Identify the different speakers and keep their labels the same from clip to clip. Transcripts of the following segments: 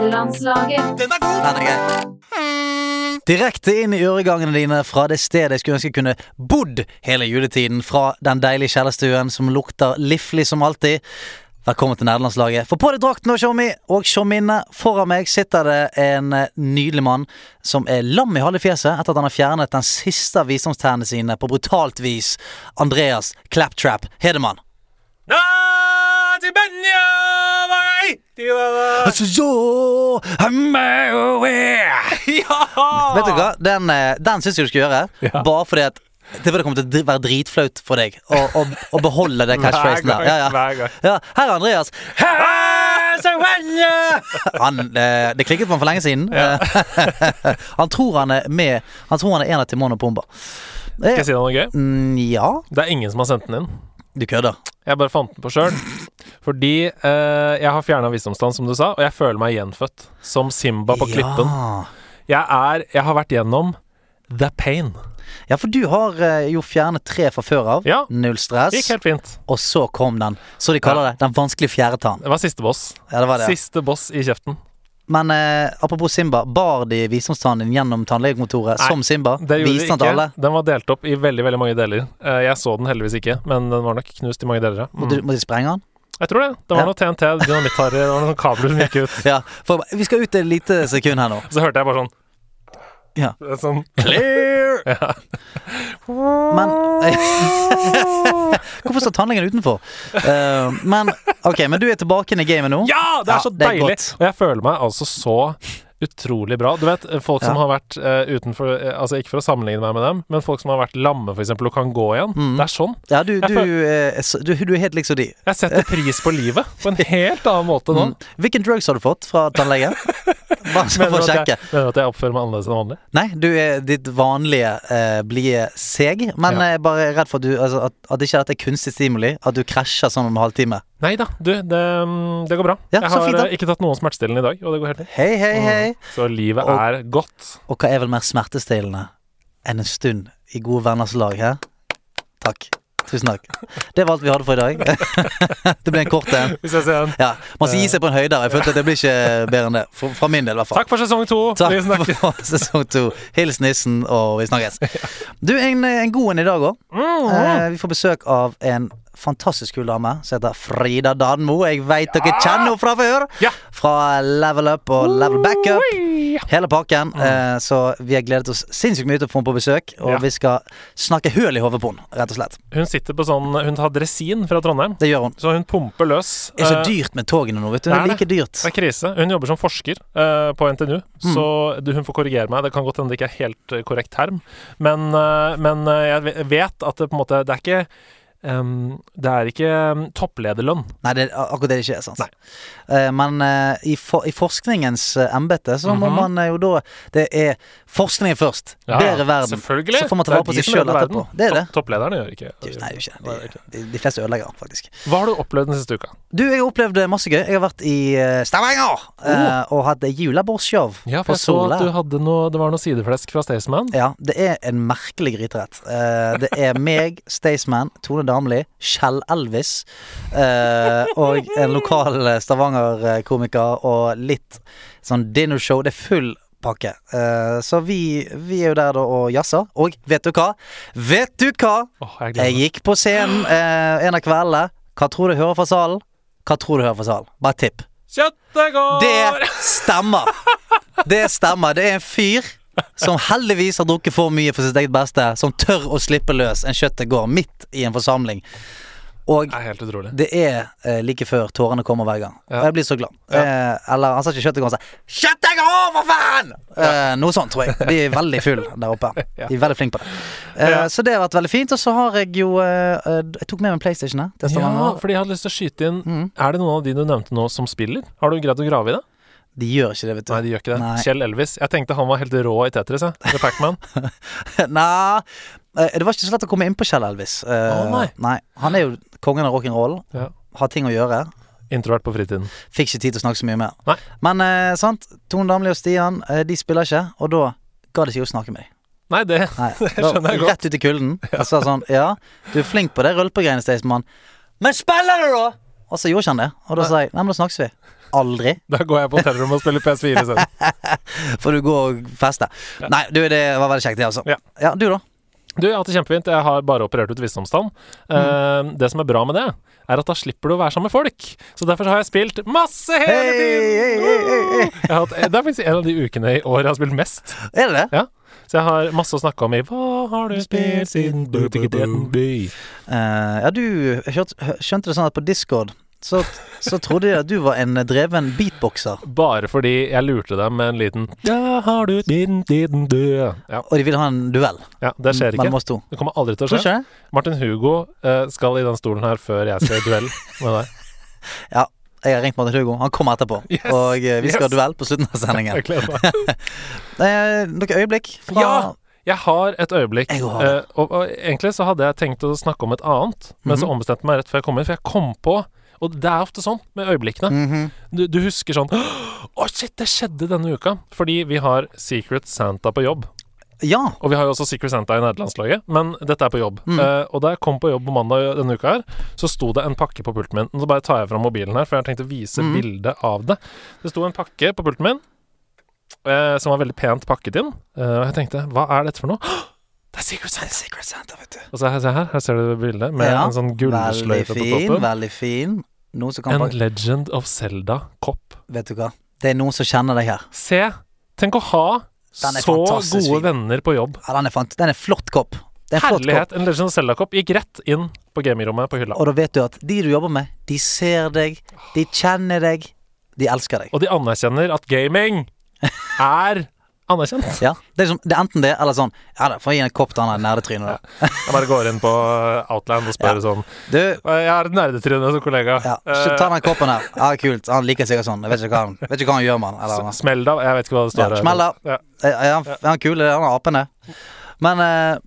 Speaker 1: Fredagslaget.
Speaker 2: Den er god! Den er grei.
Speaker 3: Direkte inn i øregangene dine fra det stedet jeg skulle ønske jeg kunne bodd hele juletiden. Fra den deilige kjellerstuen som lukter liflig som alltid. Velkommen til nederlandslaget. Få på deg drakten og tjommi, og tjomminne. Foran meg sitter det en eh, nydelig mann som er lam i halve fjeset etter at han har fjernet den siste av visdomstennene sine på brutalt vis. Andreas Claptrap Hedemann.
Speaker 2: Da til Benja vei til denne. Ja!
Speaker 3: Vet du hva, den, eh, den syns jeg du skal gjøre.
Speaker 4: Ja.
Speaker 3: Bare fordi at det burde komme til å dri- være dritflaut for deg å, å, å beholde det catchphrasen der. Ja, ja.
Speaker 4: hver gang.
Speaker 3: Ja, her er Andreas. Han, eh, det klikket for han for lenge siden. han tror han er med Han tror han er en av Timon og Pumba. Eh,
Speaker 4: Skal jeg si deg noe gøy?
Speaker 3: mm, ja,
Speaker 4: Det er ingen som har sendt den inn.
Speaker 3: du kødder.
Speaker 4: Jeg bare fant den på sjøl. Fordi eh, jeg har fjerna visdomstann, som du sa, og jeg føler meg gjenfødt. Som Simba på klippen.
Speaker 3: Ja.
Speaker 4: Jeg er Jeg har vært gjennom the pain.
Speaker 3: ja, for du har eh, jo fjernet tre fra før av.
Speaker 4: Ja.
Speaker 3: Null stress.
Speaker 4: Det gikk helt fint.
Speaker 3: Og så kom den. Så de kaller det den vanskelige fjerde tann.
Speaker 4: Det var siste boss.
Speaker 3: Ja, det var det. ja.
Speaker 4: Siste boss i kjeften.
Speaker 3: Men eh, apropos Simba, bar de visdomstannen din gjennom tannlegekontoret
Speaker 4: Nei,
Speaker 3: som Simba?
Speaker 4: Det gjorde
Speaker 3: Viste
Speaker 4: det
Speaker 3: han til
Speaker 4: ikke.
Speaker 3: alle?
Speaker 4: Den var delt opp i veldig veldig mange deler. Eh, jeg så den heldigvis ikke, men den var nok knust i mange deler. ja.
Speaker 3: Måtte,
Speaker 4: Mm.
Speaker 3: måtte de sprenge han?
Speaker 4: Jeg tror det.
Speaker 3: Ja.
Speaker 4: Det var noe TNT, dynamittharry, det var noen kabler som gikk ut.
Speaker 3: Ja, for vi skal ut et lite sekund her nå.
Speaker 4: Så hørte jeg bare sånn
Speaker 3: Ja.
Speaker 4: Det er Sånn
Speaker 3: Clear!
Speaker 4: Ja.
Speaker 3: Men Hvorfor står tannlegen utenfor? Eh, men ok, men du er tilbake inn i gamet nå.
Speaker 4: Ja, det er
Speaker 3: Ja,
Speaker 4: så
Speaker 3: det er
Speaker 4: deilig!
Speaker 3: godt.
Speaker 4: Og jeg føler meg altså så utrolig bra. Du vet, folk som
Speaker 3: Ja.
Speaker 4: har vært eh, utenfor eh, Altså ikke for å sammenligne meg med dem, men folk som har vært lamme, for eksempel, og kan gå igjen.
Speaker 3: Mm.
Speaker 4: Det er sånn.
Speaker 3: Ja, du,
Speaker 4: Jeg
Speaker 3: du, eh, s- du, du er helt liksom de.
Speaker 4: Jeg setter pris på livet på en helt annen måte nå.
Speaker 3: Mm. Hvilken drugs har du fått fra tannlegen? Bare så for å
Speaker 4: at
Speaker 3: sjekke.
Speaker 4: jeg, mener du at jeg oppfører meg annerledes enn vanlig?
Speaker 3: Nei, du er ditt vanlige eh, blide seg, men
Speaker 4: Ja.
Speaker 3: jeg er bare redd for at, du, altså, at, at ikke dette er kunstig stimuli. At du krasjer sånn om en halvtime.
Speaker 4: Nei da, du, det, mm, det går bra.
Speaker 3: Ja,
Speaker 4: jeg
Speaker 3: så
Speaker 4: har
Speaker 3: fint da.
Speaker 4: eh, ikke tatt noen smertestillende i dag, og det går helt fint.
Speaker 3: Hei, hei, hei.
Speaker 4: Så livet
Speaker 3: Og-
Speaker 4: er godt.
Speaker 3: Og hva er vel mer smertestillende enn en stund i gode venners lag her? Takk. Tusen takk. Det var alt vi hadde for i dag. det ble en kort en.
Speaker 4: Vi ses igjen.
Speaker 3: Ja, Man skal gi seg på en høyde. Jeg følte at det blir ikke bedre enn det. For, fra min del, i hvert fall.
Speaker 4: Takk for sesong to. Vi
Speaker 3: Takk
Speaker 4: snakkes.
Speaker 3: for sesong to. Hils nissen, og vi snakkes. Du, en, en god en i dag òg.
Speaker 4: Mm.
Speaker 3: Eh, vi får besøk av en fantastisk kul dame som heter Frida Danmo. Jeg veit dere kjenner henne fra før.
Speaker 4: Ja.
Speaker 3: Fra Level Up og Level Back Up. Hele pakken. Eh, så vi har gledet oss sinnssykt mye til å få henne på besøk. Og
Speaker 4: Mm. Ja.
Speaker 3: vi skal snakke høl i hodet på henne, rett og slett.
Speaker 4: Hun sitter på sånn Hun har dressin fra Trondheim,
Speaker 3: Det gjør hun.
Speaker 4: så hun pumper løs.
Speaker 3: Det er så
Speaker 4: Eh,
Speaker 3: dyrt med togene nå, vet du. Det
Speaker 4: det
Speaker 3: er
Speaker 4: er
Speaker 3: like dyrt.
Speaker 4: Det er krise. Hun jobber som forsker eh, på NTNU,
Speaker 3: Mm.
Speaker 4: så du, hun får korrigere meg. Det kan godt hende det ikke er helt eh, korrekt term, men, eh, men eh, jeg ve- vet at det på en måte Det er ikke ehm, det er ikke ehm, topplederlønn.
Speaker 3: Nei, det er akkurat det det ikke er. sant Eh, Men eh, i, for, i forskningens eh, embete så må
Speaker 4: Mhm.
Speaker 3: man eh, jo da Det er forskningen først.
Speaker 4: Ja,
Speaker 3: bedre verden.
Speaker 4: Selvfølgelig.
Speaker 3: Så får man ta
Speaker 4: Det
Speaker 3: vare
Speaker 4: er
Speaker 3: på
Speaker 4: de
Speaker 3: seg
Speaker 4: som
Speaker 3: sjøl
Speaker 4: redder verden.
Speaker 3: etterpå. Det er det.
Speaker 4: Topp- Topplederne gjør ikke
Speaker 3: Du, nei, det er jo ikke
Speaker 4: Nei,
Speaker 3: det.
Speaker 4: ok.
Speaker 3: De, de fleste ødelegger, faktisk.
Speaker 4: Hva har du opplevd den siste uka?
Speaker 3: Du, jeg har opplevd eh, masse gøy. Jeg har vært i eh, Stavanger eh, og hatt eh, julebordshow
Speaker 4: Oh. Ja,
Speaker 3: på
Speaker 4: for jeg så
Speaker 3: Sola.
Speaker 4: at du hadde noe, det var noe sideflesk fra Staysman.
Speaker 3: Ja, det er en merkelig gryterett. Eh, det er meg, Staysman, Tone Damli, Kjell Elvis eh, og en lokal eh, Stavanger-komiker og litt sånn dinnershow. Det er full pakke. Eh, så vi, vi er jo der da og jazzer. Og vet du hva? Vet du hva?
Speaker 4: Åh, jeg gleder
Speaker 3: Jeg
Speaker 4: meg.
Speaker 3: gikk på scenen eh, en av kveldene. Hva tror du hører fra salen? Hva tror du hører fra salen? Bare tipp.
Speaker 4: Kjøttet går!
Speaker 3: Det stemmer. Det stemmer. Det er en fyr som heldigvis har drukket for mye for sitt eget beste, som tør å slippe løs en kjøttegård midt i en forsamling. Og
Speaker 4: er helt utrolig.
Speaker 3: det er eh, like før tårene kommer hver gang.
Speaker 4: Ja.
Speaker 3: Og jeg blir så glad. Eh, eller han sa ikke kjøttegård, han sa 'Kjøttegård, for faen!' Eh, noe sånt, tror jeg. De er veldig full der oppe.
Speaker 4: Ja.
Speaker 3: De er veldig flinke på det. Eh,
Speaker 4: Ja.
Speaker 3: Så det har vært veldig fint. Og så har jeg jo eh, eh, Jeg tok med meg PlayStation her. til
Speaker 4: Ja,
Speaker 3: Stavanger.
Speaker 4: fordi jeg hadde lyst til å skyte inn
Speaker 3: Mm.
Speaker 4: Er det noen av de du nevnte nå, som spiller? Har du greid å grave i det?
Speaker 3: De gjør ikke det, vet du.
Speaker 4: Nei, de gjør ikke det.
Speaker 3: Nei.
Speaker 4: Kjell Elvis. Jeg tenkte han var helt rå i Tetris, jeg. Eller Pac-Man.
Speaker 3: Nei, eh, det var ikke så lett å komme inn på Kjell Elvis. Eh,
Speaker 4: Å, nei.
Speaker 3: Han er jo kongen av rock'n'roll.
Speaker 4: Ja.
Speaker 3: Har ting å gjøre.
Speaker 4: Introvert på fritiden.
Speaker 3: Fikk ikke tid til å snakke så mye mer.
Speaker 4: Nei.
Speaker 3: Men eh, sant, Tone Damli og Stian eh, De spiller ikke, og da ga det seg å snakke med dem.
Speaker 4: Nei, det
Speaker 3: Nei,
Speaker 4: skjønner jeg godt.
Speaker 3: Rett ut i kulden. Jeg sa sånn Ja, du er flink på det rølpegreiene, Staysman. Men spiller du, da? Og så gjorde ikke han det. Og da sa jeg nei, men da snakkes vi. Aldri.
Speaker 4: Da går jeg på hotellrommet og spiller PS4 isteden.
Speaker 3: For du går og fester. Nei, du, det var veldig kjekt, det, altså.
Speaker 4: Ja.
Speaker 3: ja, du, da?
Speaker 4: Du, jeg har hatt det kjempefint. Jeg har bare operert ut visdomstann. Eh, det som er bra med det, er at da slipper du å være sammen med folk. Så derfor så har jeg spilt masse hele
Speaker 3: Hei,
Speaker 4: tiden!
Speaker 3: hei, hei, hei.
Speaker 4: Woo! Jeg har hatt, det er faktisk en av de ukene i år jeg har spilt mest.
Speaker 3: Er det det?
Speaker 4: Ja. Så jeg har masse å snakke om i Hva har du spilt siden Butikkedeten-by?
Speaker 3: Eh, ja, du skjønt, skjønte det sånn at på Discord så, så trodde de at du var en dreven beatboxer.
Speaker 4: Bare fordi jeg lurte dem med en liten Ja, har du din, din død? Ja,
Speaker 3: Og de ville ha en duell
Speaker 4: ja, det skjer
Speaker 3: mellom
Speaker 4: ikke.
Speaker 3: oss to.
Speaker 4: Det kommer aldri til å
Speaker 3: Tror du
Speaker 4: skje.
Speaker 3: ikke det?
Speaker 4: Martin Hugo eh, skal i den stolen her før jeg skal i duell med deg.
Speaker 3: Ja. Jeg har ringt Martin Hugo. Han kommer etterpå.
Speaker 4: Yes,
Speaker 3: og eh, vi skal
Speaker 4: yes.
Speaker 3: ha duell på slutten av sendingen.
Speaker 4: Jeg gleder meg.
Speaker 3: Eh, noen øyeblikk fra
Speaker 4: Ja! Jeg har et øyeblikk.
Speaker 3: Jeg har det.
Speaker 4: eh, og, og egentlig så hadde jeg tenkt å snakke om et annet, men
Speaker 3: Mhm.
Speaker 4: så ombestemte jeg meg rett før jeg kom inn, for jeg kom på og det er ofte sånn med øyeblikkene.
Speaker 3: Mhm.
Speaker 4: Du, du husker sånn Å, shit, det skjedde denne uka! Fordi vi har Secret Santa på jobb.
Speaker 3: ja.
Speaker 4: Og vi har jo også Secret Santa i nederlandslaget, men dette er på jobb.
Speaker 3: Mm.
Speaker 4: Eh, og da jeg kom på jobb på mandag denne uka, her, så sto det en pakke på pulten min. Nå bare tar jeg fram mobilen her, for jeg har tenkt å vise
Speaker 3: Mm.
Speaker 4: bilde av det. Det sto en pakke på pulten min eh, som var veldig pent pakket inn. Eh, og jeg tenkte, hva er dette for noe? Det er Secret Santa!
Speaker 3: Secret Santa, vet du.
Speaker 4: Og så her, se her, her ser du bildet med
Speaker 3: Ja,
Speaker 4: en sånn
Speaker 3: Veldig
Speaker 4: gullsløyfe på
Speaker 3: fin,
Speaker 4: toppen.
Speaker 3: veldig fin. Noen som kan
Speaker 4: En
Speaker 3: bare
Speaker 4: Legend of Zelda-kopp.
Speaker 3: Vet du hva, det er noen som kjenner deg her.
Speaker 4: Se! Tenk å ha
Speaker 3: Den er
Speaker 4: så
Speaker 3: fantastisk
Speaker 4: gode
Speaker 3: fin.
Speaker 4: venner på jobb.
Speaker 3: Ja, den er, fant den er flott kopp. Det er en flott kopp.
Speaker 4: Herlighet! En Legend of Zelda-kopp gikk rett inn på gamingrommet på hylla.
Speaker 3: Og da vet du at de du jobber med, de ser deg, de kjenner deg, de elsker deg.
Speaker 4: Og de anerkjenner at gaming er anerkjent.
Speaker 3: Ja, det er, liksom, det er enten det, eller sånn Ja da, får jeg gi en kopp til han der nerdetrynet, da.
Speaker 4: Jeg bare går inn på Outland og spør sånn
Speaker 3: Du,
Speaker 4: Jeg har et nerdetryne som kollega.
Speaker 3: ja,
Speaker 4: Eh,
Speaker 3: ta den koppen her. Ja, kult. Han liker sikkert sånn. Jeg vet ikke hva han, vet ikke hva han gjør med den. Eller,
Speaker 4: s- Smell da. Jeg vet ikke hva det står.
Speaker 3: Ja, smell da.
Speaker 4: Ja.
Speaker 3: Er er han, er han kul? Er han apen, det? Men eh,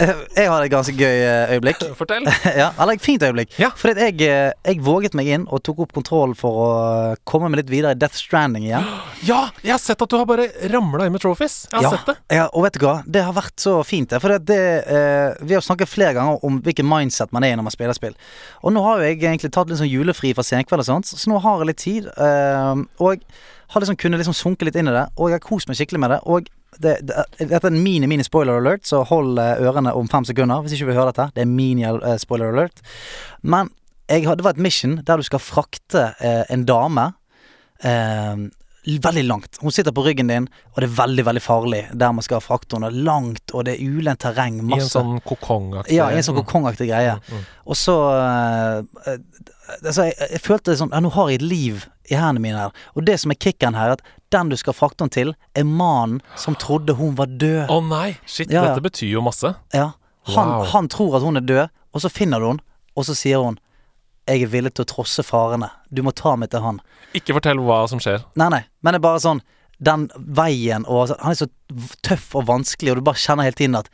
Speaker 3: jeg har et ganske gøy eh, øyeblikk.
Speaker 4: Fortell.
Speaker 3: ja, eller et fint øyeblikk.
Speaker 4: Ja.
Speaker 3: Fordi at jeg, eh, jeg våget meg inn og tok opp kontrollen for å eh, komme meg litt videre i Death Stranding igjen.
Speaker 4: Ja, jeg har sett at du har bare ramla inn med trophies. Jeg har
Speaker 3: Ja.
Speaker 4: sett det.
Speaker 3: Ja, og vet du hva, det har vært så fint. det, For det, det, eh, vi har snakket flere ganger om hvilken mindset man er i når man spiller spill. Og nå har jo jeg egentlig tatt litt sånn julefri fra senkveld og sånt, så nå har jeg litt tid. eh, og jeg har liksom kunnet liksom sunke litt inn i det, og jeg har kost meg skikkelig med det. Og det, det, dette er en mini-mini spoiler alert, så hold eh, ørene om fem sekunder hvis ikke du vil høre dette. Det er mini-spoiler alert. Men jeg, har- det var et mission der du skal frakte eh, en dame. Eh, veldig langt. Hun sitter på ryggen din, og det er veldig veldig farlig der man skal frakte henne. Langt, og det er ulendt terreng.
Speaker 4: I en
Speaker 3: Masse.
Speaker 4: sånn Mm, kokongaktig
Speaker 3: Ja, i en sånn kokongaktig greie. Og så eh, eh, altså, jeg, jeg følte sånn Ja, nå har jeg et liv i hendene mine her. Og det som er kicken her, er at den du skal frakte henne til, er mannen som trodde hun var død.
Speaker 4: Å nei! Shit,
Speaker 3: Ja, ja.
Speaker 4: dette betyr jo masse.
Speaker 3: Ja. Han,
Speaker 4: Wow.
Speaker 3: han tror at hun er død, og så finner du henne, og så sier hun Jeg er villig til å trosse farene. Du må ta meg til han.
Speaker 4: Ikke fortell hva som skjer.
Speaker 3: Nei, nei, men det er bare sånn Den veien og altså, Han er så v- tøff og vanskelig, og du bare kjenner hele tiden at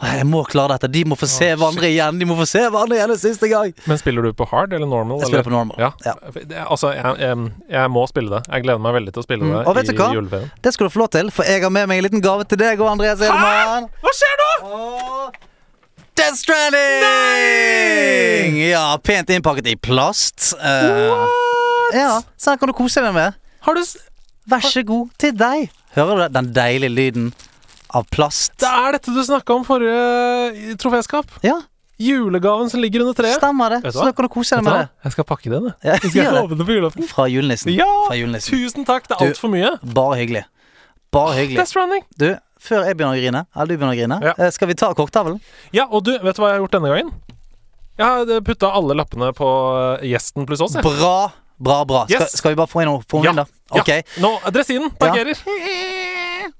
Speaker 3: «Åh, jeg må klare dette. De må få se hverandre igjen. De må få se hverandre igjen en siste gang.
Speaker 4: Men spiller du på hard eller normal?
Speaker 3: Jeg spiller
Speaker 4: eller?
Speaker 3: på normal.
Speaker 4: Ja.
Speaker 3: Ja.
Speaker 4: Det, altså, jeg, jeg, jeg må spille det. Jeg gleder meg veldig til å spille
Speaker 3: Mm. Og vet
Speaker 4: det
Speaker 3: du
Speaker 4: i
Speaker 3: hva?
Speaker 4: juleferien.
Speaker 3: Det skal du få lov til, for jeg har med meg en liten gave til deg og Andreas Edemann.
Speaker 4: Hva skjer nå?!
Speaker 3: Og Death Stranding! Ja, pent innpakket i plast. Eh, ja, så her kan du kose deg med.
Speaker 4: Har du s
Speaker 3: Vær så god til deg. Hører du det? den deilige lyden av plast?
Speaker 4: Det er dette du snakka om forrige troféskap.
Speaker 3: Ja,
Speaker 4: Julegaven som ligger under treet.
Speaker 3: stemmer det.
Speaker 4: Vet du
Speaker 3: Så
Speaker 4: hva?
Speaker 3: da kan du kose deg
Speaker 4: Vet du
Speaker 3: med
Speaker 4: hva?
Speaker 3: det.
Speaker 4: Jeg skal pakke den, jeg.
Speaker 3: Ja,
Speaker 4: Jeg
Speaker 3: gjør
Speaker 4: skal
Speaker 3: det.
Speaker 4: love det på julaften.
Speaker 3: Fra julenissen.
Speaker 4: Ja!
Speaker 3: Fra julenissen.
Speaker 4: Tusen takk, det
Speaker 3: Du-
Speaker 4: er altfor mye.
Speaker 3: Bare hyggelig. Bare hyggelig.
Speaker 4: Death Stranding.
Speaker 3: Du, før jeg begynner å grine, eller du begynner å grine,
Speaker 4: Ja.
Speaker 3: eh, skal vi ta kokktavlen?
Speaker 4: Ja, og du, vet du hva jeg har gjort denne gangen? Jeg har putta alle lappene på eh, gjesten pluss oss, jeg.
Speaker 3: Bra, bra, bra. Skal,
Speaker 4: Yes.
Speaker 3: skal vi bare få inn noe få den
Speaker 4: Ja.
Speaker 3: inn, da? Ok,
Speaker 4: Ja. Nå, Dressinen parkerer.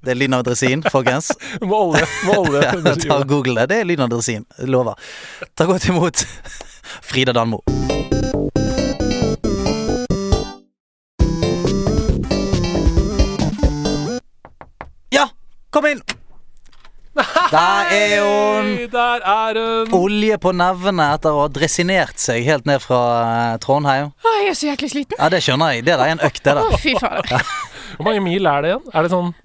Speaker 3: det er lyden av dresin, folkens.
Speaker 4: Må olje. Må olje.
Speaker 3: Ja, Ta og Google det. Det er lyden av dresin. Jeg Lover. Ta godt imot Frida Danmo. Ja, kom inn! Der er hun.
Speaker 4: Hei, Der er hun.
Speaker 3: Olje på nevene etter å ha dressinert seg helt ned fra eh, Trondheim.
Speaker 1: Å, jeg er så jæklig sliten.
Speaker 3: Ja, det skjønner jeg. Det der er en økt, det
Speaker 1: Å,
Speaker 3: der.
Speaker 1: fy fader.
Speaker 4: Hvor mange mil er det igjen? Er det sånn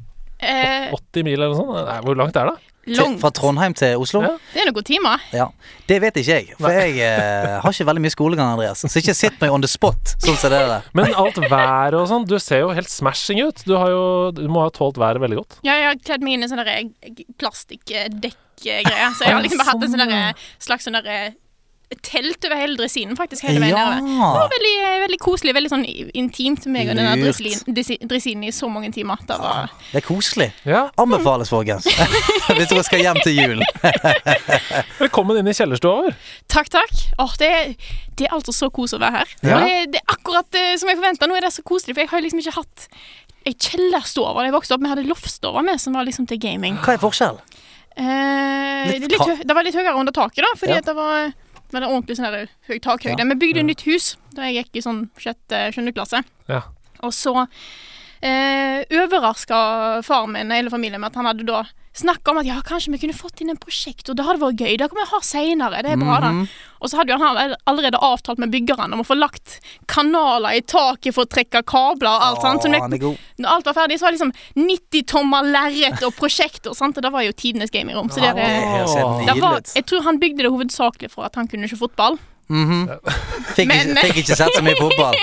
Speaker 1: Eh,
Speaker 4: 80 mil eller noe sånt? Nei, hvor langt er det?
Speaker 3: til,
Speaker 1: Langt.
Speaker 3: fra Trondheim til Oslo.
Speaker 4: Ja.
Speaker 1: Det er noen timer.
Speaker 3: Ja, Det vet ikke jeg, for jeg eh, har ikke veldig mye skolegang, Andreas. Så ikke sitt meg on the spot. sånn som det der.
Speaker 4: Men alt været og sånn, du ser jo helt smashing ut. Du, har jo, du må ha tålt været veldig godt.
Speaker 1: Ja, jeg har kledd meg inn i sånn der, eh, plastikkdekkgreier. Så jeg har liksom bare hatt en sånn der, eh, slags sånn der, eh, telt over hele dressinen faktisk hele veien nedover. Det
Speaker 3: Ja.
Speaker 1: var veldig, eh, veldig koselig, veldig sånn i- intimt med meg og den der
Speaker 3: Lurt.
Speaker 1: dresselin- desi- dressinen i så mange timer. Det var
Speaker 3: Det er koselig.
Speaker 4: Ja.
Speaker 3: Anbefales, folkens. Hvis dere skal hjem til jul.
Speaker 4: Velkommen inn i kjellerstua vår.
Speaker 1: Takk, takk. Åh, det, er, det er altså så kos å være her.
Speaker 4: Ja.
Speaker 1: Og det, det er akkurat eh, som jeg forventa. Nå er det så koselig, for jeg har liksom ikke hatt ei kjellerstue da jeg vokste opp. Vi hadde loftstova med, som var liksom til gaming.
Speaker 3: Hva er forskjellen?
Speaker 1: Eh,
Speaker 3: Litt
Speaker 1: det, er litt,
Speaker 3: ta-
Speaker 1: hø- det var litt høyere under taket, da, fordi
Speaker 3: Ja.
Speaker 1: at det var det var ordentlig sånn der høy takhøyde.
Speaker 3: Ja.
Speaker 1: Vi bygde jo nytt hus da jeg gikk i sånn sjette, sjuende klasse.
Speaker 4: Ja.
Speaker 1: Og så eh, overraska faren min og hele familien med at han hadde da snakka om at ja, kanskje vi kunne fått inn en prosjektor. Det hadde vært gøy. Det kan vi ha seinere. Det er bra,
Speaker 3: Mhm.
Speaker 1: da. Og så hadde jo han all- allerede avtalt med byggeren om å få lagt kanaler i taket for å trekke kabler og alt sånt. Så
Speaker 3: Å,
Speaker 1: når
Speaker 3: han
Speaker 1: jeg-
Speaker 3: er god.
Speaker 1: når alt var ferdig, så var det liksom 90 tommer lerret og prosjektor. Sant? Og det var jo tidenes gamingrom. Så det,
Speaker 4: Ja,
Speaker 1: det
Speaker 3: Det ser
Speaker 4: Åh.
Speaker 1: var,
Speaker 3: nydelig ut.
Speaker 1: jeg tror han bygde det hovedsakelig for at han kunne ikke fotball.
Speaker 3: Mhm. Fikk,
Speaker 1: Men-
Speaker 3: ikke, fikk ikke sett så mye fotball.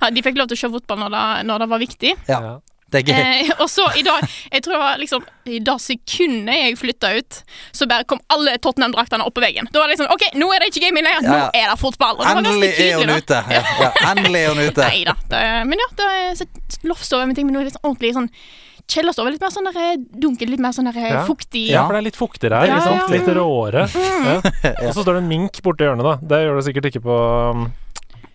Speaker 1: Ja, De fikk lov til å se fotball når det, når det var viktig.
Speaker 3: Ja, Det er gøy.
Speaker 1: Eh, og så i dag Jeg tror det var liksom I det sekundet jeg flytta ut, så bare kom alle Tottenham-draktene opp på veggen. Da var det liksom OK, nå er det ikke gaming lenger, nå
Speaker 3: Ja, ja.
Speaker 1: er det fotball. Og det var ganske
Speaker 3: Endelig er hun
Speaker 1: tydelig, da.
Speaker 3: ute. Ja, ja. Endelig er hun ute.
Speaker 1: Nei da. Det, men ja, det er så- loftstove og ting, men nå er det litt sånn ordentlig sånn Kjellerstove. Litt mer sånn der, dunkel, litt mer sånn der,
Speaker 4: Ja.
Speaker 1: fuktig.
Speaker 4: Ja, for det er litt fuktigere her.
Speaker 1: Ja,
Speaker 4: ikke sant?
Speaker 1: ja.
Speaker 4: Litt råere. Ja. Og så står det en mink borti hjørnet, da. Det gjør det sikkert ikke på, um,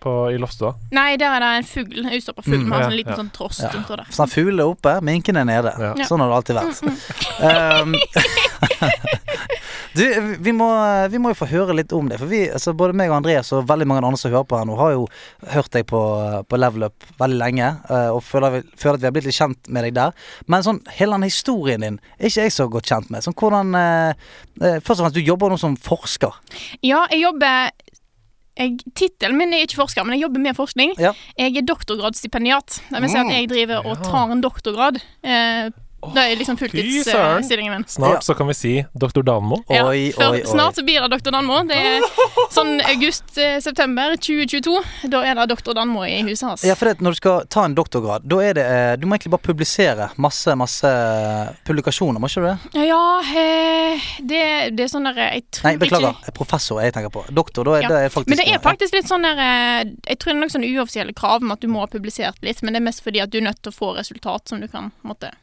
Speaker 4: på i loftstua.
Speaker 1: Nei, der er det en fugl. En utstoppa fugl med
Speaker 4: Mm, ja,
Speaker 1: en sånn
Speaker 4: ja.
Speaker 1: liten sånn trost.
Speaker 3: Ja.
Speaker 1: rundt der.
Speaker 3: Sånn Fuglene er oppe, minkene er nede.
Speaker 4: Ja.
Speaker 1: Ja.
Speaker 3: Sånn har det alltid vært. Um, du, vi må, vi må jo få høre litt om det. For vi, altså både meg og Andreas og veldig mange andre som hører på her nå, har jo hørt deg på, på Level Up veldig lenge. eh, Og føler, vi- føler at vi har blitt litt kjent med deg der. Men sånn, hele den historien din er ikke jeg så godt kjent med. Sånn hvordan eh, eh, Først og fremst, du jobber nå som forsker.
Speaker 1: Ja, jeg jobber jeg, Tittelen min er ikke forsker, men jeg jobber med forskning.
Speaker 3: Ja.
Speaker 1: Jeg er doktorgradsstipendiat. Det vil si
Speaker 4: Mm.
Speaker 1: at jeg driver og tar en doktorgrad. Eh, det er liksom
Speaker 4: søren.
Speaker 1: fulltidsstillingen min.
Speaker 4: Snart
Speaker 3: Ja.
Speaker 4: så kan vi si Dr. Danmo.
Speaker 1: Ja,
Speaker 3: Oi,
Speaker 1: før-
Speaker 3: oi, oi.
Speaker 1: Snart så blir det doktor Danmo. Det er sånn august-september 2022. Da er det doktor Danmo i huset hans.
Speaker 3: Ja, for det, at når du skal ta en doktorgrad, da er det eh, Du må egentlig bare publisere masse, masse publikasjoner, må ikke du det?
Speaker 1: Ja, eh, det, det er sånn der Jeg tror
Speaker 3: Nei, beklager. Professor er jeg tenker på. Doktor, da er
Speaker 1: Ja.
Speaker 3: det er faktisk
Speaker 1: Men det er faktisk litt sånn der eh, Jeg tror det er noen sånne uoffisielle krav om at du må ha publisert litt, men det er mest fordi at du er nødt til å få resultat som du kan på en måte,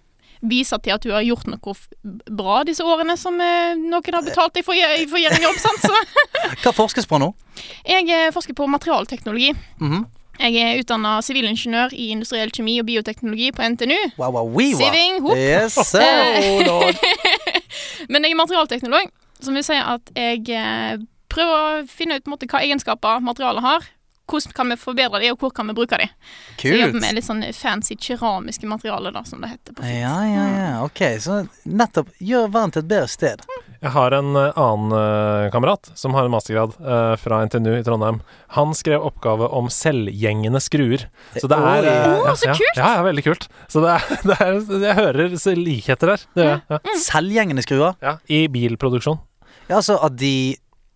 Speaker 1: vise til at du har gjort noe f bra disse årene som eh, noen har betalt deg for å gjøre for å gjøre en jobb, sant? Så
Speaker 3: Hva forskes på nå?
Speaker 1: jeg eh, forsker på materialteknologi.
Speaker 3: Mhm.
Speaker 1: Jeg er utdanna sivilingeniør i industriell kjemi og bioteknologi på NTNU.
Speaker 3: Wow, wow, we
Speaker 1: Siving, hopp.
Speaker 3: Yes, oh, sir.
Speaker 1: Eh.
Speaker 3: lord.
Speaker 1: Men jeg er materialteknolog, som vil si at jeg eh, prøver å finne ut på en måte, hva egenskaper materialet har. Hvordan kan vi forbedre de, og hvor kan vi bruke de? Så jeg jobber
Speaker 3: Kult.
Speaker 1: med litt sånn fancy keramiske materialer, da, som det heter. på fint.
Speaker 3: Ja, ja, ja.
Speaker 1: Mm.
Speaker 3: Ok, så nettopp gjør verden til et bedre sted.
Speaker 4: Jeg har en eh, annen eh, kamerat som har en mastergrad eh, fra NTNU i Trondheim. Han skrev oppgave om selvgjengende skruer. Så det
Speaker 3: Oi.
Speaker 4: er eh,
Speaker 1: Å, så
Speaker 4: ja,
Speaker 1: kult!
Speaker 4: Ja, ja, veldig kult. Så det er, det er Jeg hører så likheter der. Det gjør jeg. Ja.
Speaker 1: Mm.
Speaker 3: Selvgjengende skruer.
Speaker 4: Ja, I bilproduksjon.
Speaker 3: Ja, altså at de,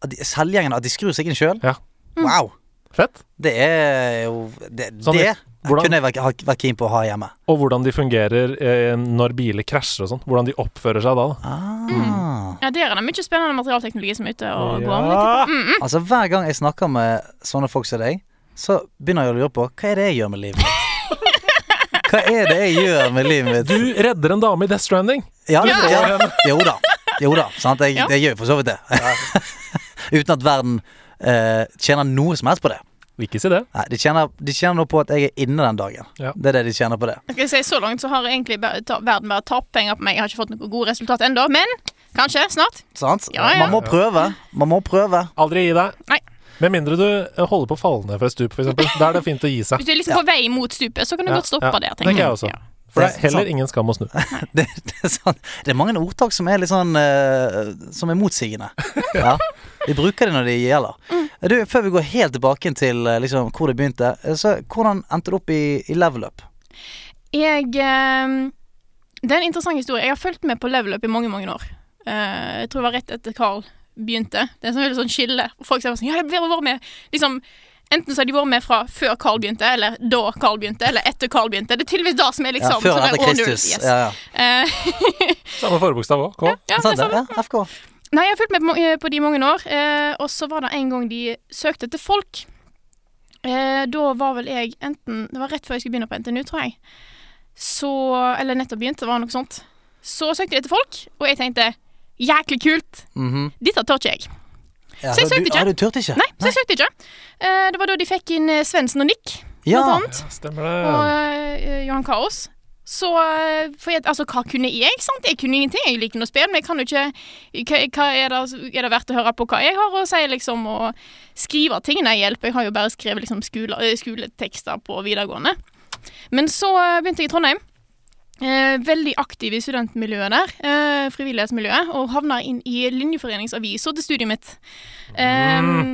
Speaker 3: at de Selvgjengende, at de skrur seg inn sjøl.
Speaker 4: Ja.
Speaker 1: Mm.
Speaker 3: Wow.
Speaker 4: Fett.
Speaker 3: Det er jo Det,
Speaker 4: Sånn,
Speaker 3: det
Speaker 4: hvordan-
Speaker 3: kunne jeg vært, ha- vært keen på å ha hjemme.
Speaker 4: Og hvordan de fungerer eh, når biler krasjer og sånn. Hvordan de oppfører seg da. da.
Speaker 3: Ah.
Speaker 1: Ja, der er det mye spennende materialteknologi som er ute og går. vil jeg tippe.
Speaker 4: Ja.
Speaker 3: Altså Hver gang jeg snakker med sånne folk som deg, så begynner jeg å lure på hva er det jeg gjør med livet mitt? Hva er det jeg gjør med livet mitt?
Speaker 4: Du redder en dame i Death Stranding.
Speaker 3: Ja, det,
Speaker 4: Ja.
Speaker 3: ja. Jo da. Jo da. Sant? Jeg,
Speaker 1: Ja.
Speaker 3: jeg gjør jo for så vidt det. Uten at verden eh, tjener noe som helst på det.
Speaker 4: Vil ikke si det.
Speaker 3: Nei, de tjener, de tjener noe på at jeg er inne den dagen.
Speaker 4: Ja.
Speaker 3: Det er det de tjener på det.
Speaker 1: Skal jeg si, Så langt så har egentlig bare, ta, verden bare tapt penger på meg. Jeg har ikke fått noen gode resultat ennå, men kanskje snart.
Speaker 3: Sant?
Speaker 1: Ja, ja.
Speaker 3: Man må prøve. Man må prøve.
Speaker 4: Aldri gi deg.
Speaker 1: Nei.
Speaker 4: Med mindre du eh, holder på å falle ned fra et stup, f.eks. Da er det fint å gi seg.
Speaker 1: Hvis du er liksom på vei mot stupet, så kan du
Speaker 4: Ja,
Speaker 1: godt stoppe
Speaker 4: ja.
Speaker 1: der.
Speaker 4: Det kan jeg også.
Speaker 1: Ja.
Speaker 4: For det
Speaker 3: Det
Speaker 4: er
Speaker 3: er sant.
Speaker 4: heller ingen skam å snu.
Speaker 3: Det, det, er sant. det er mange ordtak som er litt sånn eh, Som er motsigende. Ja. Vi bruker det når det gjelder.
Speaker 1: Mm.
Speaker 3: Du, før vi går helt tilbake til eh, liksom, hvor det begynte, eh, så hvordan endte du opp i, i level up?
Speaker 1: ehm, Jeg eh, Det er en interessant historie. Jeg har fulgt med på level up i mange, mange år. Eh, jeg tror det var rett etter Carl begynte. Det er sånn veldig sånn skille. Folk sier sånn Ja, de har vært med liksom, Enten så har de vært med fra før Carl begynte, eller da Carl begynte, eller etter Carl begynte. Det er tydeligvis det som er
Speaker 3: Ja,
Speaker 1: liksom
Speaker 3: før og
Speaker 1: sånn
Speaker 3: etter
Speaker 1: der, å, nerd,
Speaker 3: Kristus.
Speaker 1: yes.
Speaker 3: Ja, ja.
Speaker 1: Eh,
Speaker 4: Samme forbokstav òg. K.
Speaker 1: ja,
Speaker 3: Sant
Speaker 1: det er
Speaker 3: det?
Speaker 1: sånn.
Speaker 3: Ja, FK.
Speaker 1: Nei, jeg har fulgt med på ma- eh, på de i mange år. Eh, og så var det en gang de søkte etter folk. Eh, da var vel jeg enten Det var rett før jeg skulle begynne på NTNU, tror jeg. Så Eller nettopp begynte, var det noe sånt. Så søkte de etter folk, og jeg tenkte jæklig kult,
Speaker 3: Mhm.
Speaker 1: dette tør ikke jeg.
Speaker 3: ja,
Speaker 1: Så jeg
Speaker 3: du-
Speaker 1: søkte ikke.
Speaker 3: Ja, du turte ikke?
Speaker 1: Nei, så jeg søkte ikke. Eh, det var da de fikk inn eh, Svendsen og Nick,
Speaker 3: Ja.
Speaker 1: blant annet.
Speaker 4: Ja, stemmer det.
Speaker 1: Og eh, Johan Kaos. Så eh, for jeg, altså, hva kunne jeg? sant? Jeg kunne ingenting. Jeg liker noe spill, men jeg kan jo ikke hva, hva er, det, altså, er det verdt å høre på hva jeg har å si, liksom? Og skrive ting nei, hjelp. Jeg har jo bare skrevet liksom, skole, eh, skoletekster på videregående. Men så eh, begynte jeg i Trondheim. Eh, veldig aktiv i studentmiljøet der, eh, frivillighetsmiljøet, og havna inn i linjeforeningsavisa til studiet mitt.
Speaker 4: Mm.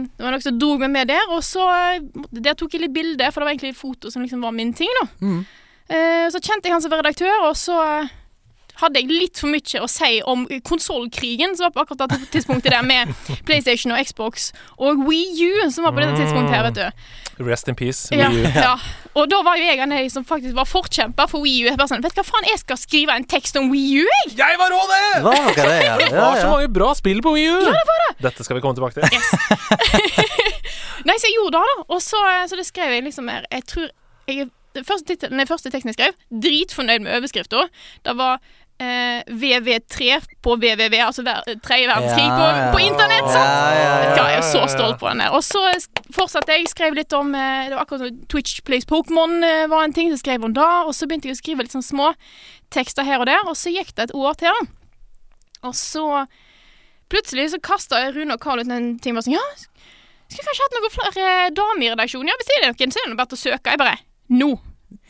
Speaker 1: Eh, Det var noe som drog meg med der, og så eh, måtte- der tok jeg litt bilder, for det var egentlig foto som liksom var min ting, da.
Speaker 4: Mm.
Speaker 3: Mhm.
Speaker 1: Eh, så kjente jeg han som var redaktør, og så eh, hadde jeg litt for mye å si om konsollkrigen som var på akkurat det tidspunktet der, med PlayStation og Xbox og Wii U, som var på dette tidspunktet her, vet du.
Speaker 4: Rest in peace.
Speaker 1: Ja,
Speaker 4: Mm. Wii U.
Speaker 1: ja. Og da var jo jeg en av de som faktisk var forkjemper for Wii U. Jeg bare sånn, vet du hva faen, jeg skal skrive en tekst om Wii U, jeg!
Speaker 2: Jeg var rå, det!
Speaker 3: Det var noe det, ja.
Speaker 4: Det
Speaker 3: ja,
Speaker 4: var så
Speaker 3: ja.
Speaker 4: mange bra spill på Wii U! Dette skal vi komme tilbake til.
Speaker 1: Nei, så jeg gjorde det, da. Og så, så det skrev jeg liksom her Jeg tror jeg, den, første titel, den første teksten jeg skrev, dritfornøyd med overskrifta. Det var eh, VV3 på VVV, altså ver, tredje verdenskrig på,
Speaker 3: Ja, ja.
Speaker 1: på internett. sånn. sant?
Speaker 3: Ja, ja,
Speaker 1: Vet
Speaker 3: ja.
Speaker 1: du hva, jeg er så stolt på den der. Og så sk- fortsatte jeg, skrev litt om eh, Det var akkurat som Twitch Plays Pokémon eh, var en ting, så skrev hun da. Og så begynte jeg å skrive litt sånn små tekster her og der, og så gikk det et år til, da. Og så plutselig så kasta Rune og Carl ut en ting bare sånn Ja, sk- skulle kanskje hatt noen flere eh, damer i redaksjonen? Ja, hvis det er noen, så er det nå bare å søke. Jeg bare Nå!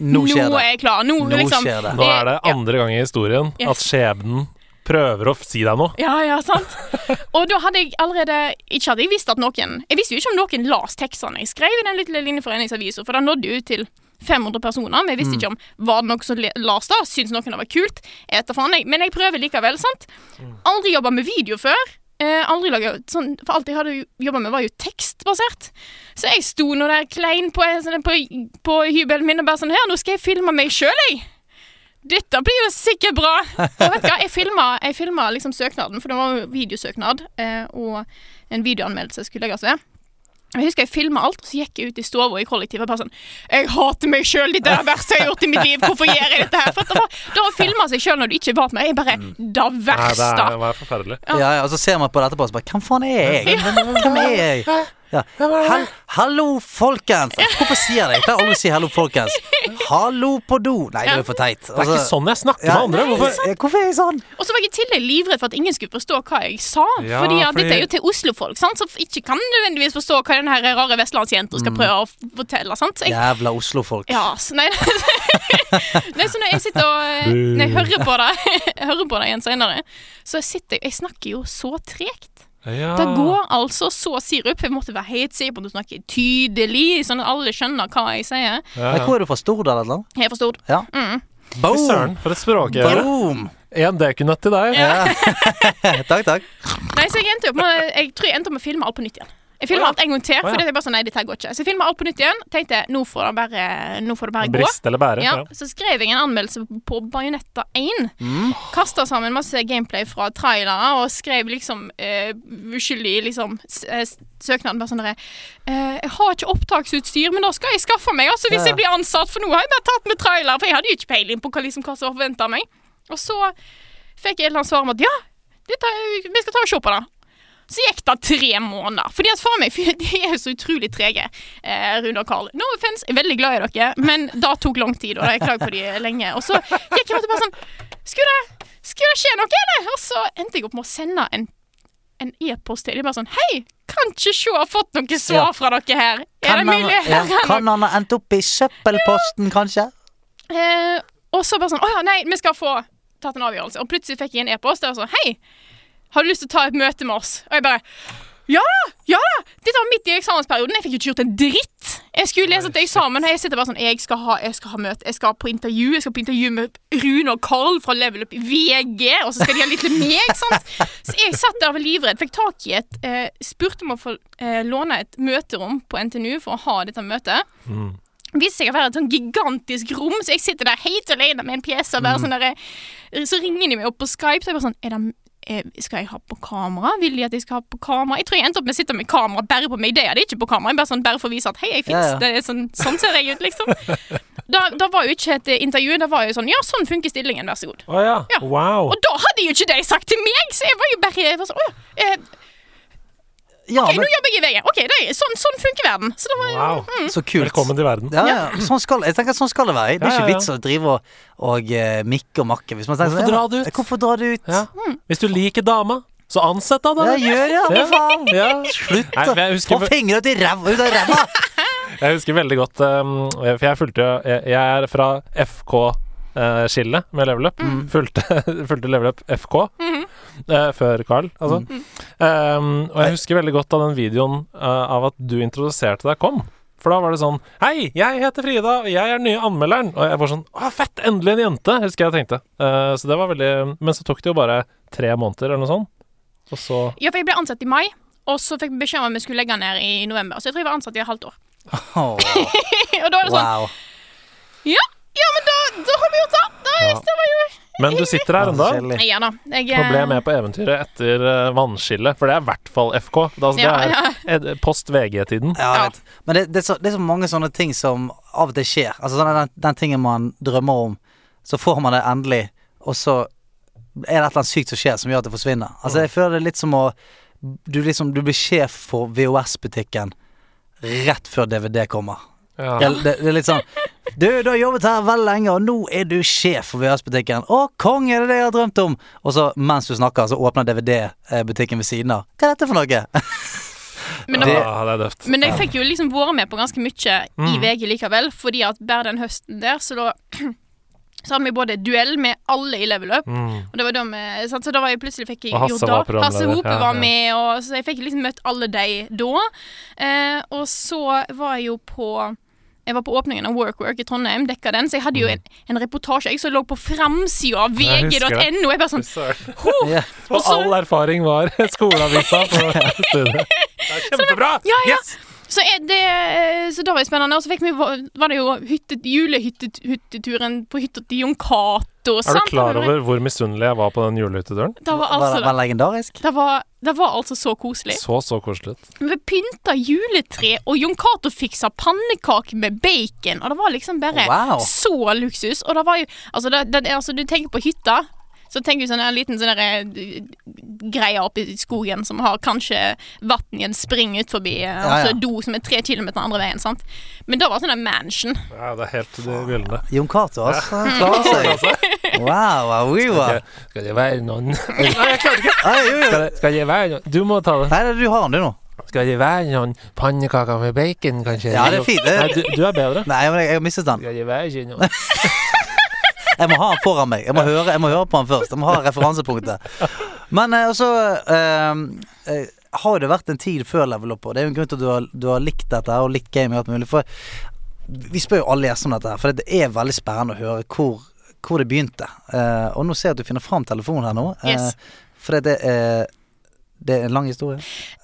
Speaker 3: Nå skjer
Speaker 1: er
Speaker 3: det.
Speaker 1: jeg klar. Nå,
Speaker 3: Nå
Speaker 1: liksom.
Speaker 3: skjer det.
Speaker 4: Nå er det
Speaker 1: Ja.
Speaker 4: andre gang i historien
Speaker 1: Yes.
Speaker 4: at skjebnen prøver å f- si deg noe.
Speaker 1: Ja, ja, sant. Og da hadde jeg allerede Ikke hadde jeg visst at noen Jeg visste jo ikke om noen las tekstene jeg skrev i den lille linjeforeningsavisa, for da nådde jeg ut til 500 personer, men jeg visste ikke om var det noen som le- las det. Syns noen det var kult? Jeg vet da faen, jeg. Men jeg prøver likevel, sant. Aldri jobba med video før. Eh, aldri laget, sånn, for alt jeg hadde jobba med, var jo tekstbasert. Så jeg sto nå der klein på, sånn, på, på hybelen min og bare sånn Her, nå skal jeg filme meg sjøl, jeg! Dette blir jo sikkert bra! Og vet du hva, jeg filma, jeg filma liksom søknaden, for det var jo videosøknad, eh, og en videoanmeldelse skulle legges ved. Og Jeg husker jeg filma alt, og så gikk jeg ut i stua i kollektivet og bare sånn Jeg hater meg sjøl, dette er det verste jeg har gjort i mitt liv, hvorfor gjør jeg dette her? For at det var, da å filme seg sjøl når du ikke var med, er bare det
Speaker 4: Mm. Nei, det
Speaker 1: verste.
Speaker 4: er, det er forferdelig.
Speaker 3: Ja, ja, og så ser man på det etterpå og så bare Hvem faen er jeg? Hvem er jeg? Ja. Hall hallo, folkens! Altså, Hvorfor sier jeg det? Jeg pleier aldri å si 'hallo, folkens'. Hallo på do! Nei, det er jo for teit. Altså,
Speaker 4: Det er ikke sånn jeg snakker med andre. Hvorfor?
Speaker 3: Hvorfor er jeg sånn?
Speaker 1: Og så var jeg i tillegg livredd for at ingen skulle forstå hva jeg sa.
Speaker 4: Ja,
Speaker 1: fordi at
Speaker 4: fordi-
Speaker 1: dette er jo til Oslo-folk, sant, som ikke kan nødvendigvis forstå hva den her rare vestlandsjenta
Speaker 4: Mm.
Speaker 1: skal prøve å f- fortelle. sant? Så jeg,
Speaker 3: Jævla Oslo-folk.
Speaker 1: ja, så nei, nei, så når jeg sitter og eh, Når jeg hører på det, jeg hører på det igjen senere, så sitter jeg Jeg snakker jo så tregt.
Speaker 4: Ja.
Speaker 1: Det går altså så sirup. Jeg måtte være helt sikker på at du snakker tydelig, sånn at alle skjønner hva jeg
Speaker 4: Ja,
Speaker 1: sier.
Speaker 3: Men
Speaker 4: ja.
Speaker 3: Hvor er du fra? Stordal eller noe?
Speaker 1: Jeg forstod.
Speaker 3: Ja.
Speaker 4: Fy
Speaker 3: Boom!
Speaker 4: Søren, for et språkøre.
Speaker 3: Boom!
Speaker 4: En dekunøtt til deg.
Speaker 1: Ja.
Speaker 3: Takk, takk.
Speaker 1: Nei, så jeg endte opp med Jeg tror jeg endte opp med å filme alt på nytt igjen. Jeg
Speaker 4: Å
Speaker 1: filma
Speaker 4: ja.
Speaker 1: alt en gang til.
Speaker 4: Å ja.
Speaker 1: Fordi jeg bare sånn, nei, dette her går ikke Så jeg filma alt på nytt igjen. Tenkte nå får det bare, nå får det bare gå.
Speaker 4: Brist eller bære.
Speaker 1: Ja,
Speaker 4: Ja.
Speaker 1: så skrev jeg en anmeldelse på Bajonetta 1. Mm. Kasta sammen masse gameplay fra trailere og skrev liksom eh, uskyldig liksom, s- eh, s- søknaden bare sånn derre eh, Jeg har ikke opptaksutstyr, men da skal jeg skaffe meg, altså, hvis
Speaker 3: Ja.
Speaker 1: jeg blir ansatt, for nå har jeg bare tatt med trailer, for jeg hadde jo ikke peiling på hva, liksom, hva som forventa meg. Og så fikk jeg et eller annet svar om at ja, dette, er- vi skal ta og se på det. Så gikk det tre måneder. Fordi at faen meg, fy- de er jo så utrolig trege. Eh, Rune og Carl. No offense, jeg er veldig glad i dere, men det tok lang tid, og jeg klaget på de lenge. Og så gikk jeg rundt og bare sånn Skulle det, skulle det skje noe, eller? Og så endte jeg opp med å sende en en e-post til de bare sånn Hei, kan ikke se jeg har fått noe svar
Speaker 3: Ja.
Speaker 1: fra dere her. Er det mulig?
Speaker 3: ja,
Speaker 1: Her er
Speaker 3: kan han ha endt opp i søppelposten, kanskje?
Speaker 1: Eh, og så bare sånn Å ja, nei, vi skal få tatt en avgjørelse. Og plutselig fikk jeg en e-post der det var sånn Hei, har du lyst til å ta et møte med oss? Og jeg bare Dette var midt i eksamensperioden. Jeg fikk jo ikke gjort en dritt. Jeg skulle lese til eksamen, og jeg sitter bare sånn Jeg skal ha, jeg skal ha møte, jeg skal på intervju. Jeg skal på intervju med Rune og Carl fra Level Up i VG, og så skal de ha litt til meg, sant. Så jeg satt der og var livredd. Fikk tak i et eh, Spurte om å få eh, låne et møterom på NTNU for å ha dette møtet.
Speaker 4: Mm.
Speaker 1: Viste seg å være et sånn gigantisk rom, så jeg sitter der helt alene med en PC. Og
Speaker 3: Mm.
Speaker 1: bare sånn der, eh, så ringer de meg opp på Skype, så jeg bare sånn er det, eh, Skal jeg ha på kamera? Vil de at jeg skal ha på kamera? Jeg tror jeg endte opp med å sitte med kamera bare på meg. Det er det ikke på kamera. Jeg bare sånn, bare for å vise at hei, jeg fins.
Speaker 3: Ja, ja.
Speaker 1: Det er sånn, sånn ser jeg ut, liksom. Da, da var jo ikke et eh, intervju. Da var jo sånn Ja, sånn funker stillingen, vær så god.
Speaker 4: Å ja.
Speaker 1: Ja.
Speaker 4: Wow.
Speaker 1: Og da hadde jo ikke de sagt til meg, så jeg var jo bare jeg var sånn, Å ja. Eh,
Speaker 3: Ja,
Speaker 1: ok, nå
Speaker 3: men,
Speaker 1: jobber jeg i VG. Ok, det er, sånn, sånn funker verden. Så det var jo
Speaker 4: wow.
Speaker 3: så kult.
Speaker 4: Velkommen til verden.
Speaker 3: Ja, ja. Sånn skal, jeg tenker at sånn skal det være. Det er
Speaker 4: Ja, ja,
Speaker 3: ikke
Speaker 4: ja.
Speaker 3: vits å drive og, og eh, mikke og makke. Hvis man tenker, sånn,
Speaker 4: Hvorfor
Speaker 3: ja,
Speaker 4: dra det ut?
Speaker 3: Hvorfor dra det ut?
Speaker 4: Ja.
Speaker 1: Mm.
Speaker 4: Hvis du liker dama, så ansett henne,
Speaker 3: Ja,
Speaker 4: da.
Speaker 3: gjør det,
Speaker 4: Ja.
Speaker 3: for faen!
Speaker 4: Ja.
Speaker 3: Slutt,
Speaker 4: Nei,
Speaker 3: da!
Speaker 4: men jeg
Speaker 3: Få
Speaker 4: husker,
Speaker 3: fingrene ut i ræva! Ut av ræva!
Speaker 4: jeg husker veldig godt um, For jeg fulgte jo Jeg, jeg er fra FK-skillet med Level Up. Fulgte, fulgte Level Up FK eh, før Carl, altså. Um, og jeg husker veldig godt da den videoen eh, av at du introduserte deg, kom. For da var det sånn Hei, jeg heter Frida, og jeg er den nye anmelderen. Og jeg var sånn Å, fett! Endelig en jente! Husker jeg tenkte. Eh, så det var veldig Men så tok det jo bare tre måneder eller noe sånt. Og så
Speaker 1: Ja, for jeg ble ansatt i mai, og så fikk vi beskjed om at vi skulle legge ned i november. Så jeg tror jeg var ansatt i et halvt år.
Speaker 3: Åh,
Speaker 1: og da er det sånn
Speaker 3: wow.
Speaker 1: Ja, ja men da, da har vi gjort det! Da er
Speaker 4: Ja.
Speaker 1: det var jo
Speaker 4: Men du sitter her
Speaker 3: Ja, så
Speaker 4: ennå.
Speaker 3: kjedelig.
Speaker 1: Ja da. Jeg,
Speaker 4: Nå
Speaker 1: eh,
Speaker 4: ble jeg med på eventyret etter eh, vannskillet, for det er i hvert fall FK. Det, altså,
Speaker 1: Ja,
Speaker 4: det
Speaker 1: ja.
Speaker 4: er eh, post VG-tiden.
Speaker 3: Ja, jeg
Speaker 1: Ja.
Speaker 3: vet. Men det, det, er så, det er så mange sånne ting som av og til skjer. Altså sånn, den, den tingen man drømmer om, så får man det endelig, og så er det et eller annet sykt som skjer som gjør at det forsvinner.
Speaker 4: Mm.
Speaker 3: Altså Jeg føler det er litt som å Du, liksom, du blir sjef for VHS-butikken rett før DVD kommer.
Speaker 4: Ja.
Speaker 3: Det, det, det er litt sånn Du, du har jobbet her veldig lenge, og nå er du sjef for VHS-butikken. Å, konge, det er det jeg har drømt om! Og så, mens du snakker, så åpner DVD-butikken ved siden av. Hva er dette for noe?
Speaker 1: men, da,
Speaker 3: det-
Speaker 4: Ah, det er døvt.
Speaker 1: men jeg fikk jo liksom vært med på ganske mye i VG likevel, fordi at bare den høsten der, så da så hadde vi både duell med alle i level up,
Speaker 4: Mm.
Speaker 1: og det var da vi- sant, så da var jeg plutselig fikk jeg
Speaker 4: Og Hasse
Speaker 1: gjort det.
Speaker 4: var programleder,
Speaker 1: Hasse Hope
Speaker 4: ja,
Speaker 1: var
Speaker 4: ja.
Speaker 1: med, og så jeg fikk liksom møtt alle de da. Eh, og så var jeg jo på jeg var på åpningen av WorkWork i Trondheim, dekka den, så jeg hadde jo en, en reportasje jeg som lå på framsida av
Speaker 4: Mhm. Jeg husker det.
Speaker 1: vg.no. Jeg bare sånn «Ho,
Speaker 3: Ja.
Speaker 4: Og
Speaker 1: så-
Speaker 4: all erfaring var skoleavisa på studiet. Det er kjempebra!
Speaker 1: Ja, ja.
Speaker 4: Yes!
Speaker 1: Så, er det, eh, så da var det spennende. Og så fikk vi, var det jo hyttet, julehytteturen på hytta til Jon Cato.
Speaker 4: Er du klar over hvor misunnelig jeg var på den julehyttedøren?
Speaker 1: Det var,
Speaker 3: Var,
Speaker 1: altså,
Speaker 3: var legendarisk?
Speaker 1: det var, det var altså så koselig.
Speaker 4: Så, så koselig. ut.
Speaker 1: Vi pynta juletre, og Jon Cato fiksa pannekaker med bacon. Og det var liksom bare
Speaker 3: Wow.
Speaker 1: så luksus. Og det var jo Altså, det, det, altså du tenker på hytta. Så tenker du sånn en liten sånn der, eh, greie oppe i skogen som har kanskje vann i en spring ut forbi, eh,
Speaker 3: ja.
Speaker 1: altså do som er tre kilometer andre veien, sant. Men da var det sånn en mansion.
Speaker 4: Ja, det er helt det gylne.
Speaker 3: Jon Cato, altså. Han klarer seg. Wow, wow, wow.
Speaker 4: Skal det være noen Nei, jeg klarer ikke!
Speaker 3: Nei, jo, jo.
Speaker 4: Skal det, skal det være noen Du må ta det.
Speaker 3: Nei, du har den, du, nå.
Speaker 4: Skal det være noen pannekaker med bacon, kanskje?
Speaker 3: Ja, det er fint, det.
Speaker 4: Nei, du, du er bedre.
Speaker 3: Nei, men jeg, jeg har mistet den.
Speaker 4: Skal det være ikke noen
Speaker 3: Jeg må ha den foran meg. Jeg må høre, jeg må høre på den først. Jeg må ha referansepunktet. Men eh, også eh, eh, har det vært en tid før level up, og det er jo en grunn til at du har, du har likt dette her, og likt game og alt mulig. For vi spør jo alle gjestene om dette her, for det er veldig spennende å høre hvor, hvor det begynte. Eh, og nå ser jeg at du finner fram telefonen her nå. eh,
Speaker 1: Yes.
Speaker 3: For det, er- det er en lang historie.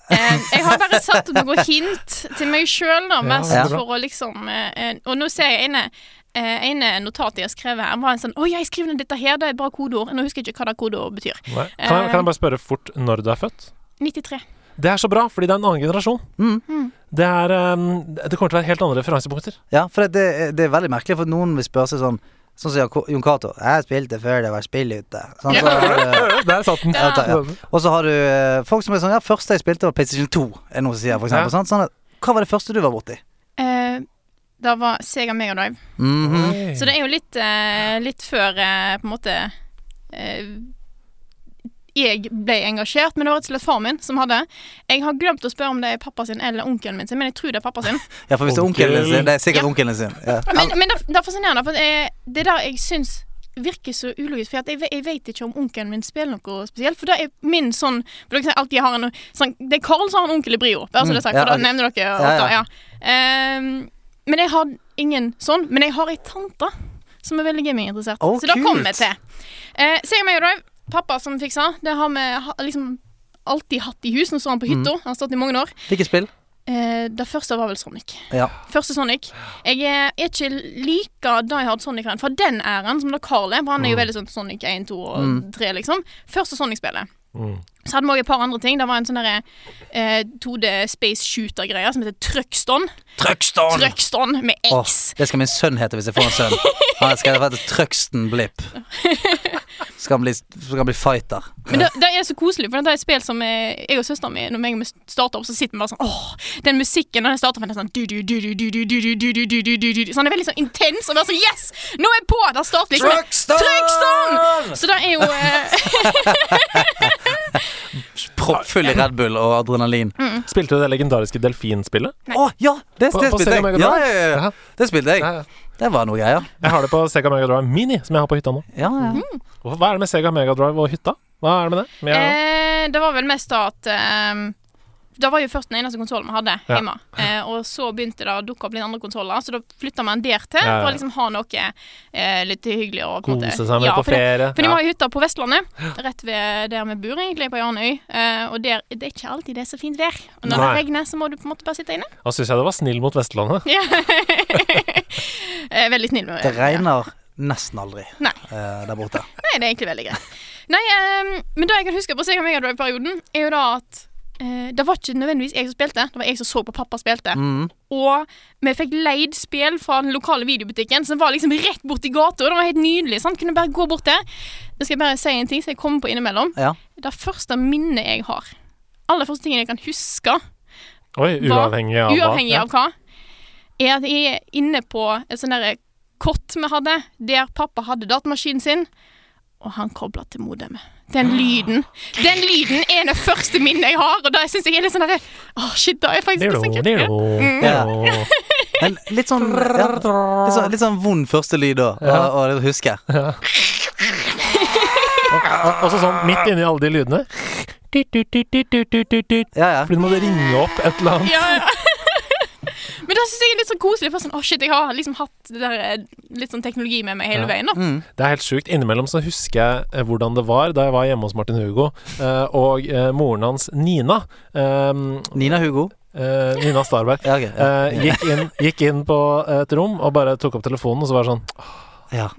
Speaker 1: Eh, jeg har bare satt opp noen hint til meg sjøl, da, mest
Speaker 3: ja.
Speaker 1: for å liksom eh, eh, Og nå ser jeg ene eh, ene notatet jeg har skrevet her, var en sånn 'Å ja, jeg skriver ned dette her, det er bra kodeord.' Nå husker jeg ikke hva det kodeordet betyr.
Speaker 4: Nei. Kan, jeg, kan jeg bare spørre fort når du er født?
Speaker 1: 93.
Speaker 4: Det er så bra, fordi det er en annen generasjon.
Speaker 3: Mm.
Speaker 4: Det, er, ehm, det kommer til å være helt andre referansepunkter.
Speaker 3: Ja, for det, det, det er veldig merkelig, for noen vil spørre seg sånn Sånn som Jaco- Jon Cato. 'Jeg spilte før det var spill ute'. Sånn, så har du,
Speaker 4: Der eh, satt den.
Speaker 3: Ja, da, ja. Og så har du eh, folk som er sånn 'Ja, første jeg spilte, var PlayStation 2', er det noen som sier, for
Speaker 4: Ja.
Speaker 3: eksempel. sant? Sånn at, hva var det første du var borti?
Speaker 1: Eh, det var Sega Megadrive.
Speaker 3: Mhm.
Speaker 4: Oi.
Speaker 1: Så det er jo litt, eh, litt før eh, på en måte eh, jeg ble engasjert, men det var rett og slett far min som hadde. Jeg har glemt å spørre om det er pappa sin eller onkelen min sin, men jeg tror det er pappa sin.
Speaker 3: Ja, for hvis det er onkelen
Speaker 4: Onkel.
Speaker 3: sin, det er sikkert
Speaker 1: Ja.
Speaker 3: onkelen sin. Ja.
Speaker 1: Men, men det, det er fascinerende, for det er, det er der jeg syns virker så ulogisk, for at jeg, ve- jeg vet ikke om onkelen min spiller noe spesielt. For det er min sånn for dere alltid har en, sånn, Det er Karl som har en onkel i Brio, bare så det er
Speaker 3: Mm,
Speaker 1: sagt,
Speaker 3: ja,
Speaker 1: for da
Speaker 3: ok.
Speaker 1: nevner dere
Speaker 3: Ja,
Speaker 1: ofte.
Speaker 3: ja.
Speaker 1: Ja. Ehm, men jeg har ingen sånn. Men jeg har ei tante som er veldig gaminginteressert.
Speaker 3: Å,
Speaker 1: så det kommer
Speaker 3: kult.
Speaker 1: vi til. Uh, Sega Mega Drive, pappa som fiksa, det har vi ha, liksom alltid hatt i hus. Nå står han på
Speaker 3: Mm.
Speaker 1: hytta, han har stått i mange år.
Speaker 3: Hvilket spill?
Speaker 1: Eh, det første var vel Sonic.
Speaker 3: Ja.
Speaker 1: Første Sonic. Jeg er er ikke like Die Hard Sonic-en fra den æren som da Carl er. For han er jo veldig sånn Sonic 1, 2 og 3, liksom. Første Sonic-spillet.
Speaker 4: Mm.
Speaker 1: Så hadde vi òg et par andre ting. Det var en sånn derre eh, 2D Space Shooter-greie som heter Trøkston.
Speaker 3: Trøkston!
Speaker 1: Trøkston med
Speaker 3: Åh,
Speaker 1: X.
Speaker 3: det skal min sønn hete hvis jeg får en sønn. Han skal hete Trøksten Blipp. Skal han bli, skal han bli fighter.
Speaker 1: Men det, det er så koselig, for det er et spill som eh, jeg og søsteren min Når meg og vi starter opp, så sitter vi bare sånn Åh, den musikken når den starter med den er sånn du, du, du, du, du, du, du, du, du, du, du, du, du. Så den er veldig sånn intens, og bare sånn Yes! Nå er jeg på! Der starter liksom Trøkston! Så det er jo eh,
Speaker 3: Proppfull i Red Bull og adrenalin.
Speaker 1: Mm,
Speaker 3: Å
Speaker 4: Spilte du det legendariske delfinspillet?
Speaker 3: ja! Det,
Speaker 4: På-
Speaker 3: det
Speaker 4: på
Speaker 3: spilte
Speaker 4: Sega Mega
Speaker 3: jeg.
Speaker 4: Drive?
Speaker 3: Ja, ja, ja, ja.
Speaker 4: Ja.
Speaker 3: Det spilte jeg.
Speaker 4: Ja, ja.
Speaker 3: Det var noe greier.
Speaker 4: Jeg har det på Sega Mega Drive Mini, som jeg har på hytta nå.
Speaker 3: Ja, ja.
Speaker 1: Mm.
Speaker 4: Hva hva er det med Sega Mega Drive og hytta? Hva er det med det? Men jeg-
Speaker 1: eh, Det var vel mest da at eh, det var jo først den eneste konsollen vi hadde
Speaker 4: Ja.
Speaker 1: hjemme. Eh, og så begynte det å dukke opp litt andre konsoller, så da flytta vi en der til.
Speaker 4: Ja, ja.
Speaker 1: For å liksom ha noe eh, litt hyggelig å på en måte-
Speaker 4: Kose seg med på
Speaker 1: for det-
Speaker 4: ferie.
Speaker 1: For de
Speaker 4: Ja.
Speaker 1: var i hytta på Vestlandet, rett ved der vi bor, egentlig, på Jarnøy. Eh, og der, det er ikke alltid det er så fint vær. Og når
Speaker 4: Nei.
Speaker 1: det regner, så må du på en måte bare sitte inne.
Speaker 4: Da syns jeg det var snill mot Vestlandet.
Speaker 1: Eh, veldig snill med
Speaker 3: Det regner nesten aldri
Speaker 1: Nei.
Speaker 3: eh, der borte.
Speaker 1: Nei, det er egentlig veldig greit. Nei, ehm, men det jeg kan huske på Sega Mega Drive-perioden, er jo da at eh, det var ikke nødvendigvis jeg som spilte, det var jeg som så på pappa spilte.
Speaker 3: Mm.
Speaker 1: Og vi fikk leid spill fra den lokale videobutikken, som var liksom rett borti gata. og Det var helt nydelig. sant? Kunne bare gå bort der. Nå skal jeg bare si en ting som jeg kommer på innimellom.
Speaker 3: Ja.
Speaker 1: Det første minnet jeg har, aller første tingen jeg kan huske,
Speaker 4: Oi,
Speaker 1: Hva?
Speaker 4: uavhengig av hva.
Speaker 1: uavhengig
Speaker 4: Ja.
Speaker 1: av hva, er at jeg er inne på et sånn derre kott vi hadde, der pappa hadde datamaskinen sin, og han kobla til modemet. Den lyden Den lyden er det første minnet jeg har, og da syns jeg er litt sånn derre Å, shit, da er jeg faktisk
Speaker 4: Dilo,
Speaker 1: litt sånn kult. Mm.
Speaker 4: dilo, dilo.
Speaker 3: Men litt sånn, ja, litt sånn, litt sånn vond første lyd da, å, å huske.
Speaker 4: Og så sånn midt inni alle de lydene. Fordi
Speaker 3: Ja, ja.
Speaker 4: du måtte ringe opp et eller annet.
Speaker 1: Ja, ja. Men det syns jeg er litt sånn koselig. For sånn, å shit, Jeg har liksom hatt det der, eh, litt sånn teknologi med meg hele
Speaker 4: Ja.
Speaker 1: veien. da
Speaker 3: Mm.
Speaker 4: Det er helt sjukt. Innimellom så husker jeg eh, hvordan det var da jeg var hjemme hos Martin Hugo eh, og eh, moren hans, Nina. eh,
Speaker 3: Nina Hugo.
Speaker 4: eh, Nina Starberg.
Speaker 3: Ja, ok, ja.
Speaker 4: eh, gikk, inn, gikk inn på et rom og bare tok opp telefonen, og så var det sånn
Speaker 3: Ja,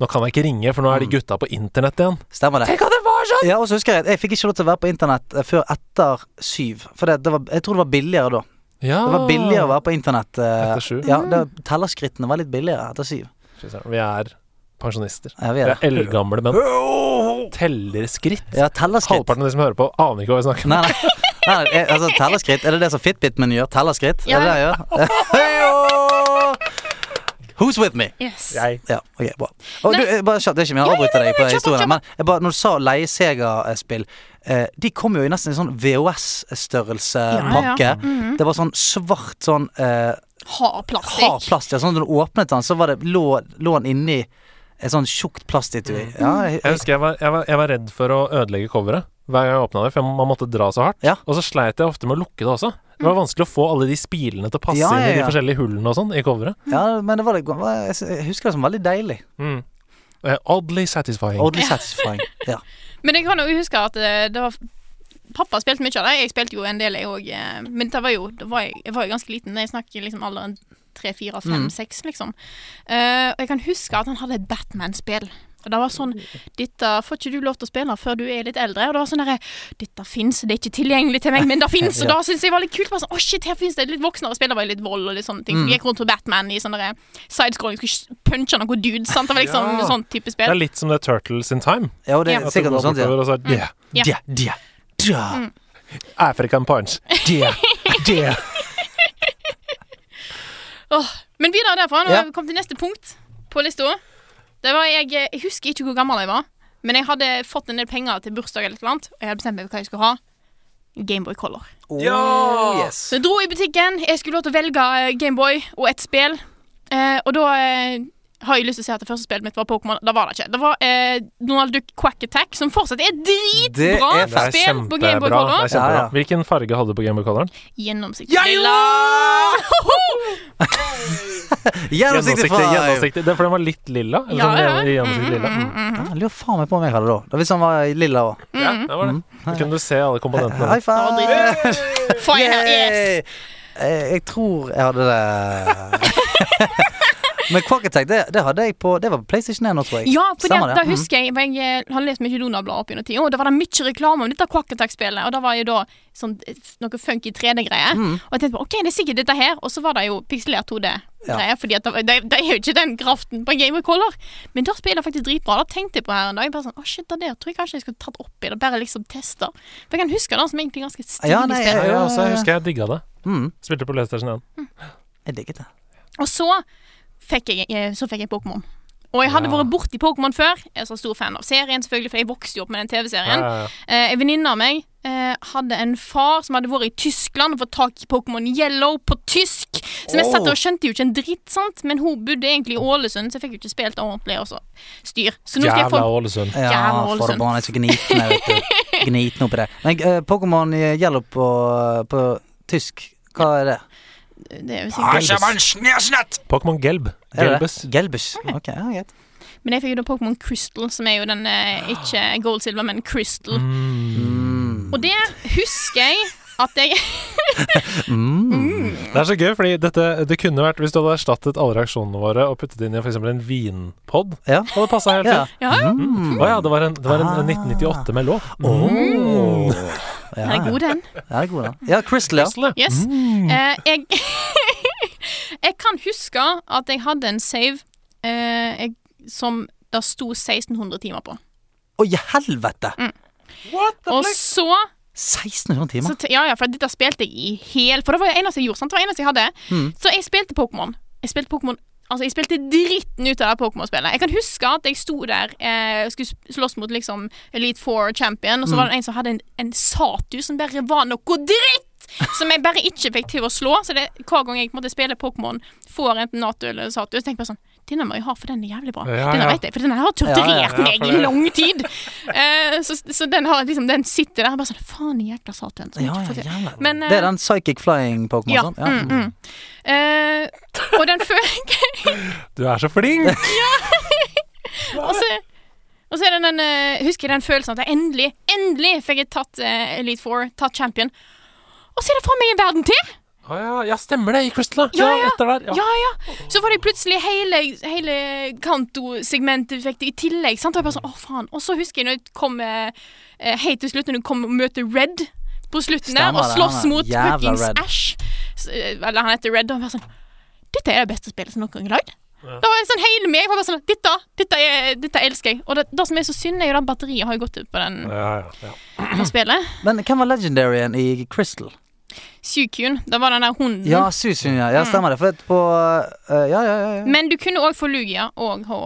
Speaker 4: Nå kan jeg ikke ringe, for nå er de gutta på internett igjen.
Speaker 3: stemmer det.
Speaker 4: Tenk at det var sånn!
Speaker 3: Ja, og så husker Jeg jeg fikk ikke lov til å være på internett eh, før etter syv. For det, det var, jeg tror det var billigere da.
Speaker 4: Ja.
Speaker 3: Det var billigere å være på internett. eh,
Speaker 4: Etter sju.
Speaker 3: Ja, det, Tellerskrittene var litt billigere etter syv.
Speaker 4: Fy søren, Vi er pensjonister.
Speaker 3: Ja, vi
Speaker 4: Vi
Speaker 3: er
Speaker 4: er
Speaker 3: det.
Speaker 4: eldgamle menn. Teller skritt.
Speaker 3: Ja, tellerskritt.
Speaker 4: Halvparten av de som hører på, aner ikke hva vi snakker om.
Speaker 3: Nei, nei. nei nei, eh, altså, tellerskritt. Er det det som Fitbit-en gjør? Tellerskritt?
Speaker 1: Ja.
Speaker 3: Er det det jeg gjør? Heio! Who's with me?
Speaker 1: Yes.
Speaker 4: Jeg
Speaker 3: Ja, ok, bra. Og du,
Speaker 1: Nei.
Speaker 3: eh, bare kjapt, det er ikke mye, jeg avbryter deg på
Speaker 1: kjapt,
Speaker 3: historien,
Speaker 1: kjapt.
Speaker 3: men jeg bare, når du sa leiesegerspill eh, De kom jo i nesten en sånn
Speaker 1: Ja, Mm-hmm. ja.
Speaker 3: VHS-størrelse-pakke. Det var sånn svart sånn eh,
Speaker 1: Har plastikk.
Speaker 3: hard plast. Ja, sånn når du åpnet den, så var det, lå, lå den inni et sånn tjukt plastetui.
Speaker 1: Mm.
Speaker 3: Ja, jeg,
Speaker 4: jeg husker jeg var, jeg, var, jeg var redd for å ødelegge coveret hver gang jeg åpna det, for jeg- man måtte dra så hardt.
Speaker 3: Ja. Mm.
Speaker 4: Og så sleit jeg ofte med å lukke det også. Det var vanskelig å få alle de spilene til å passe
Speaker 3: Ja, ja,
Speaker 4: inn i de
Speaker 3: ja.
Speaker 4: forskjellige hullene og sånn i coveret.
Speaker 3: ja men det var, det var, jeg husker det som veldig deilig.
Speaker 4: Mm. Eh, Oddly satisfying.
Speaker 3: Oddly satisfying. Ja.
Speaker 1: Men jeg kan jo huske at eh, det var Pappa spilte mye av det. Jeg spilte jo en del, jeg òg. Men det var jo, da var jeg, jeg var jo ganske liten. Jeg snakker liksom alderen tre, fire,
Speaker 4: Mm.
Speaker 1: fem, seks, liksom. Eh, og jeg kan huske at han hadde et Batman-spill. Og det var sånn Dette får ikke du lov til å spille før du er litt eldre. Og det var sånn derre Dette fins, det er ikke tilgjengelig til meg, men det fins. Og da syns jeg var litt kult. Bare sånn, Å, shit, her fins det litt voksnere spill. Det var jo litt vold og litt
Speaker 4: Mm.
Speaker 1: sånne ting. Vi Gikk rundt på Batman i sånn derre sidescrolling, skulle punche noen dudes. Sant? Det var liksom
Speaker 4: Ja.
Speaker 1: sånn type
Speaker 4: Det er
Speaker 1: spill.
Speaker 4: litt som det Turtles in Time.
Speaker 3: ja, og det er
Speaker 1: Ja.
Speaker 4: At du
Speaker 3: sikkert noe
Speaker 4: går
Speaker 3: sånt. Ja.
Speaker 4: bortover og så er det
Speaker 1: Mm. Ja.
Speaker 3: Dia, dia, dia.
Speaker 1: Mm.
Speaker 4: African punch.
Speaker 3: Dia.
Speaker 4: Det.
Speaker 1: Åh, men videre derfra, når
Speaker 3: Ja.
Speaker 1: vi kom til neste punkt på lista Det var jeg, jeg husker ikke hvor gammel jeg var, men jeg hadde fått en del penger til bursdag eller et eller annet, og jeg hadde bestemt meg for hva jeg skulle ha. Gameboy Color.
Speaker 3: Oh,
Speaker 2: Ja.
Speaker 3: yes.
Speaker 1: Så jeg dro i butikken, jeg skulle lov til å velge eh, Gameboy og et spill. Eh, og da eh, har jeg lyst til å si at det første spillet mitt var Pokémon. Det var det ikke. Det var eh, Donald Duck Quack Attack, som fortsatt er
Speaker 3: Det
Speaker 1: dritbra
Speaker 3: er
Speaker 4: Det er
Speaker 1: spill
Speaker 4: kjempebra.
Speaker 1: på Gameboy
Speaker 4: Det er
Speaker 1: Color.
Speaker 4: kjempebra.
Speaker 3: Ja, ja.
Speaker 4: Hvilken farge hadde du på Gameboy Color?
Speaker 1: Gjennomsiktig.
Speaker 2: Jeg
Speaker 1: lilla.
Speaker 3: Gjennomsiktig
Speaker 4: Gjennomsiktig.
Speaker 3: far!
Speaker 4: gjennomsiktig. Det, for den var litt lilla? Eller
Speaker 1: Ja,
Speaker 4: sånn,
Speaker 1: ja.
Speaker 4: Gjennomsiktig lilla.
Speaker 1: Mm, mm, mm,
Speaker 3: Ja, jeg lurer faen meg på om jeg hadde det da. da. Hvis han var lilla òg.
Speaker 4: Ja, det var
Speaker 3: Mm.
Speaker 4: det. Da kunne du se alle komponentene.
Speaker 3: High five!
Speaker 1: Det var mm. Fine, yes.
Speaker 3: Yay! Eh, Jeg tror jeg hadde det Men Quack Attack, det, det hadde jeg på Det var på PlayStation 1 nå, tror jeg.
Speaker 1: Ja, for det,
Speaker 3: Stemmer
Speaker 1: da
Speaker 3: Mm.
Speaker 1: husker jeg for Jeg eh, har lest mye Donald-blad opp gjennom tida, og da var det mye reklame om dette Quack Attack-spillet. Og da var jo da sånn, eh, noe funky 3D-greier. Og jeg tenkte på, ok, det er sikkert dette her. Og så var det jo pikselert 2D-greier, Fordi at det, var- det, det er jo ikke den kraften på en Game of Color. Men da spiller jeg faktisk dritbra. Da tenkte jeg på her en dag. Bare sånn, å shit, det der tror jeg kanskje jeg skulle tatt opp i det, bare liksom teste. For jeg kan huske det som egentlig ganske stilig
Speaker 3: Ja, nei,
Speaker 1: spill.
Speaker 4: Ja, ja, så altså, jeg husker jeg digga det.
Speaker 3: Mm,
Speaker 4: Spilte på PlayStation 1.
Speaker 3: jeg digget det.
Speaker 1: Og så fikk jeg, eh, så fikk jeg Pokémon. Og jeg hadde
Speaker 4: Ja.
Speaker 1: vært borti Pokémon før. Jeg er så stor fan av serien, selvfølgelig, for jeg vokste jo opp med den TV-serien.
Speaker 4: Ja, ja, ja.
Speaker 1: Eh, En venninne av meg eh, hadde en far som hadde vært i Tyskland og fått tak i Pokémon Yellow på tysk. Som jeg
Speaker 3: Oh.
Speaker 1: satt og skjønte jo ikke en dritt, sant? men hun bodde egentlig i Ålesund, så jeg fikk jo ikke spilt ordentlig. Og så styr. Så nå skal jeg få
Speaker 4: Jævla Ålesund.
Speaker 3: Ja,
Speaker 1: Jævla
Speaker 3: for
Speaker 1: Ålesund.
Speaker 3: barn er så gnitne, vet du. Gnitne oppi det. Men eh, Pokémon gjelder på, på tysk. Hva er det?
Speaker 1: Det er jo
Speaker 3: Parsha,
Speaker 1: sikkert.
Speaker 4: Pokémon Gelb.
Speaker 3: Er det det?
Speaker 4: Gelbes.
Speaker 3: Gelbus. Ok, ja, greit.
Speaker 1: Men jeg fikk jo da Pokémon Crystal, som er jo den eh, ikke Gold Silver, men Crystal.
Speaker 3: Mm.
Speaker 1: Og det husker jeg at jeg
Speaker 3: Mm.
Speaker 4: Det er så gøy, fordi dette, det kunne vært Hvis du hadde erstattet alle reaksjonene våre og puttet inn i f.eks. en vinpod,
Speaker 3: Ja.
Speaker 4: hadde det passa helt
Speaker 3: Ja. Mm.
Speaker 4: til.
Speaker 1: Ja, Mm. ja.
Speaker 4: Mm. Å ja, det var en, det var en
Speaker 3: Ah.
Speaker 4: 1998 med låt.
Speaker 3: Oh. Ja,
Speaker 1: Den er god, den.
Speaker 3: Ja, det er god, da. Ja, Crystal, ja.
Speaker 4: Crystal, ja.
Speaker 1: Yes. Eh, jeg, jeg kan huske at jeg hadde en save eh, jeg, som det sto 1600 timer på.
Speaker 3: Å, i helvete!
Speaker 1: Mm. Og så,
Speaker 3: 1600 timer.
Speaker 1: så t- Ja, ja, for dette spilte jeg i hel For det var det eneste jeg gjorde. sant? Det var det eneste jeg hadde.
Speaker 3: Mm.
Speaker 1: Så jeg spilte Pokémon. Jeg spilte Pokémon Altså, jeg spilte dritten ut av det Pokémon-spillet. Jeg kan huske at jeg sto der eh, skulle s- slåss mot liksom Elite Four Champion,
Speaker 3: Mm.
Speaker 1: og så var det en som hadde en, en Satu som bare var noe dritt! Som jeg bare ikke fikk til å slå. Så det, hver gang jeg på en måte spiller Pokémon, får enten Natu eller Satu, så tenker jeg bare sånn Denne må jeg ha, for den er jævlig bra.
Speaker 4: Ja,
Speaker 1: denne
Speaker 4: ja.
Speaker 1: vet jeg, For denne har torturert
Speaker 3: Ja, ja,
Speaker 4: ja,
Speaker 1: meg
Speaker 4: for
Speaker 1: i
Speaker 4: det-
Speaker 1: lang tid! Eh, så, så den har liksom Den sitter der og bare sånn Faen i hjertet, Satan. som jeg
Speaker 3: Ja,
Speaker 1: ikke
Speaker 3: ja,
Speaker 1: får til."
Speaker 3: jævla.
Speaker 1: Men,
Speaker 3: det er
Speaker 1: eh,
Speaker 3: den psychic flying Pokémon?
Speaker 1: Ja.
Speaker 3: sånn?
Speaker 1: Mm, mm. Eh, og den føk
Speaker 4: Du er så flink!
Speaker 1: og, så- og så er det den eh, Husker jeg den følelsen at jeg endelig, endelig fikk jeg tatt eh, Elite Four, tatt champion. Og så er det faen meg en verden til!
Speaker 4: Å ja, ja, stemmer det, i Crystal, ja.
Speaker 1: Ja, ja.
Speaker 4: ja etter der.
Speaker 1: Ja, ja. Så var det plutselig hele, hele Kanto-segmentet fikk det i tillegg. Sant? Og jeg bare sånn, å faen. Og så husker jeg når jeg kom eh, eh, helt til slutt, når du kom og møter Red på slutten
Speaker 3: Stemmer
Speaker 1: der, og
Speaker 3: det,
Speaker 1: slåss
Speaker 3: han er
Speaker 1: mot
Speaker 3: jævla
Speaker 1: fuckings
Speaker 3: Red.
Speaker 1: Ash. Så, eh, Eller han heter Red, og jeg bare sånn Dette er det beste spillet som noen gang er lagd. Da var jeg sånn hele meg. Jeg var bare sånn, dette, dette, er, dette elsker jeg. Og det, det som er så synd, er jo at batteriet har jo gått ut på den,
Speaker 4: Ja, ja, ja.
Speaker 1: på spillet.
Speaker 3: Men hvem var legendaryen i Crystal?
Speaker 1: Mm. Sukun. Det var den der hunden.
Speaker 3: Ja, Susun, ja. ja stemmer det. For at på eh, Ja, ja, ja. ja.
Speaker 1: Mm. Men du kunne òg få Lugia og HO.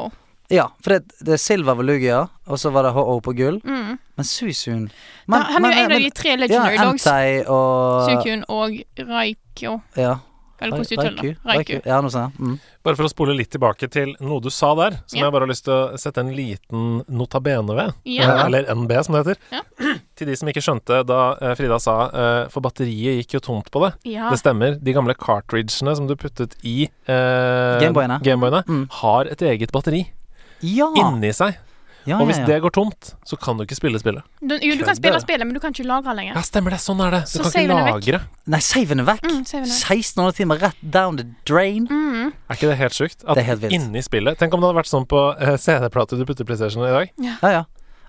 Speaker 3: ja for det, det er Silver var Lugia, og så var det HO på gull.
Speaker 1: Mm.
Speaker 3: Men Susun
Speaker 1: Da- han er jo en av de tre legendary
Speaker 3: ja,
Speaker 1: dogs.
Speaker 3: Entei og
Speaker 1: Sukun og Raikyo.
Speaker 3: Ja,
Speaker 1: Eller hvordan du
Speaker 3: Raiku.
Speaker 1: uttaler det. Raiku.
Speaker 3: Ja, noe sånt. ja. Mm.
Speaker 4: Bare for å spole litt tilbake til noe du sa der, som
Speaker 1: Ja.
Speaker 4: jeg bare har lyst til å sette en liten notabene ved.
Speaker 1: Ja.
Speaker 4: Eh, Eller NB, som det heter.
Speaker 1: Ja.
Speaker 4: Til de som ikke skjønte da eh, Frida sa eh, For batteriet gikk jo tomt på det.
Speaker 1: Ja.
Speaker 4: Det stemmer. De gamle cartridgene som du puttet i eh,
Speaker 3: Gameboyene.
Speaker 4: Gameboyene,
Speaker 3: Mm.
Speaker 4: har et eget batteri
Speaker 3: Ja.
Speaker 4: inni seg.
Speaker 3: ja,
Speaker 4: Og hvis
Speaker 3: Ah, ja, ja.
Speaker 4: det går tomt, så kan du ikke spille spillet.
Speaker 1: Du, jo, du
Speaker 3: Kødder.
Speaker 1: kan spille spillet, men du kan ikke lagre lenger.
Speaker 4: Ja, stemmer det. Sånn er det. Du
Speaker 1: Så
Speaker 4: kan ikke
Speaker 1: saven er vekk.
Speaker 4: lagre.
Speaker 3: Nei, saven er vekk.
Speaker 1: Mm, saven er vekk.
Speaker 3: 1600 timer rett down the drain.
Speaker 1: Mm.
Speaker 4: Er ikke det helt sjukt? At
Speaker 3: Det er helt vilt.
Speaker 4: inni spillet Tenk om det hadde vært sånn på eh, CD-plate du putter i PlayStation i dag.
Speaker 3: Ja, ja.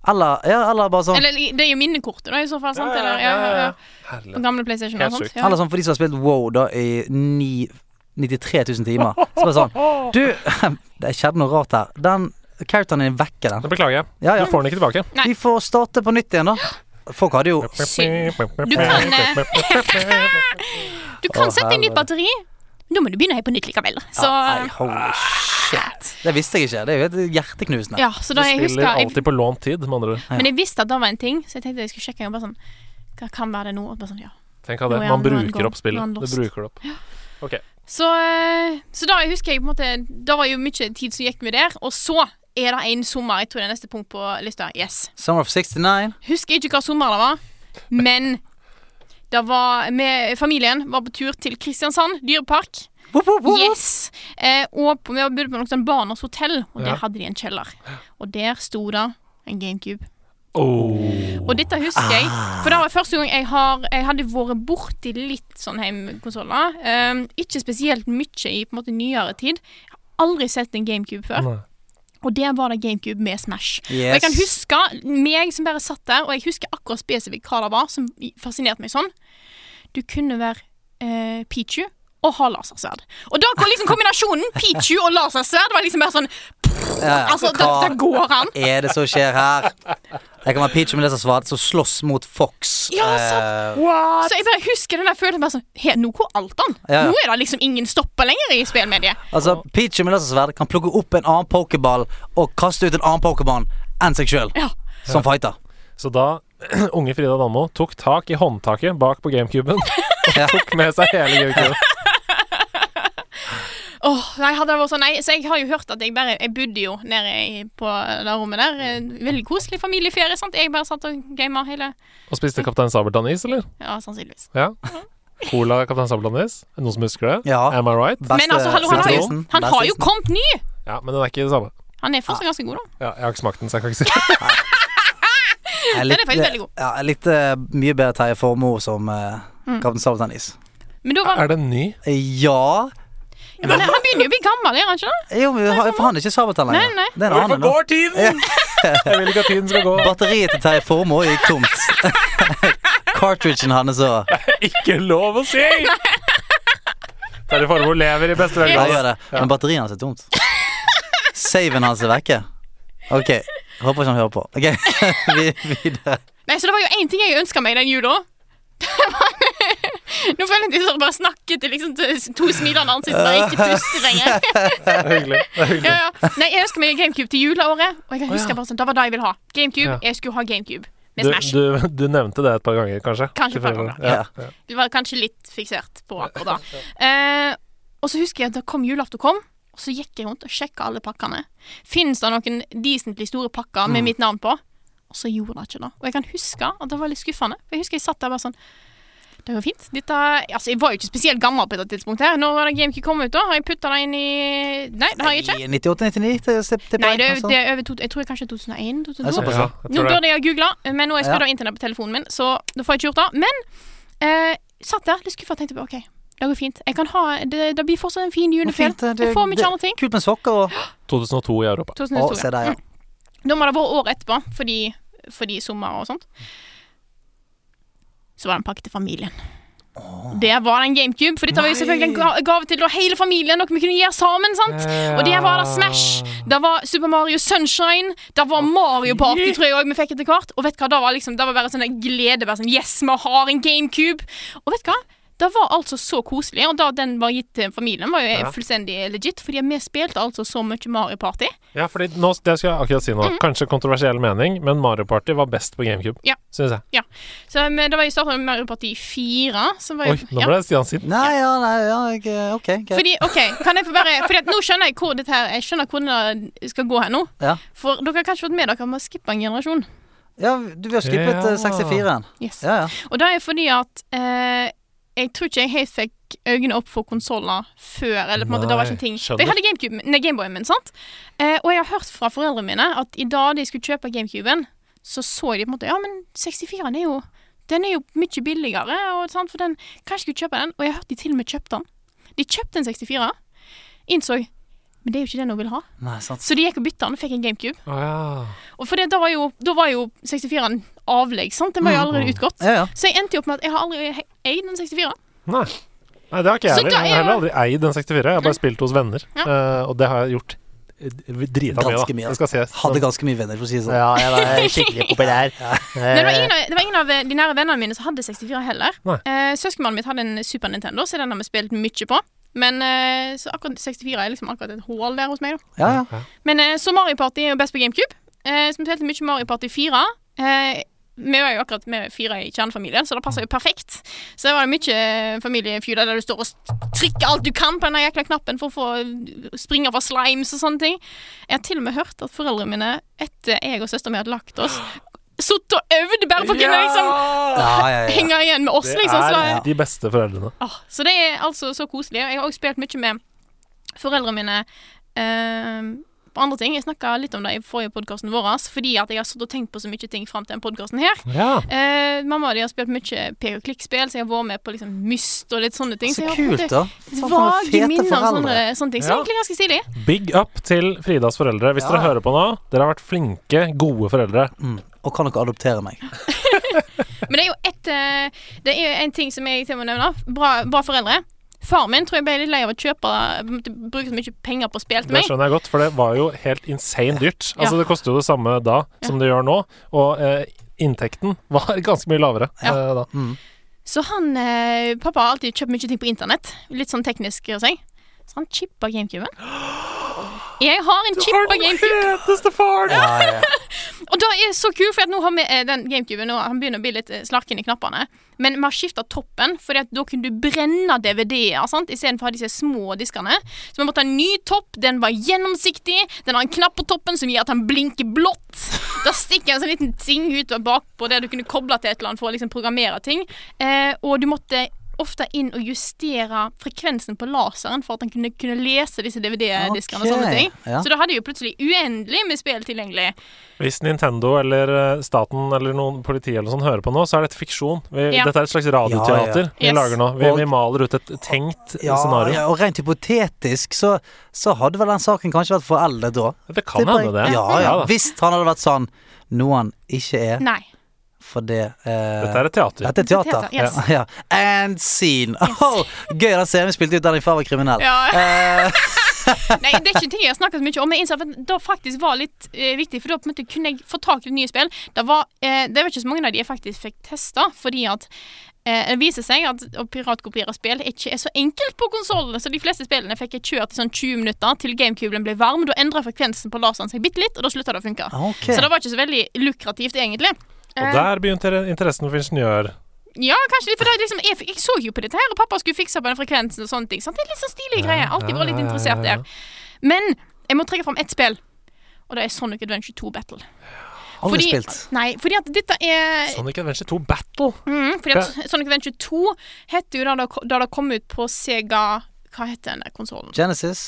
Speaker 3: Eller, ja, eller bare sånn
Speaker 1: Eller det er jo minnekortet, da, i så fall. Sant? Eller, ja, ja, ja. På
Speaker 4: Herlig.
Speaker 1: gamle PlayStation og
Speaker 4: Helt
Speaker 1: sånt.
Speaker 4: sjukt.
Speaker 1: Ja.
Speaker 3: Eller sånn for de som har spilt WoW da i ni- 93 000 timer. Så bare sånn Du, det skjedde noe rart her. Den characteren din vekker den.
Speaker 4: Da beklager jeg.
Speaker 3: Ja, ja.
Speaker 4: Du får den ikke tilbake.
Speaker 1: Nei.
Speaker 3: Vi får starte på nytt igjen, da. Folk hadde jo
Speaker 1: Synd. Du kan, eh, Du kan
Speaker 3: Å,
Speaker 1: sette inn nytt
Speaker 3: helvete.
Speaker 1: batteri. men Da må du begynne helt på nytt likevel. Så
Speaker 3: Nei, holy shit. Det visste jeg ikke. Det er jo helt hjerteknusende.
Speaker 1: ja, så
Speaker 4: Du
Speaker 1: da jeg husker
Speaker 4: spiller
Speaker 1: jeg,
Speaker 4: alltid på lånt tid, med andre ord.
Speaker 1: Men jeg visste at det var en ting, så jeg tenkte jeg skulle sjekke. Og bare sånn, Hva kan være det nå? Og bare sånn, ja.
Speaker 4: Tenk av det.
Speaker 1: Nå er
Speaker 4: Man
Speaker 1: han- nå er han
Speaker 4: bruker
Speaker 1: gone.
Speaker 4: opp spillet.
Speaker 1: Nå er han
Speaker 4: Du
Speaker 1: lost.
Speaker 4: bruker det opp. Ok.
Speaker 1: Så, eh, så da jeg husker jeg på en måte Da var jo mye tid som gikk med der. Og så er det en sommer. Jeg tror det er neste punkt på lista. Yes.
Speaker 3: Summer of 69.
Speaker 1: Husker ikke hva sommer det var, men det var med, familien var på tur til Kristiansand dyrepark.
Speaker 3: Wop, wop, wop.
Speaker 1: Yes. Eh, og på, vi bodde på noe sånn Barnas hotell, og
Speaker 4: Ja.
Speaker 1: der hadde de en kjeller. Og der sto det en GameCube.
Speaker 4: Oh.
Speaker 1: Og dette husker jeg,
Speaker 3: Ah.
Speaker 1: for det var første gang jeg, har, jeg hadde vært borti litt sånn heimkonsoller. Um, ikke spesielt mye i på en måte nyere tid. Jeg har aldri sett en GameCube før.
Speaker 4: Nei.
Speaker 1: Og der var det GameCube med Smash. Og
Speaker 3: Yes.
Speaker 1: jeg kan huske meg som bare satt der, og jeg husker akkurat spesifikt hva det var som fascinerte meg sånn. Du kunne være eh, Pichu og ha lasersverd. Og da kom liksom kombinasjonen Pichu og lasersverd var liksom bare sånn
Speaker 3: Ja,
Speaker 1: Altså, det,
Speaker 3: hva
Speaker 1: det går an.
Speaker 3: er det som skjer her? Jeg kan være Peach med det som svart, som slåss mot Fox.
Speaker 1: Ja,
Speaker 3: Eh,
Speaker 1: Så jeg bare husker den der følelsen bare sånn He, nå går alt an.
Speaker 3: Ja, ja.
Speaker 1: Nå er det liksom ingen stopper lenger i spillmediet.
Speaker 3: altså, Peach med det som svart kan plukke opp en annen pokéball og kaste ut en annen pokémon enn seg sjøl,
Speaker 1: Ja.
Speaker 3: som fighter.
Speaker 4: Så da unge Frida Danmo tok tak i håndtaket bak på GameCuben
Speaker 3: Ja.
Speaker 4: og tok med seg hele GameCuben.
Speaker 1: Åh, nei, hadde det vært sånn, nei, så jeg har jo hørt at jeg bare Jeg bodde jo nede i, på det rommet der. En Veldig koselig familieferie. sant? Jeg bare satt og gama hele
Speaker 4: Og spiste Kaptein Sabeltann-is, eller?
Speaker 1: Ja, sannsynligvis.
Speaker 4: Ja. Cola Kaptein Sabeltann-is. Er det Noen som husker det?
Speaker 3: Ja.
Speaker 4: Am I right?
Speaker 3: Beste
Speaker 1: Men altså, hallo, han har jo,
Speaker 3: season.
Speaker 1: han
Speaker 3: Beste
Speaker 1: har jo
Speaker 3: season.
Speaker 1: kommet ny!
Speaker 4: Ja, men den er ikke det samme.
Speaker 1: Han er fortsatt ganske god, da.
Speaker 4: Ja, jeg har ikke smakt den, så jeg kan ikke si
Speaker 3: Jeg
Speaker 1: Den er
Speaker 3: likte-
Speaker 1: faktisk veldig god.
Speaker 3: Ja, jeg likte mye bedre Terje Formoe som uh,
Speaker 1: Mm.
Speaker 3: Kaptein Sabeltann-is.
Speaker 1: Men da var
Speaker 4: Er den ny?
Speaker 3: Ja
Speaker 1: ja, men han begynner jo å bli gammel, er han ikke det?
Speaker 3: Jo, men har- for han er ikke Sabeltann lenger.
Speaker 1: Nei, nei.
Speaker 3: Det er en
Speaker 2: Hvorfor
Speaker 3: annen nå.
Speaker 2: går tiden?
Speaker 4: Jeg vil ikke at tiden skal gå.
Speaker 3: Batteriet til Terje Formoe gikk tomt. Cartridgen hans òg.
Speaker 4: Ikke lov å si! Terje Formoe lever i beste
Speaker 3: Ja, gjør
Speaker 4: velgående.
Speaker 3: det. Men batteriet hans er tomt. Saven hans er vekke. Ok, håper ikke han hører på. Ok, vi videre.
Speaker 1: Nei, så det var jo én ting jeg ønska meg den jula. Det var- Nå føler jeg at jeg står og bare snakker til liksom til to smilende ansikt og ikke puster lenger.
Speaker 4: Det er hyggelig. Det er hyggelig.
Speaker 1: Ja, ja. Nei, jeg ønsker meg en GameCube til juleåret, og jeg kan
Speaker 4: Å, ja.
Speaker 1: huske bare sånn, det var det jeg ville ha. GameCube,
Speaker 4: Ja.
Speaker 1: jeg skulle ha GameCube med
Speaker 4: Du,
Speaker 1: Smash.
Speaker 4: du, du nevnte det et par ganger, kanskje?
Speaker 1: Kanskje et par
Speaker 4: Tilfeldigvis.
Speaker 3: ganger.
Speaker 4: Ja.
Speaker 1: Det var kanskje litt fiksert på akkurat da. Eh, og så husker jeg at da kom julaften kom, og så gikk jeg rundt og sjekka alle pakkene. Fins det noen decently store pakker
Speaker 4: Mm.
Speaker 1: med mitt navn på? Og så gjorde det ikke det. Og jeg kan huske at det var litt skuffende. For jeg husker jeg satt der bare sånn Det går fint. Dette Altså, jeg var jo ikke spesielt gammel på dette tidspunktet her. Når var det GameCube kom ut, da? Har jeg putta det inn i Nei, det har jeg ikke.
Speaker 3: 98-99?
Speaker 1: Nei, det,
Speaker 4: altså-
Speaker 1: er- det er over to, Jeg tror kanskje 2001? 2002?
Speaker 3: Det er såpass, ja.
Speaker 4: Ja, jeg
Speaker 1: Nå
Speaker 4: tror det.
Speaker 1: burde jeg ha googla, men nå er jeg skrudd
Speaker 3: Ja.
Speaker 1: av internett på telefonen min, så da får jeg ikke gjort det. Men eh, satt der litt skuffa og tenkte på OK, det går fint. Jeg kan ha, det, det blir fortsatt en fin julefjell.
Speaker 3: Fint, eh, det-
Speaker 1: Jeg får mye
Speaker 3: det-
Speaker 1: andre ting.
Speaker 3: Kult med sokker og
Speaker 4: 2002 i
Speaker 3: Å,
Speaker 4: Europa.
Speaker 1: 2002,
Speaker 3: se der, ja.
Speaker 1: ja. Da må det være året etterpå, fordi, fordi sommer og sånt. Så var det en pakke til familien. Der var det en GameCube, for dette var jo selvfølgelig en ga- gave til da hele familien. Noe vi kunne gjøre sammen, sant? Og der var det Smash, det var Super Mario Sunshine, det var Mario Party, tror jeg òg vi fikk etter hvert. Og vet du hva, det var liksom, det var bare sånn en glede. Bare sånn, yes, vi har en GameCube. Og vet du hva? Det var altså så koselig, og da den var gitt til familien, var jo
Speaker 4: Ja.
Speaker 1: fullstendig legit. Fordi vi spilte altså så mye Mario Party.
Speaker 4: Ja, fordi nå, det skal jeg akkurat si nå. Kanskje kontroversiell mening, men Mario Party var best på GameCube,
Speaker 1: Mm. Ja.
Speaker 4: syns jeg.
Speaker 1: Så men det var jo startet med Mario Party 4. Som var jo,
Speaker 4: Oi, nå ble det Stian sin.
Speaker 3: Nei, ja, nei, ja, jeg, ok, greit.
Speaker 1: Fordi, ok, kan jeg få bare Fordi at nå skjønner jeg hvor dette her Jeg skjønner hvor det skal gå her nå.
Speaker 3: Ja.
Speaker 1: For dere har kanskje fått med dere at vi har skippa en generasjon.
Speaker 3: Ja, du vi har skippet
Speaker 4: Ja.
Speaker 3: eh, 64-en.
Speaker 1: Yes.
Speaker 3: Ja, ja.
Speaker 1: Og det er fordi at eh, jeg tror ikke jeg helt fikk øynene opp for konsoller før. Eller på en måte, det var ikke en ting
Speaker 4: Nei, skjønner.
Speaker 1: For Jeg hadde Gamecube, nei, Gameboyen min, sant? Eh, og jeg har hørt fra foreldrene mine at i dag de skulle kjøpe Gamecuben, så så de på en måte Ja, men 64-en er jo Den er jo mye billigere, og, sant? for den Kanskje skulle kjøpe den? Og jeg har hørt de til og med kjøpte den. De kjøpte en 64-er, innså Men det er jo ikke den hun vil ha.
Speaker 3: Nei, sant.
Speaker 1: Så de gikk og bytta den og fikk en GameCube.
Speaker 4: Å ja.
Speaker 1: Og for det, da var jo, da var jo 64-en avlegg, sant? Den var
Speaker 4: Mm.
Speaker 1: jo allerede utgått.
Speaker 3: Ja, ja.
Speaker 1: Så jeg endte jo opp med at jeg har aldri he- eid en 64.
Speaker 4: Nei. Nei, det har ikke jeg
Speaker 1: Så
Speaker 4: heller.
Speaker 1: da
Speaker 4: Jeg
Speaker 1: er
Speaker 4: har heller
Speaker 1: jo-
Speaker 4: aldri eid en 64. Jeg har bare spilt hos venner,
Speaker 1: Ja.
Speaker 4: Eh, og det har jeg gjort eh, drita mye,
Speaker 3: Ganske
Speaker 4: da.
Speaker 3: mye, altså.
Speaker 4: Det skal ses.
Speaker 3: Hadde ganske mye venner, for å si det sånn.
Speaker 5: Ja, jeg var skikkelig populær.
Speaker 1: Men det var, ingen av, det var ingen av eh, de nære vennene mine som hadde 64 heller.
Speaker 4: Nei.
Speaker 1: Eh, Søskenbarnet mitt hadde en Super Nintendo, så den har vi spilt mye på. Men eh, så akkurat 64 er liksom akkurat et hull der hos meg, da.
Speaker 3: Ja, ja.
Speaker 1: Men eh, så Mario Party er jo best på GameCube. Eh, så vi spilte mye Mario Party 4. Eh, Vi var jo akkurat med fire i kjernefamilien, så det passer jo perfekt. Så det var jo mye familiefyr der du står og st- trykker alt du kan på den jækla knappen for å få eh, springe over slimes og sånne ting. Jeg har til og med hørt at foreldrene mine, etter jeg og søsteren min hadde lagt oss, satt og øvde bare for å kunne liksom
Speaker 3: Ja, ja, ja.
Speaker 1: henge igjen med oss,
Speaker 4: Det
Speaker 1: liksom. Så,
Speaker 4: er
Speaker 1: det-
Speaker 4: de beste foreldrene.
Speaker 1: Åh, Ah, så det er altså så koselig. Jeg har også spilt mye med foreldrene mine eh, på andre ting. Jeg snakka litt om det i forrige podkasten vår, altså, fordi at jeg har sittet og tenkt på så mye ting fram til den podkasten her.
Speaker 4: Ja.
Speaker 1: Eh, mamma og de har spilt mye pek og klikk-spill, så jeg har vært med på liksom Myst og litt sånne ting.
Speaker 3: Så
Speaker 1: jeg har på en
Speaker 3: kult,
Speaker 1: måte
Speaker 3: da. Faen, for noen
Speaker 1: Vage
Speaker 3: fete
Speaker 1: minner om sånne,
Speaker 3: foreldre.
Speaker 1: sånne ting. Så
Speaker 4: Ja.
Speaker 1: egentlig ganske stilig.
Speaker 4: Big up til Fridas foreldre. Hvis
Speaker 3: Ja.
Speaker 4: dere hører på nå, dere har vært flinke, gode foreldre.
Speaker 3: Mm. Og kan dere adoptere meg?
Speaker 1: Men det er jo et eh, Det er jo en ting som jeg til må nevne. Bra, bra foreldre. Far min tror jeg ble litt lei av å kjøpe Bruke så mye penger på spill til
Speaker 4: Det
Speaker 1: meg.
Speaker 4: skjønner jeg godt, for det var jo helt insane dyrt. Altså,
Speaker 1: Ja.
Speaker 4: det koster jo det samme da som det gjør nå, og eh, inntekten var ganske mye lavere
Speaker 1: Ja.
Speaker 4: eh, da.
Speaker 3: Mm.
Speaker 1: Så han eh, Pappa har alltid kjøpt mye ting på internett. Litt sånn teknisk og seg. Så han chippa GameCuben. Jeg har en chip på GameCube,
Speaker 4: feteste faren!
Speaker 3: Ja, ja.
Speaker 1: og det er så kult, for at nå har vi eh, den GameCuben nå, han begynner å bli litt eh, slarken i knappene. Men vi har skifta toppen, for da kunne du brenne DVD-er sant, istedenfor å ha disse små diskene. Så vi måtte ha en ny topp, den var gjennomsiktig, den har en knapp på toppen som gjør at han blinker blått. Da stikker en sånn liten ting ut bakpå der du kunne koble til et eller annet for å liksom programmere ting. Eh, og du måtte ofte inn og justere frekvensen på laseren for at han kunne, kunne lese disse DVD-diskene og sånne
Speaker 3: Ok,
Speaker 1: ting.
Speaker 3: ja.
Speaker 1: Så da hadde jeg jo plutselig uendelig med spill tilgjengelig.
Speaker 4: Hvis Nintendo eller eh, staten eller noen politi eller noe sånt hører på nå, så er dette fiksjon. Vi,
Speaker 1: Ja.
Speaker 4: Dette er et slags radioteater
Speaker 3: Ja,
Speaker 4: vi
Speaker 1: Yes.
Speaker 4: lager nå. Vi,
Speaker 3: Og-
Speaker 4: vi maler ut et tenkt
Speaker 3: Ja,
Speaker 4: scenario.
Speaker 3: ja, og rent hypotetisk så, så hadde vel den saken kanskje vært foreldet da.
Speaker 4: Det kan
Speaker 3: Tipper jeg.
Speaker 4: hende, det.
Speaker 3: Ja, ja.
Speaker 4: da.
Speaker 3: Hvis han hadde vært sånn noe han ikke er,
Speaker 1: Nei.
Speaker 3: for det eh,
Speaker 4: Dette er et teater.
Speaker 3: dette er teater.
Speaker 1: Dette er teater, yes.
Speaker 3: ja, ja. And scene. Åh, gøy den serien vi spilte ut der din far var kriminell.
Speaker 1: Ja.
Speaker 3: Eh,
Speaker 1: Nei, det er ikke ting jeg har snakket så mye om. Men jeg innså at det faktisk var litt eh, viktig, for da på en måte kunne jeg få tak i nye spill. Det var, eh, det var ikke så mange av de jeg faktisk fikk testa, fordi at eh, det viser seg at å piratkopiere spill ikke er så enkelt på konsollene. Så de fleste spillene fikk jeg kjørt i sånn 20 minutter til gamecuben ble varm. Da endra frekvensen på laseren seg bitte litt, og da slutta det å funke.
Speaker 3: Ah, ok.
Speaker 1: Så det var ikke så veldig lukrativt, egentlig.
Speaker 4: Og der begynte interessen for ingeniør.
Speaker 1: Ja, kanskje litt, for det er liksom, jeg, jeg så jo på dette her, og pappa skulle fikse på den frekvensen og sånne ting. Sant? Det er litt sånn stilige greier. Alltid vært litt
Speaker 4: ja, ja,
Speaker 1: interessert
Speaker 4: ja, ja.
Speaker 1: der. Men jeg må trekke fram ett spill, og det er Sonic Adventure 2 Battle.
Speaker 3: Aldri spilt.
Speaker 1: Nei, fordi at dette er
Speaker 4: Sonic Adventure 2 Battle.
Speaker 1: mm, Fordi at Sonic Adventure 2 heter jo da det ko- da det kom ut på Sega Hva heter den der konsollen?
Speaker 3: Genesis.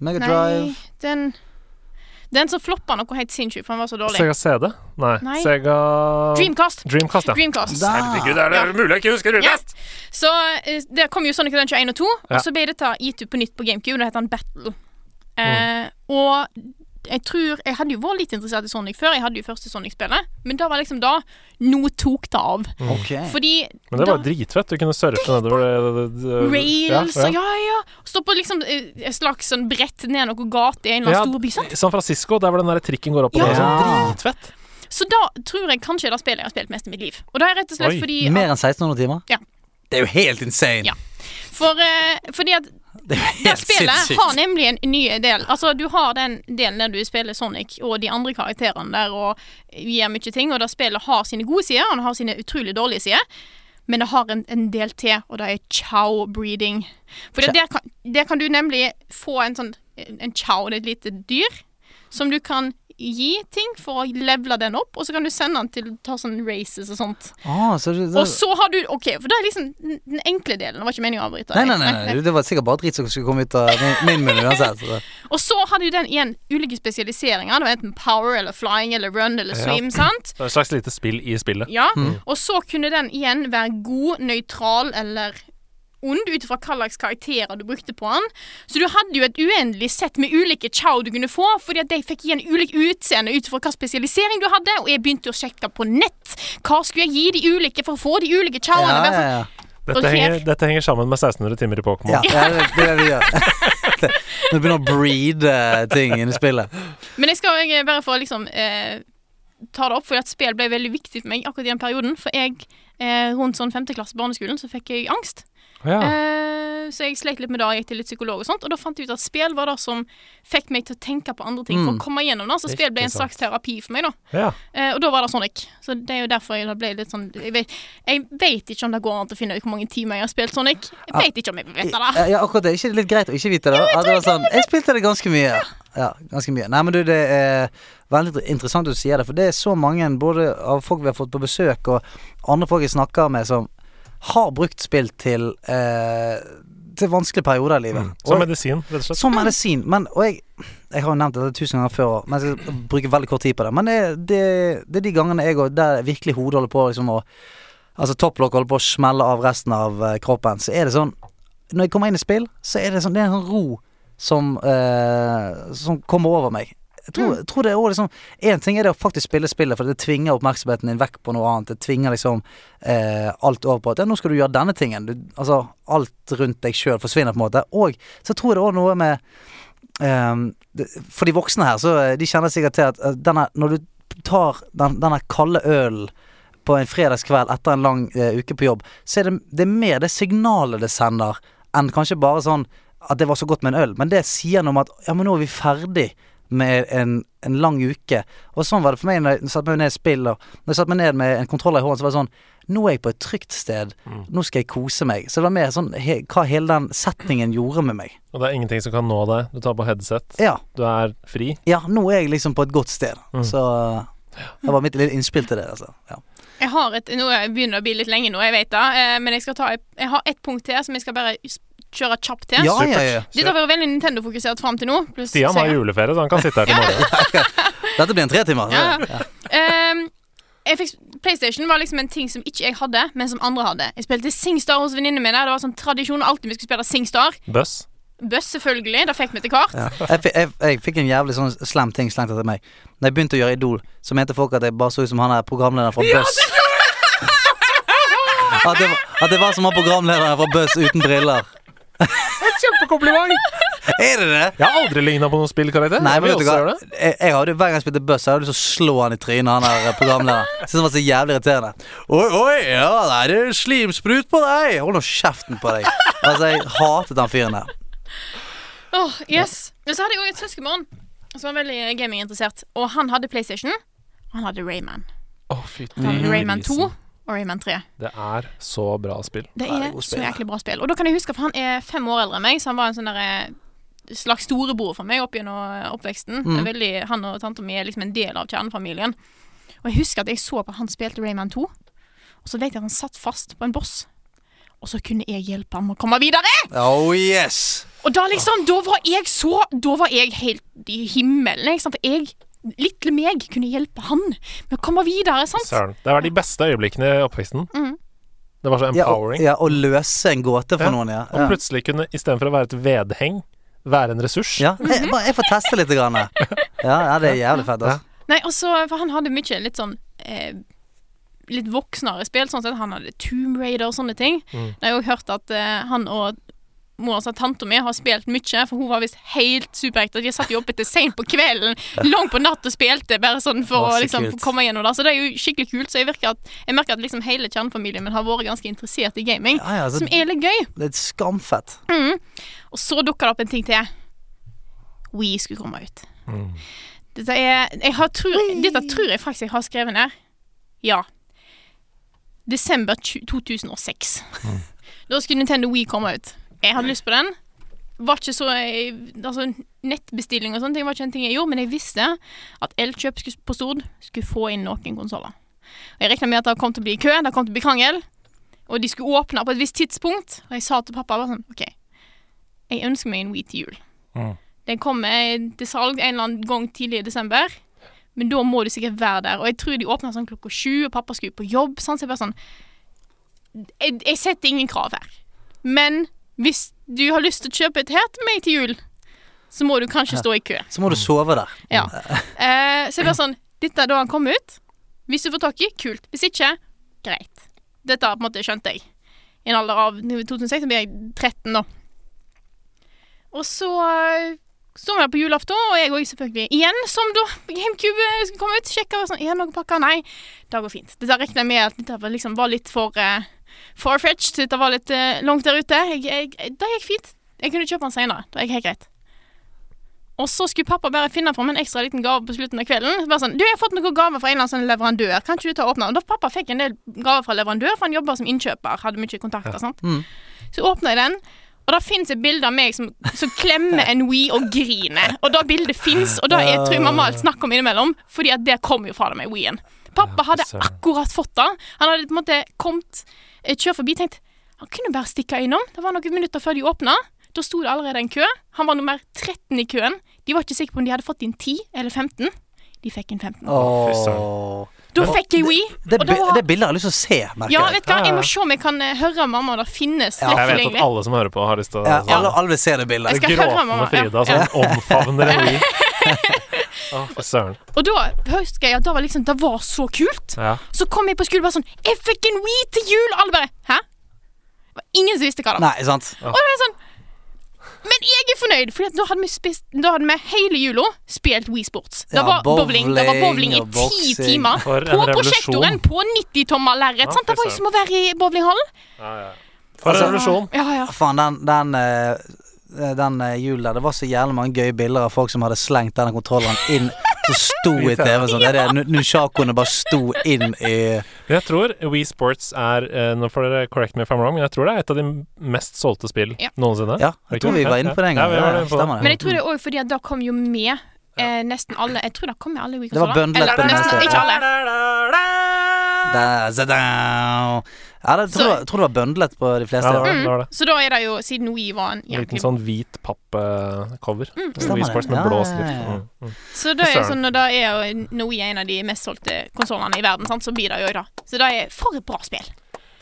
Speaker 1: Nei,
Speaker 3: Megadrive.
Speaker 1: den Den som floppa noe helt sinnssykt, for den var så dårlig.
Speaker 4: Sega CD? Nei.
Speaker 1: Nei.
Speaker 4: Sega
Speaker 1: Dreamcast.
Speaker 4: Dreamcast, ja.
Speaker 1: Dreamcast.
Speaker 3: Da.
Speaker 4: er det mulig jeg ikke husker
Speaker 1: Ah, Ja. Så eh, der kom jo Sonic Adventure 1 og 2,
Speaker 4: Ja.
Speaker 1: og så ble dette gitt ut på nytt på GameCube. Da het han Battle. Eh,
Speaker 4: Mm.
Speaker 1: Og jeg tror Jeg hadde jo vært litt interessert i Sonic før. Jeg hadde jo første Sonic-spillet, men da var liksom da Nå tok det av.
Speaker 3: Ok.
Speaker 1: Fordi
Speaker 4: Mm. Men det var
Speaker 1: da-
Speaker 4: dritfett. Du kunne surfe nedover det, det, det
Speaker 1: Rails
Speaker 4: ja,
Speaker 1: og ja, ja. Stå på liksom eh, et slags sånn brett ned noen gate i en eller
Speaker 4: Ja,
Speaker 1: annen storby. sant?
Speaker 4: San Francisco, der hvor den der trikken går opp og
Speaker 1: Ja.
Speaker 4: ned. Sånn dritfett.
Speaker 1: Så da tror jeg kanskje det er spillet jeg har spilt mest i mitt liv. Og da er rett og slett
Speaker 4: Oi,
Speaker 1: fordi at,
Speaker 3: Mer enn 1600 timer?
Speaker 1: Ja.
Speaker 3: Det er jo helt insane.
Speaker 1: Ja. for, eh, Fordi at
Speaker 3: Det er jo
Speaker 1: Det
Speaker 3: helt
Speaker 1: spillet har
Speaker 3: sinnssykt.
Speaker 1: nemlig en ny del. Altså, du har den delen der du spiller Sonic og de andre karakterene der og gjør mye ting, og der spillet har sine gode sider, og det har sine utrolig dårlige sider. Men det har en, en del til, og det er chow breeding. For det- der kan, der kan du nemlig få en sånn En chow, det er et lite dyr, som du kan gi ting for å levele den opp, og så kan du sende den til å ta sånn races og sånt.
Speaker 3: Ah, så du-
Speaker 1: Og så har du OK, for det er liksom den den enkle delen. Det var ikke meningen å avbryte.
Speaker 3: Nei,
Speaker 1: deg.
Speaker 3: nei, nei, nei. Det var sikkert bare drit som skulle komme ut av min- min munn uansett. så det-
Speaker 1: Og så hadde jo den igjen ulike spesialiseringer. Det var enten power eller flying eller run eller swim, sant?
Speaker 4: Det er et slags lite spill i spillet.
Speaker 1: Ja. Og så kunne den igjen være god, nøytral eller ond ut ifra hva slags karakterer du brukte på den. Så du hadde jo et uendelig sett med ulike chow du kunne få, fordi at de fikk igjen ulik utseende ut ifra hva spesialisering du hadde, og jeg begynte å sjekke på nett. Hva skulle jeg gi de ulike for å få de ulike chowene?
Speaker 3: Ja, ja,
Speaker 1: Bare sånn,
Speaker 3: ja.
Speaker 1: Og
Speaker 4: Dette
Speaker 1: her-
Speaker 4: henger, dette henger sammen med 1600 timer i Pokémon.
Speaker 3: ja, ja det, det er det vi gjør. Det- Når du begynner å breede ting inni spillet.
Speaker 1: Men jeg skal jeg, bare for å liksom eh, ta det opp, fordi at spill ble veldig viktig for meg akkurat i den perioden. For jeg, eh, rundt sånn femte klasse på barneskolen, så fikk jeg angst.
Speaker 4: Ja.
Speaker 1: Eh, eh, så jeg sleit litt med det, jeg gikk til litt psykolog og sånt. Og da fant jeg ut at spill var det som fikk meg til å tenke på andre ting for
Speaker 3: Mm.
Speaker 1: å komme gjennom det. Så
Speaker 4: Ikke
Speaker 1: spill ble en slags terapi for meg, da.
Speaker 4: Ja.
Speaker 1: Eh, og da var det Sonic. Så det er jo derfor jeg da ble litt sånn Jeg vet, jeg vet ikke om det går an å finne ut hvor mange timer jeg har spilt Sonic. Jeg
Speaker 3: Ja. Eh,
Speaker 1: vet ikke om jeg vil vite det.
Speaker 3: Ja, ja, akkurat det. Er ikke det litt greit å ikke vite det? At det var sånn, jeg spilte det ganske mye. Ja, ganske mye. Nei, men du, det er veldig interessant at du sier det, for det er så mange, både av folk vi har fått på besøk, og andre folk jeg snakker med, som har brukt spill til eh, Til vanskelige perioder i livet.
Speaker 4: Mm. Som
Speaker 3: Og-
Speaker 4: medisin, rett og slett.
Speaker 3: som medisin. Men, og jeg, jeg har jo nevnt dette tusen ganger før, men jeg skal bruke veldig kort tid på det. Men det, det, det er de gangene jeg og der virkelig hodet holder på liksom å Altså topplokk holder på å smelle av resten av eh, kroppen, så er det sånn Når jeg kommer inn i spill, så er det sånn Det er en sånn ro som, eh, som kommer over meg. Jeg
Speaker 4: Mm.
Speaker 3: tror, jeg tror det er også liksom Én ting er det å faktisk spille spillet, for det tvinger oppmerksomheten din vekk på noe annet. Det tvinger liksom eh, alt over på at ja, nå skal du gjøre denne tingen. Du, altså alt rundt deg sjøl forsvinner på en måte. Og så tror jeg det òg noe med ehm, det, For de voksne her, så eh, de kjenner sikkert til at eh, denne, når du tar den, denne kalde ølen på en fredagskveld etter en lang eh, uke på jobb, så er det, det er mer det signalet det sender, enn kanskje bare sånn at det var så godt med en øl. Men det sier noe om at ja, men nå er vi ferdig med en, en lang uke. Og sånn var det for meg når jeg satte meg ned i spill, og når jeg satte meg ned med en kontroller i hånden, så var det sånn Nå er jeg på et trygt sted. Nå skal jeg kose meg. Så det var mer sånn he, hva hele den setningen gjorde med meg.
Speaker 4: Og det er ingenting som kan nå deg. Du tar på headset,
Speaker 3: Ja.
Speaker 4: du er fri.
Speaker 3: Ja, nå er jeg liksom på et godt sted.
Speaker 4: Mm.
Speaker 3: Så eh, det var mitt lille innspill til det. Altså. Ja.
Speaker 1: Jeg har et Nå er jeg begynner det å bli litt lenge nå, jeg vet det. Eh, men jeg skal ta et, Jeg har ett punkt til som jeg skal bare s- kjøre kjapt til.
Speaker 3: Ja, ja, ja.
Speaker 1: Dette har vært veldig Nintendo-fokusert fram til nå. pluss
Speaker 4: Stian har
Speaker 1: Sega.
Speaker 4: juleferie, så han kan sitte her til morgenen.
Speaker 3: Dette blir en tretimer.
Speaker 1: Ja,
Speaker 3: Ja.
Speaker 1: Ehm, jeg fikk, PlayStation var liksom en ting som ikke jeg hadde, men som andre hadde. Jeg spilte Singstar hos venninnene mine. Det var sånn tradisjon alltid vi skulle spille Singstar.
Speaker 4: Buss.
Speaker 1: Buss, selvfølgelig. Det fikk vi til kart.
Speaker 3: Ja. Jeg, fi- jeg, jeg fikk en jævlig sånn slem ting slengt etter meg. Når jeg begynte å gjøre Idol, så mente folk at jeg bare så ut som han der programlederen fra Buzz. At det, var- at det var som han programlederen fra Buzz uten briller.
Speaker 4: Kjempekompliment!
Speaker 3: Er det det?
Speaker 4: Jeg har aldri ligna på noen spillkarakter.
Speaker 3: Nei,
Speaker 4: Vi
Speaker 3: men vet du
Speaker 4: også
Speaker 3: hva?
Speaker 4: gjør det.
Speaker 3: Jeg, jeg hadde, hver gang jeg spilte Buzz, så hadde jeg lyst til å slå han i trynet, han der eh, programlederen. Synes han var så jævlig irriterende. Oi, oi, ja, der er det slimsprut på deg! Hold nå kjeften på deg. Altså, jeg hatet den fyren der.
Speaker 1: Åh, yes. Men så hadde jeg òg et søskenbarn som var veldig gaminginteressert. Og han hadde PlayStation. og Han hadde Rayman.
Speaker 4: Å, fytti
Speaker 1: Han hadde Rayman 2
Speaker 4: grisen.
Speaker 1: og Rayman 3.
Speaker 4: Det er så bra spill.
Speaker 1: Det
Speaker 3: Ja, det er
Speaker 1: er
Speaker 3: godt
Speaker 1: så
Speaker 3: spill.
Speaker 1: jæklig bra spill. Og da kan jeg huske, for han er fem år eldre enn meg, så han var en sånn derre slags storebror for meg opp gjennom eh, oppveksten. Veldig, han og tanta mi er liksom en del av kjernefamilien. Og jeg husker at jeg så på han spilte Rayman 2, og så vet jeg at han satt fast på en boss. Og så kunne jeg hjelpe ham å komme videre!
Speaker 3: Oh yes!
Speaker 1: Og da liksom, da var jeg så Da var jeg helt i himmelen, ikke sant? For jeg, lille meg, kunne hjelpe han med å komme videre, sant?
Speaker 4: Søren. Det var de beste øyeblikkene i oppveksten.
Speaker 1: Mhm.
Speaker 4: Det var så
Speaker 3: Ja, og,
Speaker 4: empowering.
Speaker 3: ja, å løse en gåte for
Speaker 4: Ja.
Speaker 3: noen, ja.
Speaker 4: Og
Speaker 3: ja.
Speaker 4: plutselig kunne, istedenfor å være et vedheng, være en ressurs.
Speaker 3: ja. Jeg, bare, jeg får teste litt. Grann. jeg. Ja, ja, det er jævlig fett. Altså.
Speaker 1: Nei, og så, for han hadde mye litt sånn eh, Litt voksnere spill, sånn at han hadde Tomb Raider og sånne ting.
Speaker 4: Mm.
Speaker 1: Da har jeg òg hørt at eh, han og mora og tanta mi har spilt mye, for hun var visst helt superhekta. De satt jo oppe til seint på kvelden, langt på natt og spilte, bare sånn for
Speaker 3: Å,
Speaker 1: å
Speaker 3: så
Speaker 1: liksom,
Speaker 3: kult.
Speaker 1: komme gjennom det. Så det er jo skikkelig kult. Så jeg, virker at, jeg merker at liksom hele kjernefamilien min har vært ganske interessert i gaming,
Speaker 3: Ja, ja, altså,
Speaker 1: som er litt gøy.
Speaker 3: det er skamfett.
Speaker 1: Og så dukker det opp en ting til. We skulle komme ut.
Speaker 4: Mm.
Speaker 1: Dette, er, jeg har, tror, dette tror jeg faktisk jeg har skrevet ned. Ja. Desember tju- 2006. Da skulle Nintendo We komme ut. Jeg hadde lyst på den. Var ikke så, jeg- altså, nettbestilling og sånne ting var ikke en ting jeg gjorde, men jeg visste at Elkjøp skulle, på Stord skulle få inn noen konsoller. Og Jeg regna med at det kom til å bli kø, det kom til å bli krangel, og de skulle åpne på et visst tidspunkt. Og jeg sa til pappa bare sånn OK, jeg ønsker meg en Wii til jul.
Speaker 4: Mm.
Speaker 1: Den kommer til salg en eller annen gang tidlig i desember. Men da må du sikkert være der. Og jeg tror de åpna sånn klokka sju, og pappa skulle på jobb. sant? Så jeg bare sånn jeg, jeg setter ingen krav her. Men hvis du har lyst til å kjøpe et her til meg til jul, så må du kanskje stå i kø.
Speaker 3: Så må du sove der.
Speaker 1: Ja. Eh, så jeg bare sånn Dette er da han kom ut. Hvis du får tak i, kult. Hvis ikke, greit. Dette har på en måte skjønte jeg. I en alder av 2006 så blir jeg 13 nå. Og så eh, står vi der på julaften, og jeg òg selvfølgelig igjen, som da GameCube eh, skulle komme ut. Sjekker og sånn, er det noen pakker? Nei, det går fint. Dette regner jeg med at dette var liksom var litt for eh, Farfetch det var litt eh, langt der ute. Jeg, jeg, det gikk fint. Jeg kunne kjøpe den senere. Det gikk helt greit. Og så skulle pappa bare finne fram en ekstra liten gave på slutten av kvelden. Bare sånn, du, jeg har fått noen gave fra en eller annen sånn leverandør. Kan ikke du ta og åpne den? Da pappa fikk en del gaver fra leverandør, for han jobba som innkjøper. Hadde mye kontakter. Sant?
Speaker 3: Mm.
Speaker 1: Så åpna jeg den, og da fins et bilde av meg som, som klemmer en Wii og griner. Og det bildet fins, og det er tror jeg mamma alt snakk om innimellom, fordi at det kom jo fra den med Wien. Pappa hadde
Speaker 4: søren.
Speaker 1: akkurat fått den. Han hadde på en måte kommet eh, kjørt forbi tenkt han kunne bare stikke innom. Det var noen minutter før de åpna. Da sto det allerede en kø. Han var nummer 13 i køen. De var ikke sikre på om de hadde fått inn 10 eller 15. De fikk inn 15.
Speaker 4: fy
Speaker 3: Åh.
Speaker 1: Da fikk jeg Wii.
Speaker 3: Det,
Speaker 1: Og
Speaker 3: bi-
Speaker 1: da var-
Speaker 3: det bildet har jeg lyst til å se, merker
Speaker 1: Ja,
Speaker 3: jeg.
Speaker 1: vet du hva, jeg
Speaker 4: Ja, ja.
Speaker 1: må se om jeg kan eh, høre mamma. Det finnes
Speaker 3: Ja.
Speaker 1: lett
Speaker 4: Jeg vet at
Speaker 1: tilgjengelig.
Speaker 4: alle som hører på, har lyst til å sånn
Speaker 3: Ja, alle, alle vil se det bildet.
Speaker 1: Jeg skal høre mamma,
Speaker 4: gråtende
Speaker 1: ja.
Speaker 4: Frida som omfavner en Wii. Å, fy søren.
Speaker 1: Og da husker jeg at det var liksom Det var så kult.
Speaker 4: Ja.
Speaker 1: Så kom jeg på skolen bare sånn Jeg fikk en Wii til jul! Alle bare Hæ? Det var ingen som visste hva det var.
Speaker 3: Nei, sant?
Speaker 1: Og det var sånn Men jeg er fornøyd, for da hadde vi spist Da hadde vi hele jula spilt Wii Sports. Det
Speaker 3: Ja,
Speaker 1: var bowling, det var bowling
Speaker 3: bowling
Speaker 1: i
Speaker 3: og
Speaker 1: ti
Speaker 3: boksing.
Speaker 1: timer.
Speaker 4: For en
Speaker 1: På
Speaker 4: revolusjon.
Speaker 1: prosjektoren, på 90-tommer lerret.
Speaker 4: Ja,
Speaker 1: sant? det var jo
Speaker 4: fy
Speaker 1: som å være i bowlinghallen.
Speaker 4: For en
Speaker 3: Altså-
Speaker 4: revolusjon.
Speaker 1: Ja, ja.
Speaker 3: Faen, den, den, eh, den eh, julen der, det var så jævlig mange gøye bilder av folk som hadde slengt denne kontrolleren inn, som sto i TV-en sånn. Det er det, Nu- Nunchakoene bare sto inn i
Speaker 4: Men jeg tror Wii Sports er eh, Nå får dere correct me if I'm wrong, men jeg tror det er et av de mest solgte spill
Speaker 1: Ja.
Speaker 4: noensinne.
Speaker 3: Ja, jeg tror vi var inne på det en gang.
Speaker 4: Ja, vi var inne på det.
Speaker 3: Stemmer det.
Speaker 1: Men jeg tror det er òg fordi at det kom jo med eh, nesten alle Jeg tror det kom med alle
Speaker 3: Det var
Speaker 1: Wii-konsoller.
Speaker 3: bundlet på
Speaker 1: Eller nesten,
Speaker 3: neste.
Speaker 1: ikke alle.
Speaker 3: Da, za, da. Ja, det, jeg tror, det var- tror det var bøndlet på de
Speaker 4: Ja,
Speaker 3: fleste.
Speaker 4: det var det. det, var det.
Speaker 1: Mm. Så da er det jo, siden Wii var en
Speaker 4: En liten
Speaker 1: jævlig
Speaker 4: sånn hvit pappcover.
Speaker 1: Mm,
Speaker 3: Stemmer
Speaker 4: Wii
Speaker 3: det.
Speaker 4: Sports med
Speaker 3: Ja,
Speaker 4: blå
Speaker 3: ja, ja, ja.
Speaker 4: skrift. Mm.
Speaker 1: Så da er det
Speaker 4: Søren.
Speaker 1: sånn, når det er jo når Wii er en av de mest solgte konsollene i verden, sant, så blir det jo det. Så det er for et bra spill.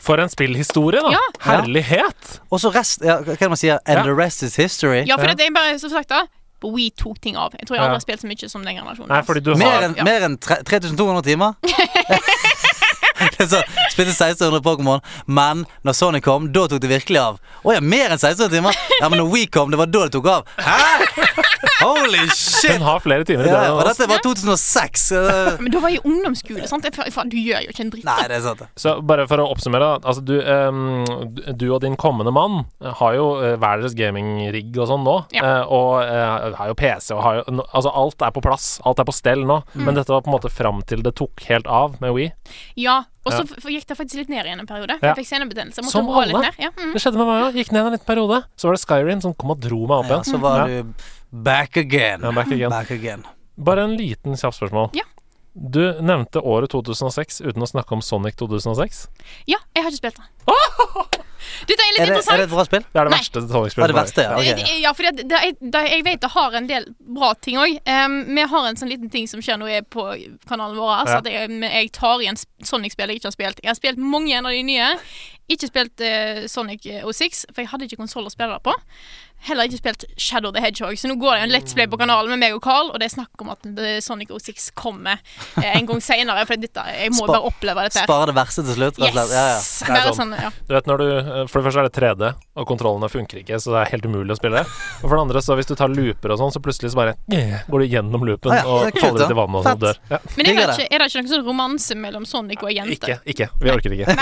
Speaker 4: For en spillhistorie, da!
Speaker 1: Ja.
Speaker 4: Herlighet!
Speaker 3: Og så rest ja, Hva er det man sier? And
Speaker 4: Ja.
Speaker 3: the rest is history.
Speaker 1: Ja, for
Speaker 4: Ja.
Speaker 1: det er bare, som sagt da På Wii tok ting av Jeg tror jeg
Speaker 4: Ja.
Speaker 1: aldri har spilt så mye som den generasjonen
Speaker 4: Nei, fordi du
Speaker 3: Mer
Speaker 4: har
Speaker 3: enn
Speaker 1: Ja.
Speaker 3: mer enn tre- 3200 timer. Det er så, spilte 1600 Pokémon, men når Sony kom, da tok det virkelig av. Å ja, mer enn 1600 timer? Ja, Men når We kom, det var da det tok av. Hæ? Holy shit!
Speaker 4: Hun har flere timer i
Speaker 3: Ja, ja, og
Speaker 4: døgnet.
Speaker 3: dette var 2006. så det-
Speaker 1: Men da var jeg i ungdomsskole, sant? Jeg, fa- faen, du gjør jo ikke en dritt
Speaker 3: Nei,
Speaker 1: da.
Speaker 3: det er sant. det.
Speaker 4: Så bare for å oppsummere, da, altså du, ehm, du- du og din kommende mann har jo eh, hver deres gamingrigg og sånn nå,
Speaker 1: Ja.
Speaker 4: eh, og eh, har jo PC og har jo nå- Altså alt er på plass, alt er på stell nå,
Speaker 1: Mm.
Speaker 4: men dette var på en måte fram til det tok helt av med Wii.
Speaker 1: Ja, og så
Speaker 4: Ja.
Speaker 1: f- f- gikk det faktisk litt ned igjen en periode
Speaker 4: Ja.
Speaker 1: Jeg fikk senebetennelse jeg måtte
Speaker 4: Som
Speaker 1: gå litt
Speaker 4: alle.
Speaker 1: ned. ja, mm.
Speaker 4: Det skjedde med meg òg, gikk ned en liten periode. Så var det Skyrim som kom og dro meg opp
Speaker 3: Ja, altså.
Speaker 4: igjen.
Speaker 3: så var
Speaker 4: Ja.
Speaker 3: du back again.
Speaker 4: Ja, back again.
Speaker 3: Back again.
Speaker 4: Bare en liten kjapp spørsmål.
Speaker 1: Ja.
Speaker 4: Du nevnte året 2006 uten å snakke om Sonic 2006.
Speaker 1: ja, jeg har ikke spilt det Dette er
Speaker 3: Er det,
Speaker 1: litt
Speaker 3: er
Speaker 1: interessant
Speaker 3: det et bra spill?
Speaker 4: Det er det
Speaker 1: Nei.
Speaker 4: verste
Speaker 3: Det er
Speaker 4: Sonic-spillet.
Speaker 3: det verste, ja.
Speaker 1: Jeg-
Speaker 3: ok.
Speaker 1: jeg- Ja, fordi at det, jeg, det, jeg vet det har en del bra ting òg. vi har en sånn liten ting som skjer når jeg er på kanalen
Speaker 4: Ja.
Speaker 1: vår. Så at jeg, men jeg tar igjen sp- Sonic-spill jeg ikke har spilt. Jeg har spilt mange av de nye. Ikke spilt eh, Sonic 06, for jeg hadde ikke konsoll å spille det på. Heller ikke spilt Shadow the Hedgehog, så nå går det en Let's Play på kanalen med meg og Carl, og det er snakk om at eh, Sonic 06 kommer eh, en gang seinere, for dette, jeg må
Speaker 3: Spa-
Speaker 1: bare oppleve dette. her.
Speaker 3: Spare det verste til slutt, rett og slett. Ja, ja.
Speaker 1: Yes!
Speaker 4: Det er
Speaker 1: Bare
Speaker 4: sånn.
Speaker 1: sånn, ja.
Speaker 4: Du vet når du, eh, For det første er det 3D, og kontrollene funker ikke, så det er helt umulig å spille. Og for det andre, så hvis du tar looper og sånn, så plutselig så bare eh, går du gjennom loopen
Speaker 3: Ah, ja, det er
Speaker 4: og
Speaker 3: kult,
Speaker 4: faller
Speaker 3: da.
Speaker 4: ut i vannet og sånn,
Speaker 3: Fett.
Speaker 4: dør. Ja.
Speaker 1: Men er det,
Speaker 3: Digger det.
Speaker 1: ikke, er det ikke noen sånn romanse mellom Sonic og ei jente?
Speaker 4: Ikke. ikke, Vi orker ikke.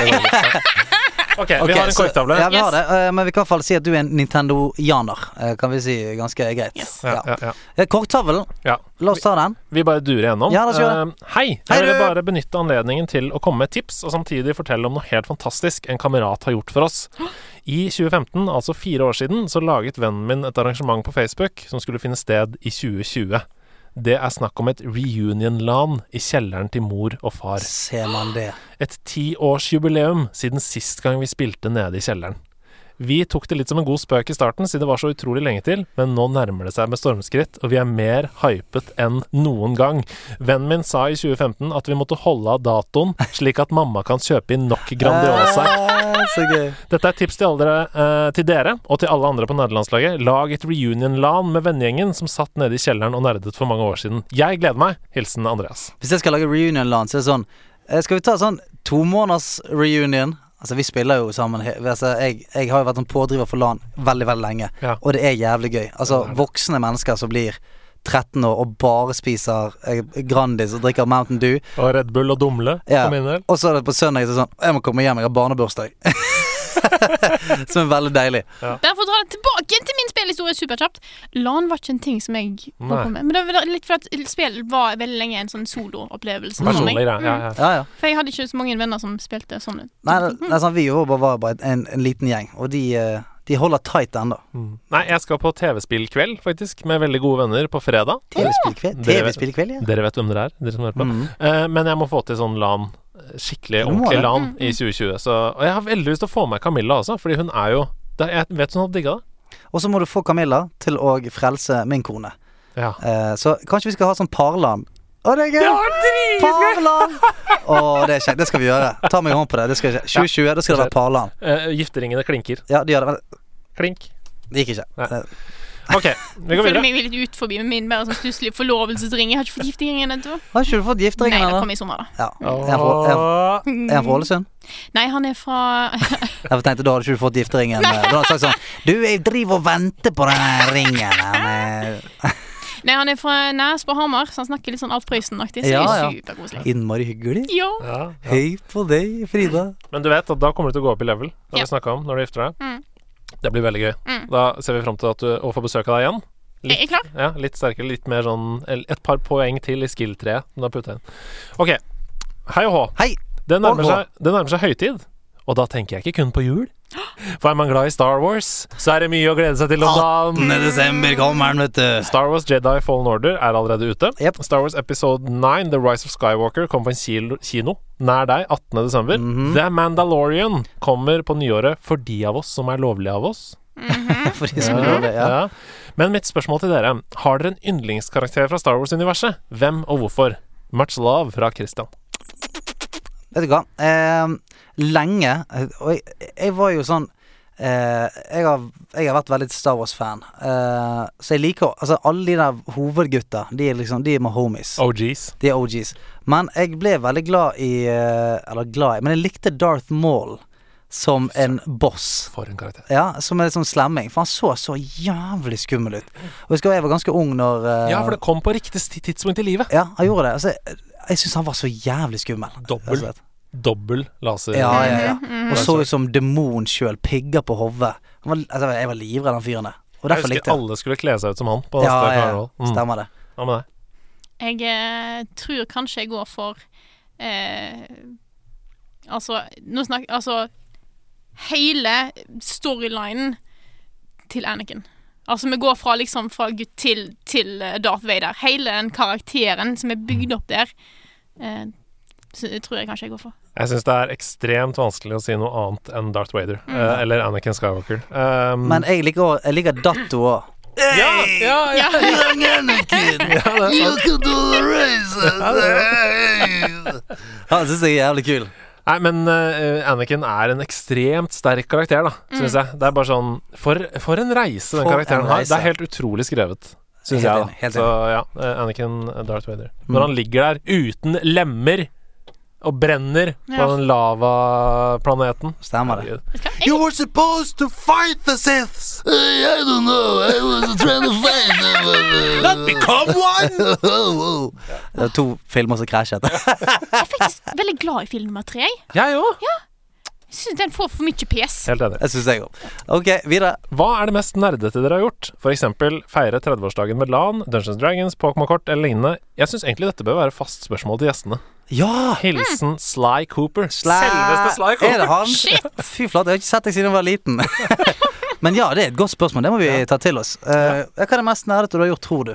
Speaker 4: OK, vi har en
Speaker 3: så-
Speaker 4: korktavle.
Speaker 3: Ja, vi har
Speaker 1: Yes.
Speaker 3: det, eh, men vi kan i hvert fall si at du er en Nintendo-janer. eh, Kan vi si ganske greit.
Speaker 1: Yes.
Speaker 4: Ja, ja, ja.
Speaker 3: Eh, Korktavlen,
Speaker 4: Ja.
Speaker 3: la oss ta den.
Speaker 4: Vi bare durer gjennom.
Speaker 3: Ja, la oss gjøre
Speaker 4: Eh, hei! Jeg
Speaker 3: Hei,
Speaker 4: ville
Speaker 3: du!
Speaker 4: bare benytte anledningen til å komme med tips, og samtidig fortelle om noe helt fantastisk en kamerat har gjort for oss. I 2015, altså fire år siden, så laget vennen min et arrangement på Facebook som skulle finne sted i 2020. Det er snakk om et reunion-lan i kjelleren til mor og far.
Speaker 3: Ser man det.
Speaker 4: Et tiårsjubileum siden sist gang vi spilte nede i kjelleren. Vi tok det litt som en god spøk i starten, siden det var så utrolig lenge til, men nå nærmer det seg med stormskritt, og vi er mer hypet enn noen gang. Vennen min sa i 2015 at vi måtte holde av datoen, slik at mamma kan kjøpe inn nok Grandiosa.
Speaker 3: Eh, Så gøy.
Speaker 4: Dette er tips til, alle, eh, til dere og til alle andre på nederlandslaget. Lag et reunion-lan med vennegjengen som satt nede i kjelleren og nerdet for mange år siden. Jeg gleder meg. Hilsen Andreas.
Speaker 3: Hvis jeg skal lage reunion land, så er det sånn eh, Skal vi ta sånn to måneders reunion? Altså, vi spiller jo sammen. he- Altså, jeg, jeg har jo vært en pådriver for LAN veldig, veldig lenge.
Speaker 4: Ja.
Speaker 3: Og det er jævlig gøy. Altså, voksne mennesker som blir 13 år og bare spiser eh, Grandis og drikker Mountain Dew.
Speaker 4: Og Red Bull og Dumle,
Speaker 3: Ja.
Speaker 4: for min del.
Speaker 3: Og så er det på søndag så er det sånn Jeg må komme hjem, jeg har barnebursdag. Som er veldig deilig.
Speaker 1: Derfor drar jeg tilbake igjen til min spillhistorie superkjapt. LAN var ikke en ting som jeg holdt
Speaker 4: Nei.
Speaker 1: på med. Men det var litt fordi at spill var veldig lenge en sånn soloopplevelse. for
Speaker 4: Personlig
Speaker 1: meg.
Speaker 4: greie. Ja, ja.
Speaker 3: Ja, ja.
Speaker 1: For jeg hadde ikke så mange venner som spilte sånn.
Speaker 3: Nei, det, det er sånn, vi var bare, var bare en, en liten gjeng, og de, eh, de holder tight ennå.
Speaker 4: Mm. Nei, jeg skal på TV-spillkveld, faktisk, med veldig gode venner på fredag.
Speaker 3: TV-spillkveld,
Speaker 4: Dere vet-
Speaker 3: TV-spillkveld, ja.
Speaker 4: Dere vet hvem dere er, dere som hører på.
Speaker 3: Mm.
Speaker 4: Eh, men jeg må få til sånn LAN, skikkelig
Speaker 3: Du må
Speaker 4: ordentlig
Speaker 3: det.
Speaker 4: LAN,
Speaker 1: Mm.
Speaker 4: i 2020. Så, og jeg har veldig lyst til å få med Camilla også, fordi hun er jo det- Jeg vet hun hadde digga det.
Speaker 3: Og så må du få Camilla til å frelse min kone.
Speaker 4: Ja.
Speaker 3: Eh, så kanskje vi skal ha sånn parland. Å, det er gøy! Parland! Å, det er kjekt. Det skal vi gjøre. Ta meg i hånden på det. det skal skje. 2020, da skal det være parland.
Speaker 4: Eh, gifteringene klinker.
Speaker 3: Ja, de gjør det. Men
Speaker 4: Klink.
Speaker 3: det gikk ikke.
Speaker 4: Nei.
Speaker 3: Det-
Speaker 4: OK, vi
Speaker 1: Jeg
Speaker 4: går
Speaker 1: føler
Speaker 4: videre.
Speaker 1: meg litt ut forbi med min mer sånn stusslige forlovelsesring. Jeg har ikke fått gift i gangen ennå.
Speaker 3: Har ikke du fått
Speaker 1: Nei,
Speaker 3: gifteringen
Speaker 1: det
Speaker 3: ennå?
Speaker 1: kom i sommer, da.
Speaker 3: Ja. Er han fra- er han- er han fra Ålesund?
Speaker 1: Nei, han er fra
Speaker 3: Jeg tenkte da hadde ikke du fått gifteringen. eh, Da hadde han sagt sånn Du, jeg driver og venter på den ringen. her, eh."
Speaker 1: Nei, han er fra Nes på Hamar, så han snakker litt sånn Alf Prøysen-aktig. Så det
Speaker 3: Ja,
Speaker 1: er
Speaker 3: ja.
Speaker 1: jo superkoselig.
Speaker 3: Innmari hyggelig.
Speaker 1: Ja.
Speaker 4: Ja, ja.
Speaker 3: Hei på deg, Frida.
Speaker 4: Men du vet at da kommer du til å gå opp i level, det har
Speaker 1: Ja.
Speaker 4: vi snakka om, når du gifter deg.
Speaker 1: Mm.
Speaker 4: Det blir veldig gøy.
Speaker 1: Mm.
Speaker 4: Da ser vi fram til at du, å få besøk av deg igjen.
Speaker 1: Er jeg klar?
Speaker 4: Ja, litt sterkere, litt mer sånn el- Et par poeng til i skill-treet som du har putta inn. OK. Hei og hå.
Speaker 3: Hei.
Speaker 4: Det nærmer,
Speaker 3: Og hå.
Speaker 4: seg, det nærmer seg høytid, og da tenker jeg ikke kun på jul. For er man glad i Star Wars, så er det mye å glede seg til om
Speaker 3: Ah.
Speaker 4: dagen.
Speaker 3: 18. desember kommer den, vet du.
Speaker 4: Star Wars Jedi Fallen Order er allerede ute.
Speaker 3: Jep.
Speaker 4: Star Wars Episode 9, The Rise of Skywalker, kommer på en kilo, kino nær deg 18. desember.
Speaker 3: Mhm.
Speaker 4: The Mandalorian kommer på nyåret for de av oss som er lovlige av oss.
Speaker 3: For de som lurer på det. Ja.
Speaker 4: Ja. Men mitt spørsmål til dere Har dere en yndlingskarakter fra Star Wars-universet? Hvem og hvorfor? Much love fra Christian.
Speaker 3: Vet du hva? Eh, lenge eh, Og jeg, jeg var jo sånn eh, jeg, har, jeg har vært veldig Star Wars-fan. Eh, så jeg liker Altså, alle de der hovedgutta, de er liksom De er my homies.
Speaker 4: OGs.
Speaker 3: De er OGs. Men jeg ble veldig glad i eh, Eller glad i Men jeg likte Darth Maul som en boss.
Speaker 4: For en karakter.
Speaker 3: Ja, som en sånn slemming. For han så så jævlig skummel ut. Og jeg husker jeg var ganske ung når eh,
Speaker 4: Ja, for det kom på riktig sti- tidspunkt i livet.
Speaker 3: ja, han gjorde det. Altså, jeg jeg syns han var så jævlig skummel.
Speaker 4: Dobbel.
Speaker 3: rett og slett.
Speaker 4: Dobbel laser.
Speaker 3: Ja, ja, ja. Og så ut som demon sjøl. Pigger på hodet. Han var- Altså, jeg var livredd han fyren der. Og
Speaker 4: Jeg
Speaker 3: derfor
Speaker 4: husker
Speaker 3: likte jeg
Speaker 4: alle skulle kle seg ut som han
Speaker 3: Ja,
Speaker 4: på neste
Speaker 3: ja, ja.
Speaker 4: karneval. Mm.
Speaker 3: Stemmer det.
Speaker 4: Hva med deg?
Speaker 1: Jeg eh, tror kanskje jeg går for eh, Altså, nå snakker Altså, hele storylinen til Anakin. Altså, vi går fra liksom fra gutt til, til eh, Darth Vader. Hele den karakteren som er bygd opp der, eh, så det tror jeg kanskje jeg går for.
Speaker 4: Jeg syns det er ekstremt vanskelig å si noe annet enn Darth Vader. eh, eller Anakin Skywalker. Um,
Speaker 3: Men jeg liker, også- jeg liker Datto òg.
Speaker 4: ja, ja, ja.
Speaker 1: Ja.
Speaker 3: Young Anakin, look at all the Ah, races. Han syns jeg er jævlig kul.
Speaker 4: Nei, men eh, Anakin er en ekstremt sterk karakter, da, syns jeg. Det er bare sånn For, for en reise den
Speaker 3: Mm. For
Speaker 4: karakteren
Speaker 3: en
Speaker 4: har.
Speaker 3: reise.
Speaker 4: Det er helt utrolig skrevet, syns
Speaker 3: Helt
Speaker 4: jeg.
Speaker 3: enig, Mm.
Speaker 4: Da.
Speaker 3: helt
Speaker 4: Så ja, eh, Anakin eh, Darth Vader. Når han ligger der uten lemmer og brenner
Speaker 1: Ja.
Speaker 4: på den lavaplaneten
Speaker 3: Stemmer det.
Speaker 4: Herregud.
Speaker 1: Vet du hva?
Speaker 2: You
Speaker 1: Jeg,
Speaker 2: were supposed to fight the Siths!
Speaker 6: I don't know. I was trying to find them.
Speaker 2: Not become one!
Speaker 3: Det var to filmer som krasjet.
Speaker 1: jeg er faktisk veldig glad i film nummer tre. jeg.
Speaker 4: Jeg òg!
Speaker 1: Jeg syns den får for mye pes.
Speaker 4: Helt enig.
Speaker 3: Jeg syns jeg òg. Ok, videre.
Speaker 4: Hva er det mest nerdete dere har gjort? For eksempel feire 30-årsdagen med LAN, Dungeons and Dragons, Pokémon-kort eller lignende. Jeg syns egentlig dette bør være fast spørsmål til gjestene.
Speaker 3: Ja!
Speaker 4: Hilsen Sly Cooper.
Speaker 3: Sla-
Speaker 4: Selveste Sly
Speaker 3: Er
Speaker 4: Cooper.
Speaker 3: det han?
Speaker 1: Shit.
Speaker 3: Fy flate, jeg har ikke sett deg siden jeg var liten. Men ja, det er et godt spørsmål. Det må vi ta til oss. Eh, Hva er det mest nerdete du har gjort, tror du?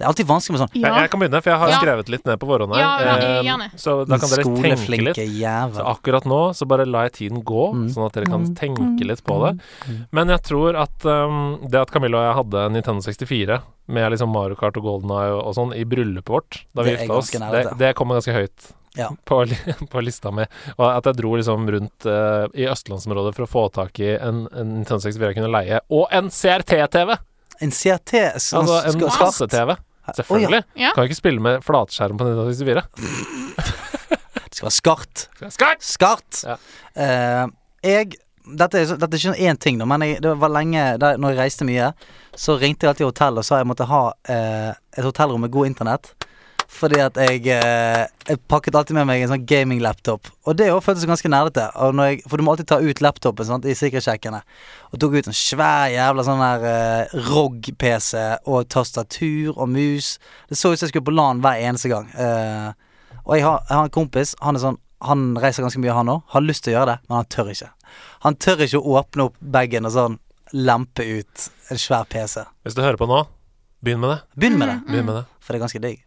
Speaker 3: Det er alltid vanskelig med sånn
Speaker 4: Jeg, jeg kan begynne, for jeg har
Speaker 1: Ja.
Speaker 4: skrevet litt ned på forhånd her.
Speaker 1: Ja, ja,
Speaker 4: Eh,
Speaker 1: gjerne.
Speaker 4: så da kan dere tenke litt.
Speaker 3: skoleflinke
Speaker 4: Så
Speaker 3: jævel.
Speaker 4: akkurat nå så bare lar jeg tiden gå,
Speaker 3: Mm.
Speaker 4: sånn at dere kan
Speaker 1: Mm.
Speaker 4: tenke litt på det. Men jeg tror at um, det at Camilla og jeg hadde en Nintendo 64 med liksom Mario Kart og Golden Eye og, og sånn i bryllupet vårt da vi
Speaker 3: Det er
Speaker 4: gifta oss,
Speaker 3: ganske nære,
Speaker 4: det,
Speaker 3: det.
Speaker 4: det kommer ganske høyt.
Speaker 3: Ja.
Speaker 4: På, li- på lista mi. Og at jeg dro liksom rundt eh, i østlandsområdet for å få tak i en, en Nintendo 64 jeg kunne leie, og en CRT-TV!
Speaker 3: En CRT som
Speaker 4: Altså en
Speaker 3: skal skart. Oh
Speaker 4: kasse-TV. Selvfølgelig.
Speaker 1: Ja.
Speaker 4: Kan ikke spille med flatskjerm på Nintendo 64.
Speaker 3: Det skal være skart.
Speaker 4: Skart!
Speaker 3: Skart!
Speaker 4: Ja.
Speaker 3: Eh, jeg dette, er, så- dette er ikke én ting, da, men jeg, det var lenge da, Når jeg reiste mye, så ringte jeg alltid hotellet og sa jeg måtte ha eh, et hotellrom med god internett. Fordi at jeg, eh, jeg pakket alltid med meg en sånn gaming-laptop. Og det også føltes ganske nerdete. og når jeg- For du må alltid ta ut laptopen sant, i sikkerhetssjekkene. Og tok ut en svær jævla sånn der eh, ROG-PC og tastatur og mus. Det så ut som jeg skulle på LAN hver eneste gang. Eh, og jeg har, jeg har en kompis, han er sånn Han reiser ganske mye, han òg. Har lyst til å gjøre det, men han tør ikke. Han tør ikke å åpne opp bagen og sånn lempe ut en svær PC.
Speaker 4: Hvis du hører på nå, begynn med det.
Speaker 3: Begynn med det,
Speaker 1: Mm.
Speaker 4: Begynn med det.
Speaker 3: for det er ganske digg.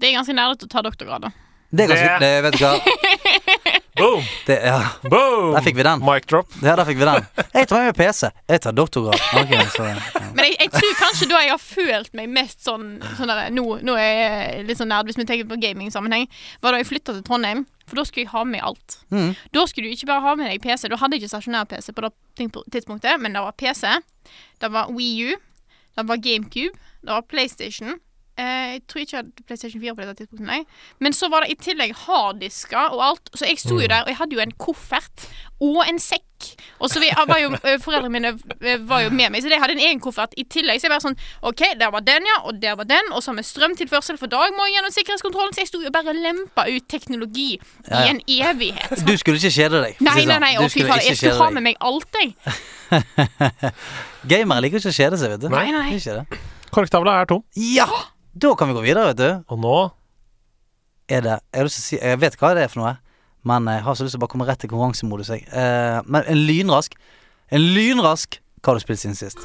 Speaker 1: Det er ganske nærmere til å ta doktorgrad, da.
Speaker 3: Det er ganske
Speaker 4: Det-
Speaker 3: det, Vet du hva?
Speaker 4: Boom!
Speaker 3: Det, ja.
Speaker 4: Boom!
Speaker 3: Der fikk vi den.
Speaker 4: Mic drop.
Speaker 3: ja, der fikk vi den. Jeg tar med meg PC. Jeg tar doktorgrad. Ok, så, ja.
Speaker 1: Men jeg, jeg tror kanskje da jeg har følt meg mest sånn, sånn der, nå, nå er jeg litt sånn nerd, hvis vi tenker på gamingsammenheng, var da jeg flytta til Trondheim. For da skulle jeg ha med meg alt.
Speaker 3: Mhm.
Speaker 1: Da skulle du ikke bare ha med deg PC. Da hadde jeg ikke stasjonær PC på det ting- tidspunktet, men det var PC, det var Wii U, det var GameCube, det var PlayStation. Eh, jeg tror ikke jeg hadde PlayStation 4 på dette tidspunktet, nei. Men så var det i tillegg harddisker og alt. Så jeg sto jo der, og jeg hadde jo en koffert og en sekk. Og så vi, var jo, eh, foreldrene mine eh, var jo med meg, så de hadde en egen koffert i tillegg. Så jeg bare sånn OK, der var den, ja, og der var den. Og så med strømtilførsel for dag må jeg gjennom sikkerhetskontrollen. Så jeg sto jo bare og lempa ut teknologi i en evighet.
Speaker 3: Du skulle ikke kjede deg. for å si det
Speaker 1: Nei, nei,
Speaker 3: sånn.
Speaker 1: nei,
Speaker 3: Du
Speaker 1: å fy
Speaker 3: skulle
Speaker 1: fader.
Speaker 3: ikke
Speaker 1: Jeg skulle
Speaker 3: kjede
Speaker 1: ha
Speaker 3: deg.
Speaker 1: med meg alt, jeg.
Speaker 3: Gamere liker ikke å kjede seg, vet du.
Speaker 1: Nei, nei.
Speaker 3: Ikke det.
Speaker 4: Korktavla er tom.
Speaker 3: Ja! Da kan vi gå videre, vet du.
Speaker 4: Og nå
Speaker 3: er det Jeg, har lyst til å si, jeg vet hva det er for noe, men jeg har så lyst til å bare komme rett til konkurransemodus. Jeg. Eh, men en lynrask En lynrask Hva har du spilt siden sist?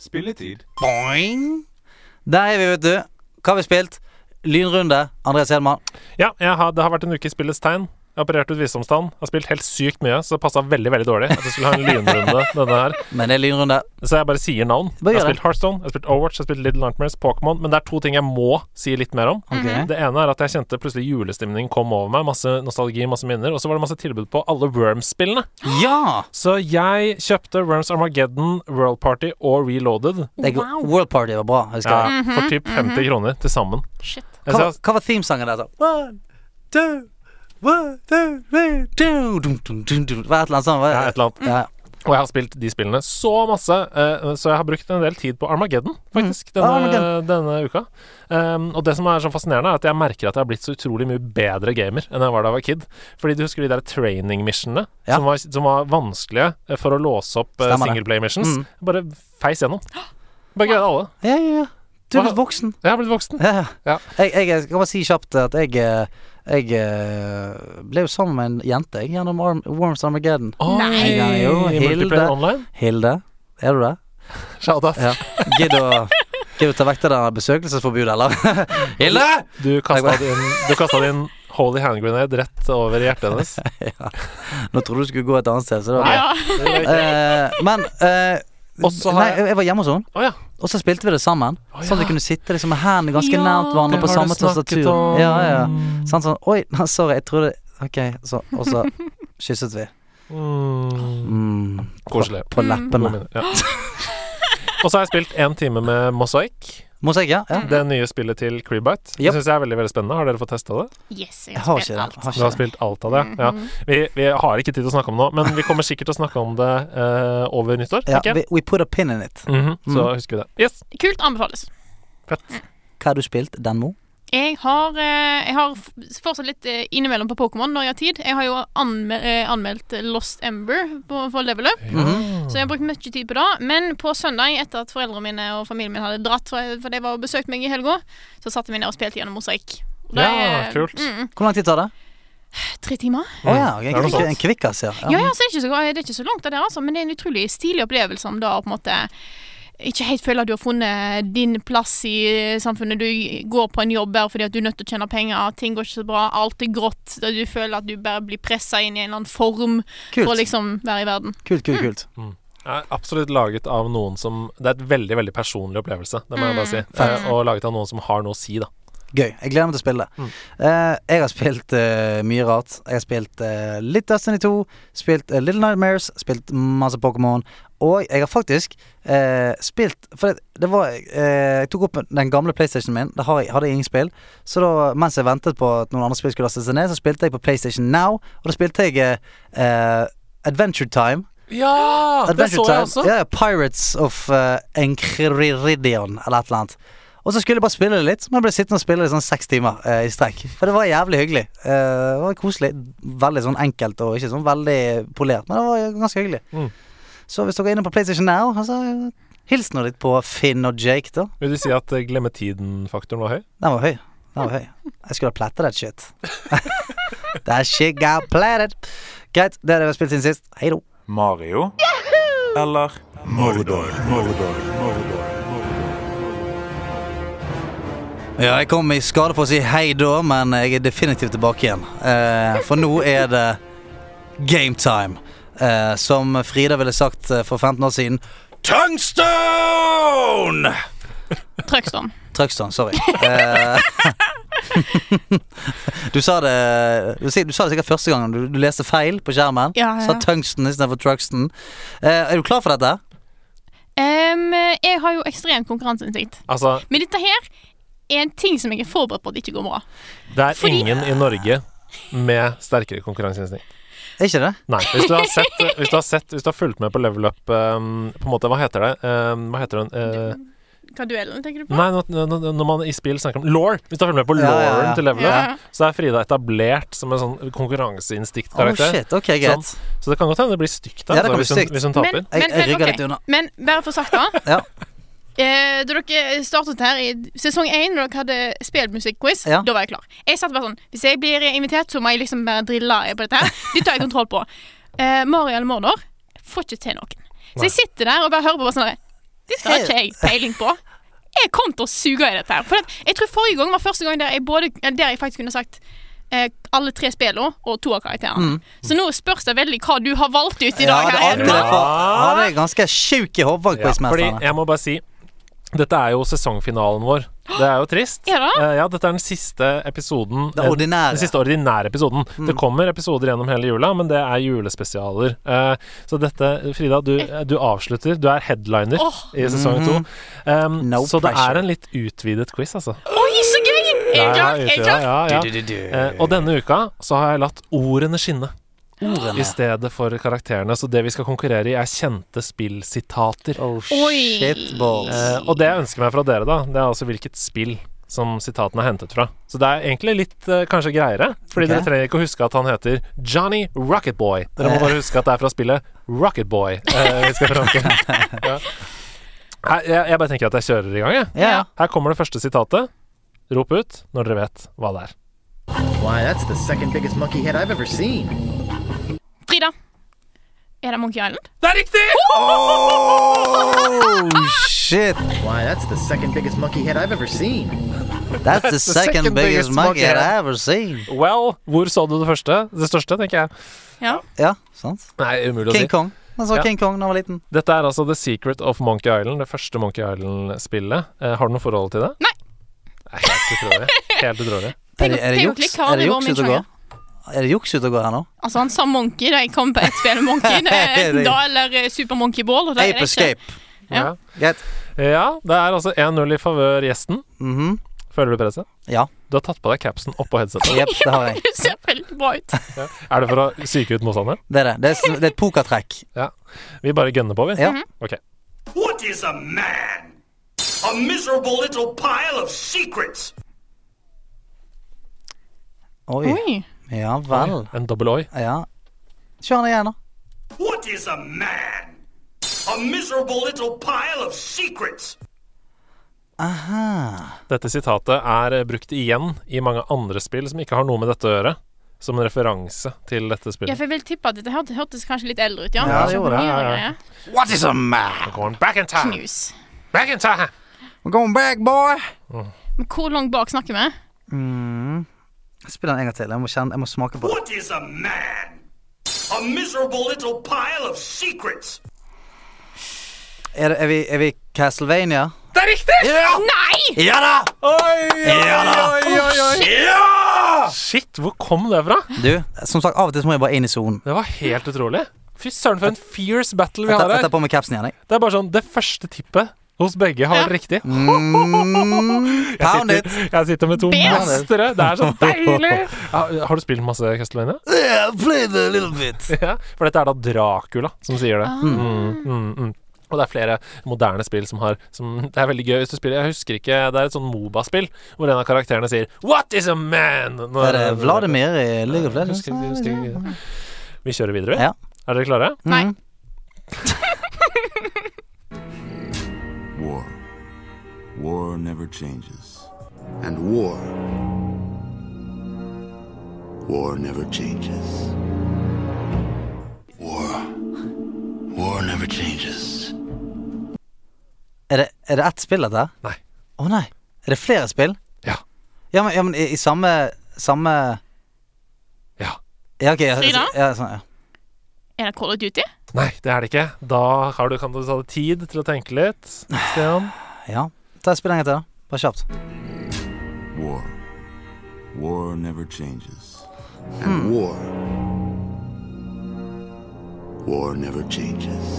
Speaker 7: Spilletid.
Speaker 3: Boing! Der er vi, vet du. Hva har vi spilt? Lynrunde. Andreas Hedman.
Speaker 4: Ja, jeg har, det har vært en uke i spillets tegn. Jeg har operert ut visdomstann. Har spilt helt sykt mye, så det passa veldig veldig dårlig at jeg skulle ha en lynrunde. denne her
Speaker 3: Men det er lynrunde.
Speaker 4: Så jeg bare sier navn.
Speaker 3: Bare gjør
Speaker 4: jeg har
Speaker 3: det.
Speaker 4: spilt Heartstone, jeg har spilt Overwatch, jeg har spilt Little Nightmares, Pokémon. Men det er to ting jeg må si litt mer om.
Speaker 3: Ok.
Speaker 4: Det ene er at jeg kjente plutselig julestemningen kom over meg. Masse nostalgi, masse minner. Og så var det masse tilbud på alle Worms-spillene.
Speaker 3: Ja!
Speaker 4: Så jeg kjøpte Worms Armageddon, World Party og Reloaded.
Speaker 3: Det er,
Speaker 1: Wow.
Speaker 3: World Party var bra. Husker jeg.
Speaker 4: Ja, for typ 50 kroner til sammen.
Speaker 1: Shit.
Speaker 4: Jeg
Speaker 3: Hva,
Speaker 4: ser
Speaker 3: var- hva var themesangen der? så? One, two, one,
Speaker 6: uh,
Speaker 3: two, three, two. Dum, dum, dum, dum. Det var et eller annet sånt.
Speaker 4: Ja, et eller annet.
Speaker 3: Ja.
Speaker 4: Og jeg har spilt de spillene så masse, eh, så jeg har brukt en del tid på Armageddon, faktisk,
Speaker 3: Mm.
Speaker 4: denne,
Speaker 3: Armageddon.
Speaker 4: denne uka. Um, og det som er så fascinerende, er at jeg merker at jeg har blitt så utrolig mye bedre gamer enn jeg var da jeg var kid. Fordi du husker de der training missionene,
Speaker 3: Ja.
Speaker 4: som, var, som var vanskelige eh, for å låse opp uh,
Speaker 3: Stemmer det.
Speaker 4: singleplay missions.
Speaker 3: Mm.
Speaker 4: Bare feis gjennom. Bare greide alle.
Speaker 3: ja, ja, ja. Du er
Speaker 4: Hva-
Speaker 3: blitt voksen.
Speaker 4: Jeg har blitt voksen.
Speaker 3: Ja.
Speaker 4: Ja.
Speaker 3: Jeg, jeg skal bare si kjapt at jeg, eh, jeg eh, ble jo sammen med en jente jeg, gjennom Arm, Worms Armageddon.
Speaker 4: Oi,
Speaker 1: Nei.
Speaker 3: Ja, jo,
Speaker 4: i
Speaker 3: Hilde.
Speaker 4: multiplayer online.
Speaker 3: Hilde, er du det?
Speaker 4: Shout out.
Speaker 3: Ja. Gidd å gidd å ta vekk det der besøkelsesforbudet, eller? Hilde!
Speaker 4: Du kasta
Speaker 3: Takk.
Speaker 4: din, du kastet din holy hand grenade rett over i hjertet hennes.
Speaker 3: Nå trodde du skulle gå et annet sted, så det var bra.
Speaker 1: Ja.
Speaker 3: Eh, men eh,
Speaker 4: Og så har
Speaker 3: Nei,
Speaker 4: jeg-
Speaker 3: jeg, jeg var hjemme hos henne,
Speaker 4: Å ja.
Speaker 3: og så spilte vi det sammen.
Speaker 4: Å,
Speaker 3: Sånn at
Speaker 4: ja.
Speaker 3: vi kunne sitte liksom med hendene ganske
Speaker 1: Ja.
Speaker 3: nært hverandre
Speaker 4: Det
Speaker 3: på
Speaker 4: har
Speaker 3: samme
Speaker 4: du snakket
Speaker 3: tastatur.
Speaker 4: om.
Speaker 3: Ja, ja. Sånn sånn Oi, sorry, jeg trodde Ok, så, og så kysset vi.
Speaker 4: Mm.
Speaker 3: Mm,
Speaker 4: Koselig.
Speaker 3: på leppene.
Speaker 4: Gode minner, Ja. Og så har jeg spilt én time med Mosaic,
Speaker 3: Mosaikk, ja. ja.
Speaker 4: det nye spillet til Creebite. Det
Speaker 3: Yep.
Speaker 4: syns jeg er veldig veldig spennende. Har dere fått testa det?
Speaker 1: Yes, jeg
Speaker 3: Jeg har
Speaker 1: har
Speaker 3: ikke
Speaker 1: spilt
Speaker 3: det.
Speaker 1: alt.
Speaker 3: Har
Speaker 4: Du har
Speaker 3: ikke det.
Speaker 4: spilt alt av det?
Speaker 1: Mm-hmm.
Speaker 4: Ja. Vi, vi har ikke tid til å snakke om det nå, men vi kommer sikkert til å snakke om det eh, over nyttår.
Speaker 3: Ja, Mm.
Speaker 4: tenker jeg.
Speaker 3: we, we put a pin in it.
Speaker 4: Mhm, Så husker vi det. Yes!
Speaker 1: Kult anbefales.
Speaker 4: Fett.
Speaker 3: Hva har du spilt, Denmo?
Speaker 1: Jeg har, eh, jeg har f- fortsatt litt eh, innimellom på Pokémon når jeg har tid. Jeg har jo anme eh, anmeldt Lost Ember på, for level up,
Speaker 4: Mhm.
Speaker 1: så jeg har brukt mye tid på det. Men på søndag, etter at foreldrene mine og familien min hadde dratt, for, for de var og besøkte meg i helga, så satte vi ned og spilte gjennom mosaikk. Og det
Speaker 4: Ja,
Speaker 1: er
Speaker 4: kult.
Speaker 3: Hvor lang tid tar det?
Speaker 1: tre timer.
Speaker 3: Å ja, ok,
Speaker 4: er noe
Speaker 3: en,
Speaker 4: sånt.
Speaker 3: en kvikkas, ja.
Speaker 1: Ja,
Speaker 3: ja.
Speaker 1: ja, så det er, ikke så, det er ikke så langt av det, altså, men det er en utrolig stilig opplevelse om da å på en måte ikke helt føle at du har funnet din plass i samfunnet. Du går på en jobb bare fordi at du er nødt til å tjene penger, ting går ikke så bra, alt er grått. og Du føler at du bare blir pressa inn i en eller annen form for å
Speaker 3: Kult,
Speaker 1: liksom være i verden.
Speaker 3: kult, kult. kult.
Speaker 4: er absolutt laget av noen som Det er et veldig veldig personlig opplevelse, det må jeg bare si.
Speaker 3: Mm. Fett.
Speaker 4: Eh, og laget av noen som har noe å si, da.
Speaker 3: Gøy. Jeg gleder meg til å spille det. Eh, jeg har spilt eh, mye rart. Jeg har spilt eh, litt Destiny 2, spilt eh, Little Nightmares, spilt masse Pokémon. Og jeg har faktisk eh, spilt For det, det var eh, Jeg tok opp den gamle PlayStationen min. Da har jeg, hadde jeg ingen spill. Så da, mens jeg ventet på at noen andre spill skulle laste seg ned, så spilte jeg på PlayStation Now, og da spilte jeg eh, eh, Adventure Time.
Speaker 4: Ja! Det
Speaker 3: Adventure
Speaker 4: så jeg også.
Speaker 3: Time. Ja, ja, Pirates of uh, Enkriridion, eller et eller annet. Og så skulle jeg bare spille det litt, men jeg ble sittende og spille det i sånn seks timer eh, i strekk. For det var jævlig hyggelig. Eh, det var koselig. Veldig sånn enkelt og ikke sånn veldig polert, men det var ganske hyggelig.
Speaker 4: Mm.
Speaker 3: Så hvis dere er inne på PlayStation Now, altså, hils nå litt på Finn og Jake, da.
Speaker 4: Vil du si at eh, glemmetiden-faktoren var høy?
Speaker 3: Den var høy. Den var høy. Jeg skulle ha platta that shit. that shit got platted. Greit, det er det vi har spilt siden sist. Hei då.
Speaker 7: Mario eller Mordor.
Speaker 3: Ja, jeg kom i skade for å si hei da, men jeg er definitivt tilbake igjen. Eh, for nå er det game time. Eh, som Frida ville sagt eh, for 15 år siden. Tungstone!
Speaker 1: Trøgstånd.
Speaker 3: Truckstone, sorry. Eh, du, sa det, du, si- du sa det sikkert første gangen. Du, du leste feil på skjermen.
Speaker 1: Ja, ja.
Speaker 3: Sa tungsten istedenfor truckston. Eh, er du klar for dette?
Speaker 1: Em, jeg har jo ekstremt konkurranseinstinkt.
Speaker 4: Altså,
Speaker 1: Men dette her er en ting som jeg er forberedt på at ikke går bra.
Speaker 4: det er
Speaker 1: Fordi-
Speaker 4: ingen i Norge med sterkere konkurranseinstinkt.
Speaker 3: Er ikke det?
Speaker 4: Nei. Hvis du har sett, eh, hvis du har sett, hvis du har fulgt med på level up um, På en måte, hva heter det? Um, hva heter den? Eh,
Speaker 1: Hva duellen tenker du på?
Speaker 4: Nei, når, når, når man i spill snakker om law Hvis du har fulgt med på
Speaker 3: Ja, ja,
Speaker 4: lawen
Speaker 3: ja.
Speaker 4: til level up,
Speaker 1: Ja.
Speaker 4: så er Frida etablert som en sånn
Speaker 3: Oh
Speaker 4: konkurranseinstinktkarakter.
Speaker 3: shit, ok, greit.
Speaker 4: så det kan godt hende det blir stygt da, Altså,
Speaker 3: Ja, det kan bli
Speaker 4: hvis, hun,
Speaker 3: stygt.
Speaker 4: hvis hun taper.
Speaker 3: Jeg- jeg rygger
Speaker 1: ok.
Speaker 3: litt unna.
Speaker 1: Men bare for å sagt det.
Speaker 3: Ja.
Speaker 1: Eh, da dere startet her i sesong én, da dere hadde spillmusikkquiz,
Speaker 3: Ja.
Speaker 1: da var jeg klar. Jeg satt bare sånn Hvis jeg blir invitert, så må jeg liksom bare drille på dette her. Det tar jeg kontroll på. Eh, Mario eller Mordor jeg får ikke til noen. Så jeg sitter der og bare hører på bare sånn der, Dette har ikke jeg peiling på. Jeg kom til å suge i dette her. For at, jeg tror forrige gang var første gang der jeg, både, der jeg faktisk kunne sagt eh, alle tre spillene og to av karakterene. Så nå spørs det veldig hva du har valgt ut i
Speaker 3: Mm. Ja,
Speaker 1: dag.
Speaker 3: det er
Speaker 1: her.
Speaker 3: alltid derfor. Han er ganske sjuk i altså. hodet,
Speaker 4: Ja, fordi eh,
Speaker 3: quizmesterne.
Speaker 4: jeg må bare si dette er jo sesongfinalen vår. Det er jo trist.
Speaker 1: Er det?
Speaker 4: Eh, ja, dette er den siste episoden eh,
Speaker 3: Den ordinære. Mm.
Speaker 4: Den siste ordinære episoden. Det kommer episoder gjennom hele jula, men det er julespesialer. Eh, så dette, Frida, du, du avslutter. Du er headliner
Speaker 1: Åh.
Speaker 4: i sesong to. Um,
Speaker 3: Mm-hmm. No
Speaker 4: så det
Speaker 3: pressure.
Speaker 4: er en litt utvidet quiz, altså.
Speaker 1: Oi, så gøy! Jeg er klar. Jeg er klar.
Speaker 4: Ja, ja, ja. Eh, og denne uka så har jeg latt ordene skinne. I stedet for karakterene. Så det vi skal konkurrere i, er kjente spillsitater.
Speaker 3: Oh
Speaker 1: Oi.
Speaker 3: shit balls.
Speaker 4: Eh, og det jeg ønsker meg fra dere, da, det er altså hvilket spill som sitatene er hentet fra. Så det er egentlig litt eh, kanskje greiere, fordi
Speaker 3: Ok.
Speaker 4: dere trenger ikke å huske at han heter Johnny Rocketboy. Dere må bare huske at det er fra spillet Rocketboy. Eh, vi skal framke. ja. Her- jeg, jeg bare tenker at jeg kjører i gang, jeg.
Speaker 3: Ja, ja.
Speaker 4: Her kommer det første sitatet. Rop ut når dere vet hva det er.
Speaker 5: Why, that's the second biggest monkey head I've ever seen.
Speaker 1: Frida. Er det Monkey Island?
Speaker 4: Det er riktig!
Speaker 3: Oh shit.
Speaker 5: Why, that's the second biggest monkey head I've ever seen.
Speaker 3: That's the second biggest monkey I've ever seen.
Speaker 4: Well, hvor så du det første? Det største, tenker jeg.
Speaker 1: Ja.
Speaker 3: Ja, sant.
Speaker 4: Nei, umulig å si.
Speaker 3: King Kong. Han så
Speaker 4: Ja.
Speaker 3: King Kong da han var liten.
Speaker 4: Dette er altså The Secret of Monkey Island, det første Monkey Island-spillet. Eh, har du noe forhold til det?
Speaker 1: Nei.
Speaker 4: Nei, Helt utrolig. Helt utrolig.
Speaker 3: Er det, er det
Speaker 1: Ping-
Speaker 3: juks
Speaker 1: pingklikk har
Speaker 3: er det
Speaker 1: aldri
Speaker 3: juks ut
Speaker 1: vært
Speaker 3: og
Speaker 1: min
Speaker 3: går? Er det juks ut og går her nå?
Speaker 1: Altså, han sa Monkey da jeg kom på ett spill med Monkey. Det er enten da eller eh, Super Monkey Ball. Og da er
Speaker 3: Ape
Speaker 1: det ikke.
Speaker 3: Escape.
Speaker 4: Ja.
Speaker 1: Ja.
Speaker 3: Greit.
Speaker 4: ja, det er altså 1-0 i favør gjesten.
Speaker 3: Mhm.
Speaker 4: Føler du presset?
Speaker 3: Ja.
Speaker 4: Du har tatt på deg capsen oppå headsetet.
Speaker 3: Jep, det har jeg.
Speaker 1: Du ser veldig bra ut.
Speaker 4: Er det for å psyke ut motstanderen?
Speaker 3: Det er det. Det er, s- det er et pokertrekk.
Speaker 4: Ja. Vi bare gønner på, vi.
Speaker 3: Ja.
Speaker 1: Mhm.
Speaker 4: Ok.
Speaker 8: What is a man? A miserable little pile of secrets.
Speaker 3: Oi.
Speaker 1: Oi.
Speaker 3: Ja vel.
Speaker 4: En dobbel oi.
Speaker 3: Ja. Kjør han igjen, da.
Speaker 8: What is a man? A miserable little pile of secrets.
Speaker 4: Dette sitatet er eh, brukt igjen i mange andre spill som ikke har noe med dette å gjøre. Som en referanse til dette
Speaker 1: Ja,
Speaker 4: spillet.
Speaker 1: for jeg vil tippe at dette hørtes, hørtes kanskje litt eldre ut, ja.
Speaker 3: Ja, det
Speaker 1: Kanskje
Speaker 3: gjorde det,
Speaker 1: nyere
Speaker 4: ja, ja.
Speaker 1: greier.
Speaker 3: What is a man?
Speaker 4: Going back in time!
Speaker 1: Knus.
Speaker 4: Back in time!
Speaker 3: We're going back, boy.
Speaker 1: Men hvor langt bak snakker vi?
Speaker 3: Spill den en gang til. Jeg må, kjenne, jeg må smake på det.
Speaker 8: What is a man? A miserable little pile of secrets.
Speaker 3: Er, det- er, vi, er vi Castlevania?
Speaker 4: Det er riktig!
Speaker 3: Ja!
Speaker 1: Nei!
Speaker 3: Ja da!
Speaker 4: Oi,
Speaker 3: Ja da!
Speaker 4: oi, oi, oi.
Speaker 7: Ja!
Speaker 4: Shit, hvor kom det fra?
Speaker 3: Du, som sagt, av og til så må jeg bare inn i sonen.
Speaker 4: Det var helt utrolig. Fy søren, for en fierce battle vi
Speaker 3: Jeg
Speaker 4: har
Speaker 3: tar jeg
Speaker 4: her.
Speaker 3: tar på meg capsen igjen, jeg.
Speaker 4: Det er bare sånn, det første tippet hos begge har
Speaker 1: Ja.
Speaker 4: vært riktig.
Speaker 3: Mm,
Speaker 4: Jeg
Speaker 3: pound it!
Speaker 4: sitter, jeg sitter med to
Speaker 1: Best.
Speaker 4: mestere. Det er så deilig! Ja, har du spilt masse Castlevania?
Speaker 6: Yeah, I played a little bit.
Speaker 4: Ja, for dette er da Dracula som sier det.
Speaker 1: Ah.
Speaker 4: Mm, mm, mm. Og det er flere moderne spill som har som, Det er veldig gøy hvis du spiller Jeg husker ikke Det er et sånn Moba-spill hvor en av karakterene sier 'What is a man?' Når,
Speaker 3: Er det Vladimir i League of
Speaker 4: Jeg
Speaker 3: Legends?
Speaker 4: husker ikke- jeg husker ikke. Vi kjører videre, vi.
Speaker 3: Ja.
Speaker 4: Er dere klare?
Speaker 1: Nei.
Speaker 6: War. War never changes. And war. War never changes. War. War never changes.
Speaker 3: Er det, er det ett spill, dette? her?
Speaker 4: Nei.
Speaker 3: Å nei. Er det flere spill?
Speaker 4: Ja.
Speaker 3: Ja, men, ja, men i, i samme, samme
Speaker 4: Ja.
Speaker 3: Ja, ok. Ja,
Speaker 1: Frida?
Speaker 3: ja, sånn, ja.
Speaker 1: Er det Call of Duty?
Speaker 4: Nei, det er det ikke. Da har du, kan du ta deg tid til å tenke litt, Stian.
Speaker 3: ja. Ta et spill en gang til, da. Bare kjapt.
Speaker 6: War. War never changes. And war. War never changes.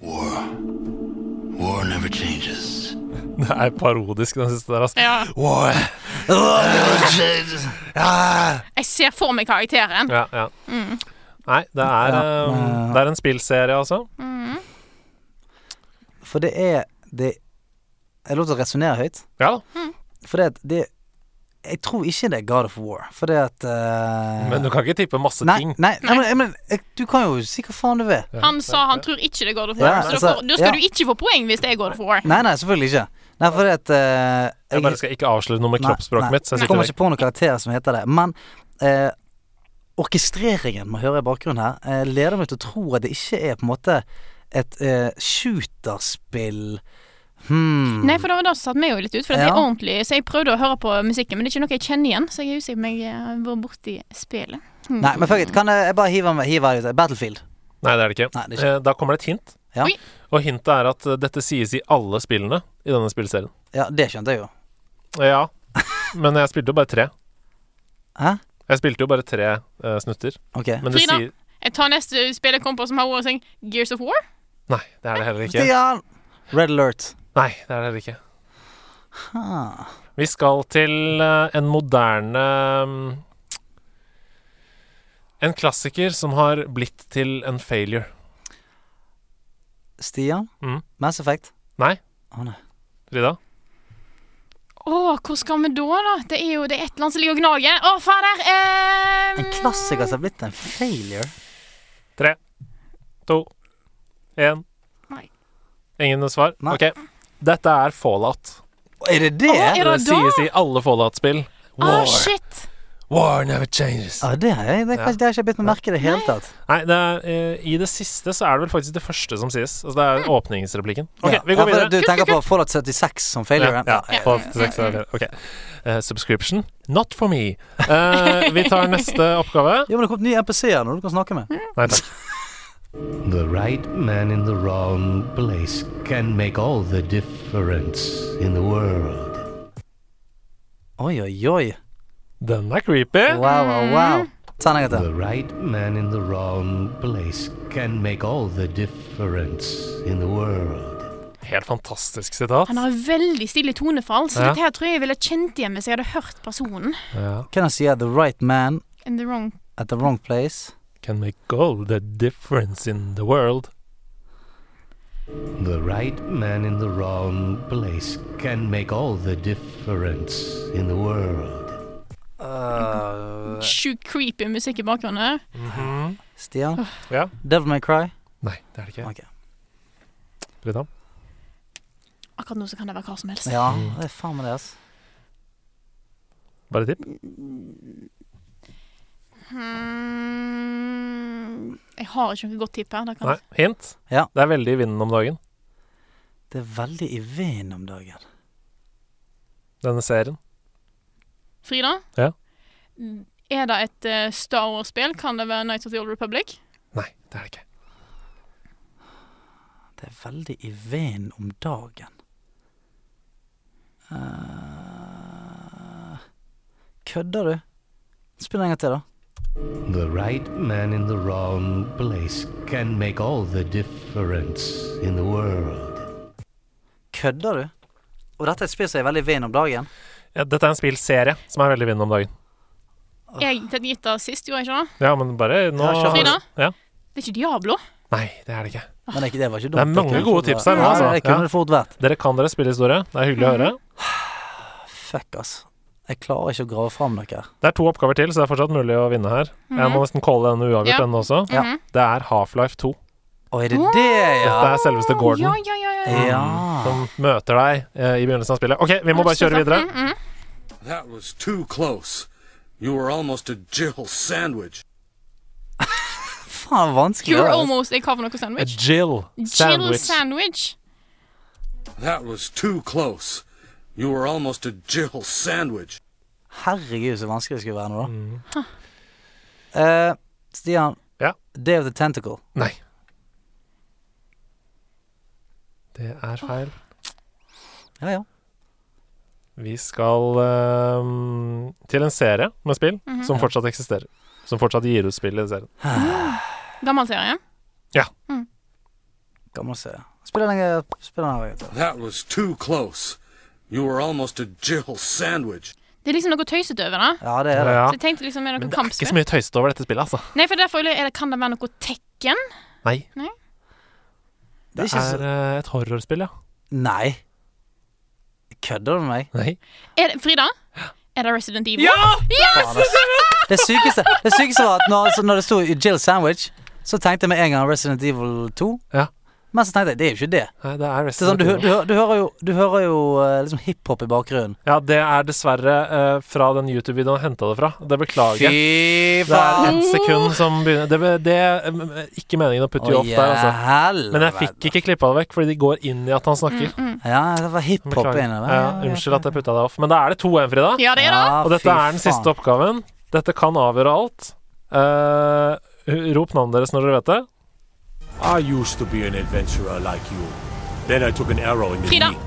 Speaker 6: War. War never changes.
Speaker 4: Det er parodisk, den siste der, altså.
Speaker 1: Ja.
Speaker 4: Wow.
Speaker 1: Jeg ser for meg karakteren.
Speaker 4: Ja, ja. Nei, det er, eh, det er en spillserie, altså.
Speaker 3: For det er det, Er det lov til å resonnere høyt?
Speaker 4: Ja da.
Speaker 3: For det, at det Jeg tror ikke det er God of War. For det at eh,
Speaker 4: Men du kan ikke tippe masse
Speaker 3: nei,
Speaker 4: ting.
Speaker 3: nei, nei, men, men eh, du kan jo si hva faen du vil.
Speaker 1: Han sa han tror ikke det går for
Speaker 3: Ja,
Speaker 1: War, så da
Speaker 3: altså,
Speaker 1: får- da skal
Speaker 3: ja.
Speaker 1: du ikke få poeng hvis det er God of War.
Speaker 3: Nei, nei, selvfølgelig ikke. Nei, for det at eh,
Speaker 4: Jeg bare skal ikke avsløre noe med
Speaker 3: nei,
Speaker 4: kroppsspråket
Speaker 3: nei.
Speaker 4: mitt. Så jeg
Speaker 3: Jeg
Speaker 4: sitter
Speaker 3: kommer
Speaker 4: vekk.
Speaker 3: ikke på noen karakterer som heter det. Men eh, orkestreringen man hører i bakgrunnen her, eh, leder meg til å tro at det ikke er på en måte et eh, shooterspill hmm.
Speaker 4: Mm.
Speaker 1: Nei, for det var det som satte meg jo litt ut, for det er
Speaker 3: Ja.
Speaker 1: ordentlig. Så jeg prøvde å høre på musikken, men det er ikke noe jeg kjenner igjen, så jeg er usikker på om jeg eh, har vært borti spillet.
Speaker 3: Nei, men fuck it. Kan jeg, jeg bare hive meg hive meg ut? Battlefield.
Speaker 4: Nei, det er det ikke.
Speaker 3: Nei, det er ikke.
Speaker 4: Eh, Da kommer det et hint.
Speaker 3: Ja.
Speaker 1: Oi.
Speaker 4: Og hintet er at eh, dette sies i alle spillene i denne spillserien. Eh,
Speaker 3: Ja, det skjønte jeg jo.
Speaker 4: Ja, men jeg spilte jo bare tre.
Speaker 3: Hæ?
Speaker 4: Jeg spilte jo bare tre eh, snutter.
Speaker 3: Ok.
Speaker 4: Men det
Speaker 1: Frida?
Speaker 4: sier
Speaker 1: Jeg tar neste spill jeg kom på som har ordet syng Gears of War.
Speaker 4: Nei, det er det heller ikke.
Speaker 3: Stian! Red alert.
Speaker 4: Nei, det er det heller ikke. Vi skal til eh, en moderne mm, En klassiker som har blitt til en failure.
Speaker 3: Stian?
Speaker 4: Mm.
Speaker 3: Mass Effect?
Speaker 4: Nei,
Speaker 3: Å nei.
Speaker 4: Frida?
Speaker 1: Å, hvor skal vi da, da? Det er jo det er et eller annet som ligger og gnager. Å, fader! ehm,
Speaker 3: En klassiker som har blitt en failure?
Speaker 4: Tre, to, én.
Speaker 1: Nei.
Speaker 4: Ingen svar?
Speaker 3: Nei.
Speaker 4: Ok. Dette er fallout.
Speaker 3: Er det det?
Speaker 1: Å, er
Speaker 4: Det
Speaker 1: det da?
Speaker 4: sies i alle fallout-spill.
Speaker 1: Ah,
Speaker 4: War.
Speaker 1: shit!
Speaker 4: War never changes.
Speaker 3: Ja, det, har jeg- det,
Speaker 4: Ja.
Speaker 3: det, det har jeg ikke bitt meg merke i det hele tatt.
Speaker 4: Nei, det er, eh, i det siste så er det vel faktisk det første som sies. Altså, det
Speaker 1: Hm.
Speaker 4: er åpningsreplikken. OK,
Speaker 3: Ja.
Speaker 4: vi
Speaker 3: Ja,
Speaker 4: går
Speaker 3: for
Speaker 4: videre.
Speaker 3: Du tenker på Fallout 76 som failure?
Speaker 4: Ja, ja, på seks av fire. Ok. Eh, subscription? Not for me. Eh, vi tar neste oppgave.
Speaker 3: Jo, men det kom nye NPC-er når du kan snakke med.
Speaker 4: Nei takk.
Speaker 9: The right man in the wrong place can make all the difference in the world.
Speaker 3: Oi, oi, oi.
Speaker 4: Den er creepy.
Speaker 3: Wow, wow, wow. Ta en gang til.
Speaker 9: The right man in the wrong place can make all the difference in the world.
Speaker 4: Helt fantastisk sitat.
Speaker 1: Han har veldig stilig tonefall, så
Speaker 4: Ja.
Speaker 1: dette her tror jeg jeg ville kjent igjen hvis jeg hadde hørt personen.
Speaker 4: Ja.
Speaker 3: Kan jeg si at the right man
Speaker 1: In the wrong
Speaker 3: at the wrong place?
Speaker 4: Can make all the difference in the world.
Speaker 9: The right man in the wrong place can make all the difference in the world.
Speaker 3: Uh,
Speaker 1: sjukt creepy musikk i bakgrunnen her.
Speaker 3: Stian?
Speaker 4: Ja.
Speaker 3: Devil May Cry?
Speaker 4: Nei, det er det ikke.
Speaker 3: Ok.
Speaker 4: Frida?
Speaker 1: Akkurat nå så kan det være hva som helst.
Speaker 3: Ja, det er faen meg det, ass.
Speaker 4: Bare tipp.
Speaker 1: Mm, jeg har ikke noe godt tipp her. Det kan
Speaker 4: Nei. Hint?
Speaker 3: Ja.
Speaker 4: Det er veldig i vinden om dagen,
Speaker 3: Det er veldig i vinden om dagen.
Speaker 4: denne serien.
Speaker 1: Frida?
Speaker 4: Ja.
Speaker 1: Er det et eh, Star Wars-spill? Kan det være Nights of the Old Republic?
Speaker 4: Nei, det er det ikke.
Speaker 3: Det er veldig i veien om dagen. Eh, kødder du? Spill en gang til, da.
Speaker 9: The right man in the wrong place can make all the difference in the world.
Speaker 3: Kødder du? Og dette er et spill som er veldig i veien om dagen.
Speaker 4: Ja, dette er en spillserie som er veldig vinnende om dagen. Ah.
Speaker 1: Jeg gitt det sist, gjorde jeg ikke det?
Speaker 4: Ja, men bare nå
Speaker 3: Ja, kjør.
Speaker 1: Frida?
Speaker 4: Ja.
Speaker 1: Det er ikke Diablo.
Speaker 4: Nei, det er det ikke.
Speaker 3: Men det, er ikke- det var ikke dumt.
Speaker 4: Det er mange
Speaker 3: kunne
Speaker 4: gode
Speaker 3: fort
Speaker 4: tips
Speaker 3: vært-
Speaker 4: her nå, altså.
Speaker 3: Ja, det kunne
Speaker 4: Ja.
Speaker 3: det fort vært.
Speaker 4: Dere kan deres spillhistorie. Det er hyggelig å høre.
Speaker 3: Fuck, ass. Jeg klarer ikke å grave fram noe her.
Speaker 4: Det er to oppgaver til, så det er fortsatt mulig å vinne her. Jeg må nesten calle denne uavgjort,
Speaker 1: Mhm. Ja.
Speaker 4: denne også.
Speaker 1: Mhm.
Speaker 4: Det er Half-Life 2.
Speaker 3: Å, er det det, ja?
Speaker 4: Dette er selveste
Speaker 1: Å,
Speaker 4: Gordon
Speaker 1: Ja, ja, ja,
Speaker 4: Mm.
Speaker 1: ja.
Speaker 3: Ja.
Speaker 4: som møter deg eh, i begynnelsen av spillet. OK, vi må bare kjøre videre.
Speaker 1: Mm, mm.
Speaker 2: That was too close. You were almost a Jill sandwich.
Speaker 3: Faen, vanskelig.
Speaker 1: You're
Speaker 3: det er.
Speaker 1: almost a cover noe
Speaker 4: A
Speaker 1: sandwich.
Speaker 4: Jill
Speaker 1: Chill
Speaker 4: sandwich.
Speaker 1: sandwich.
Speaker 2: That was too close. You were almost a Jill sandwich.
Speaker 3: Herregud, så vanskelig det skulle være nå, da. Eh, Stian.
Speaker 4: Mm. Ja.
Speaker 3: Day of the Tentacle.
Speaker 4: Nei. Det er feil.
Speaker 3: Ja, ja.
Speaker 4: Vi skal eh, til en serie med spill
Speaker 1: Mhm.
Speaker 4: som fortsatt eksisterer. Som fortsatt gir ut spill i serien.
Speaker 1: Gammel serie.
Speaker 3: Gammel serie. Spill den spill den en gang til.
Speaker 2: That was too close. You were almost a Jill sandwich.
Speaker 1: Det er liksom noe tøysete over det.
Speaker 3: Ja, det er det.
Speaker 4: Ja.
Speaker 1: Så jeg tenkte liksom er
Speaker 4: Men
Speaker 1: det noe
Speaker 4: det er ikke så
Speaker 1: kampspill.
Speaker 4: mye tøyst over dette spillet, altså.
Speaker 1: Nei, for derfor lurer jeg, er det- kan det være noe Tekken?
Speaker 4: Nei.
Speaker 3: Det er
Speaker 4: Det
Speaker 3: ikke så
Speaker 4: er eh, et horrorspill, ja.
Speaker 3: Nei. Kødder du med meg?
Speaker 4: Nei.
Speaker 1: Er det, Frida? Er det Resident Evil?
Speaker 3: Faen, ass. Det sykeste, det sykeste var at når, altså, når det sto Jill Sandwich, så tenkte jeg med en gang Resident Evil 2.
Speaker 4: Ja.
Speaker 3: Men så tenkte jeg det er jo ikke det.
Speaker 4: Nei, det er
Speaker 3: det er sånn,
Speaker 4: Resident
Speaker 3: du, hø- du,
Speaker 4: Evil.
Speaker 3: hø- du hører jo, du hører jo eh, liksom hiphop i bakgrunnen.
Speaker 4: Ja, det er dessverre eh, fra den YouTube-videoen jeg henta det fra. Det beklager jeg.
Speaker 3: Fy
Speaker 4: Det er
Speaker 3: faen!
Speaker 4: ett sekund som begynner Det, det er eh, ikke meningen å putte you off der, altså.
Speaker 3: helvete.
Speaker 4: Men jeg fikk ikke klippa det vekk, fordi de går inn i at han snakker.
Speaker 3: Ja, Mm, det var hiphop
Speaker 4: Beklager.
Speaker 3: inni
Speaker 4: Ja, unnskyld at jeg putta deg off. Men da er det 2-1, Frida.
Speaker 1: Ja, det er det.
Speaker 4: Og dette er den siste oppgaven. Dette kan avgjøre alt. Eh, rop navnet deres når dere vet det.
Speaker 10: I used to be an adventurer like you. Then I took an arrow in the
Speaker 1: Frida.
Speaker 10: knee.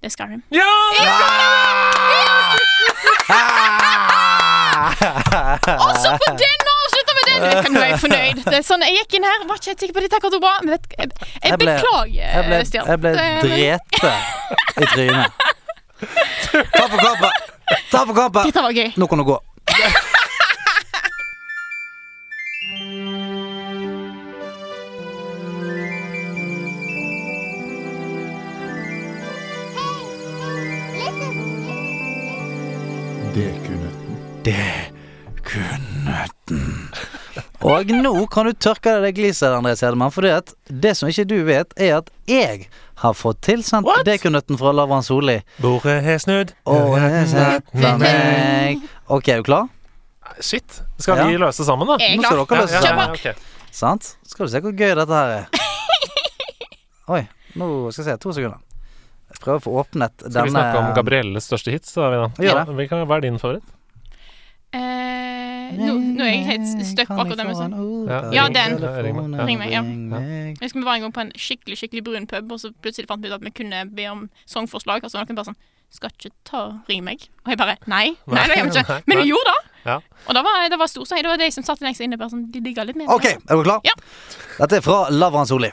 Speaker 1: Det er Skyrim.
Speaker 4: Ja!
Speaker 1: Altså, på den nå avslutter vi den! Vet du, Nå er jeg fornøyd. Det er sånn, Jeg gikk inn her, var ikke helt sikker på at dette akkurat går bra. Men vet, jeg, jeg,
Speaker 3: Jeg ble- Jeg
Speaker 1: beklager,
Speaker 3: ble,
Speaker 1: Stian.
Speaker 3: jeg ble
Speaker 1: Det-
Speaker 3: drete i trynet. Ta for kampen! Ta for kampen!
Speaker 1: Dette var gøy.
Speaker 3: Nå kan du gå.
Speaker 6: Det kunne
Speaker 3: Det kunne Og nå kan du tørke av deg gliset, André Sedemann, for det som ikke du vet, er at jeg har fått tilsendt
Speaker 4: What?
Speaker 3: dekunøtten fra Lavran Solli.
Speaker 4: Bordet har snudd.
Speaker 3: Og
Speaker 1: for meg.
Speaker 3: OK, er du klar?
Speaker 4: Eh, Shit. Skal
Speaker 3: Ja.
Speaker 4: vi løse det sammen, da?
Speaker 1: Jeg er
Speaker 3: Nå skal
Speaker 1: klar.
Speaker 3: dere løse
Speaker 1: ja,
Speaker 3: det.
Speaker 1: ja.
Speaker 4: ok.
Speaker 3: Sant? Skal du se hvor gøy dette her er. Oi, nå skal jeg se. To sekunder. Jeg prøver å få åpnet denne
Speaker 4: Skal vi snakke om Gabrielles største hits? Da, Frida?
Speaker 3: Vi gjør det.
Speaker 4: Vi kan- Hva er din favoritt?
Speaker 1: Eh, nå, nå er jeg helt stuck på akkurat liksom. den musikken. Ja, den. Ring meg, ja. Jeg husker vi var en gang på en skikkelig skikkelig brun pub, og så plutselig fant vi ut at vi kunne be om sangforslag. Og så var noen bare sånn 'Skal ikke ta Ring meg'. Og jeg bare 'Nei, nei, det gjør vi
Speaker 4: Nei,
Speaker 1: ikke'. Men
Speaker 4: nei.
Speaker 1: vi gjorde det.
Speaker 4: Ja.
Speaker 1: Og da var, det var stor seier. Det var de som satt lengst inne, bare sånn De digga litt mer.
Speaker 3: OK, er dere klar?
Speaker 1: Ja.
Speaker 3: Dette er fra Lavran Solli.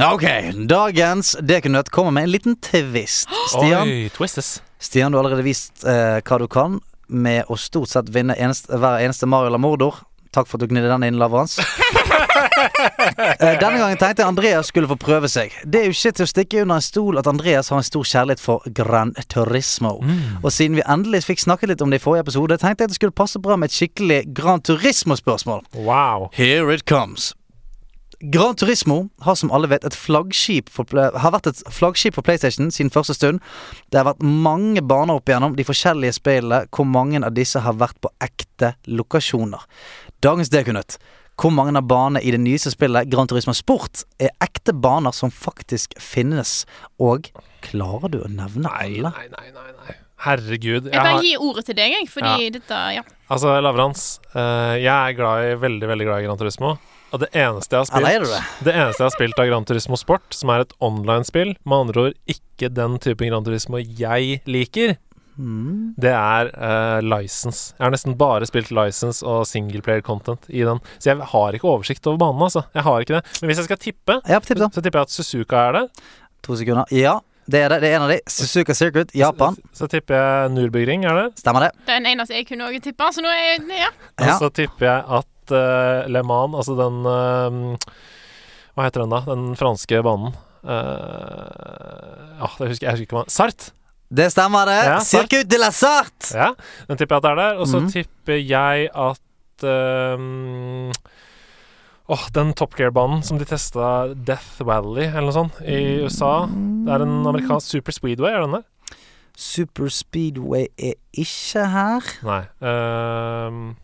Speaker 3: Ok, dagens Dekunøtt kommer med en liten twist. Stian,
Speaker 4: Oi, Twists.
Speaker 3: Stian du har allerede vist eh, hva du kan med å stort sett vinne eneste, hver eneste Mario eller Mordor. Takk for at du gnidde den inn, Lavrans. Eh, Denne gangen tenkte jeg Andreas skulle få prøve seg. Det er jo ikke til å stikke under en stol at Andreas har en stor kjærlighet for Gran Turismo. Og siden vi endelig fikk snakket litt om det i forrige episode, tenkte jeg at det skulle passe bra med et skikkelig Gran Turismo-spørsmål.
Speaker 4: Wow.
Speaker 3: Here it comes. Gran Turismo har som alle vet et flaggskip for, pla- har vært et flaggskip for PlayStation siden første stund. Det har vært mange baner opp igjennom de forskjellige spillene hvor mange av disse har vært på ekte lokasjoner. Dagens Dekunøtt. Hvor mange av banene i det nyeste spillet Gran Turismo Sport er ekte baner som faktisk finnes? Og klarer du å nevne
Speaker 4: Nei,
Speaker 3: alle?
Speaker 4: nei, nei, nei. nei. Herregud.
Speaker 1: Jeg
Speaker 4: Jeg
Speaker 1: bare
Speaker 4: har,
Speaker 1: gir ordet til deg, jeg, fordi dette Ja.
Speaker 4: altså, Lavrans, eh, jeg er glad i, veldig, veldig glad i Gran Turismo. Og det eneste jeg har
Speaker 3: Eller er det
Speaker 4: spilt
Speaker 3: det?
Speaker 4: Det eneste jeg har spilt av Gran Turismo Sport, som er et online-spill, med andre ord ikke den typen Gran Turismo jeg liker,
Speaker 3: Mm.
Speaker 4: det er eh, License. Jeg har nesten bare spilt License og singleplayer-content i den, så jeg har ikke oversikt over banen, altså. Jeg har ikke det. Men hvis jeg skal tippe,
Speaker 3: Ja, tipp da.
Speaker 4: så tipper jeg at Suzuka er der.
Speaker 3: To sekunder. Ja, det er det. Det er en av de. Suzuka Circuit, Japan.
Speaker 4: Så tipper jeg Nürburgring er der.
Speaker 3: Stemmer det.
Speaker 1: Det er den eneste jeg kunne også tippe, så nå er jeg Ja.
Speaker 3: Ja.
Speaker 4: Og så Altså, tipper jeg at eh, Le Mans, altså den eh, Hva heter den da? Den franske banen. Eh, ja, det husker, jeg husker ikke hva Sart!
Speaker 3: Det stemmer det.
Speaker 4: Ja, sant.
Speaker 3: Circuit de la Sarte!
Speaker 4: Ja, den tipper jeg at det er der. Og så
Speaker 3: Mhm.
Speaker 4: tipper jeg at ehm, Åh, den Top Gear-banen som de testa Death Valley eller noe sånt i USA. Det er en amerikansk Super Speedway, er den der?
Speaker 3: Super Speedway er ikke her.
Speaker 4: Nei. ehm,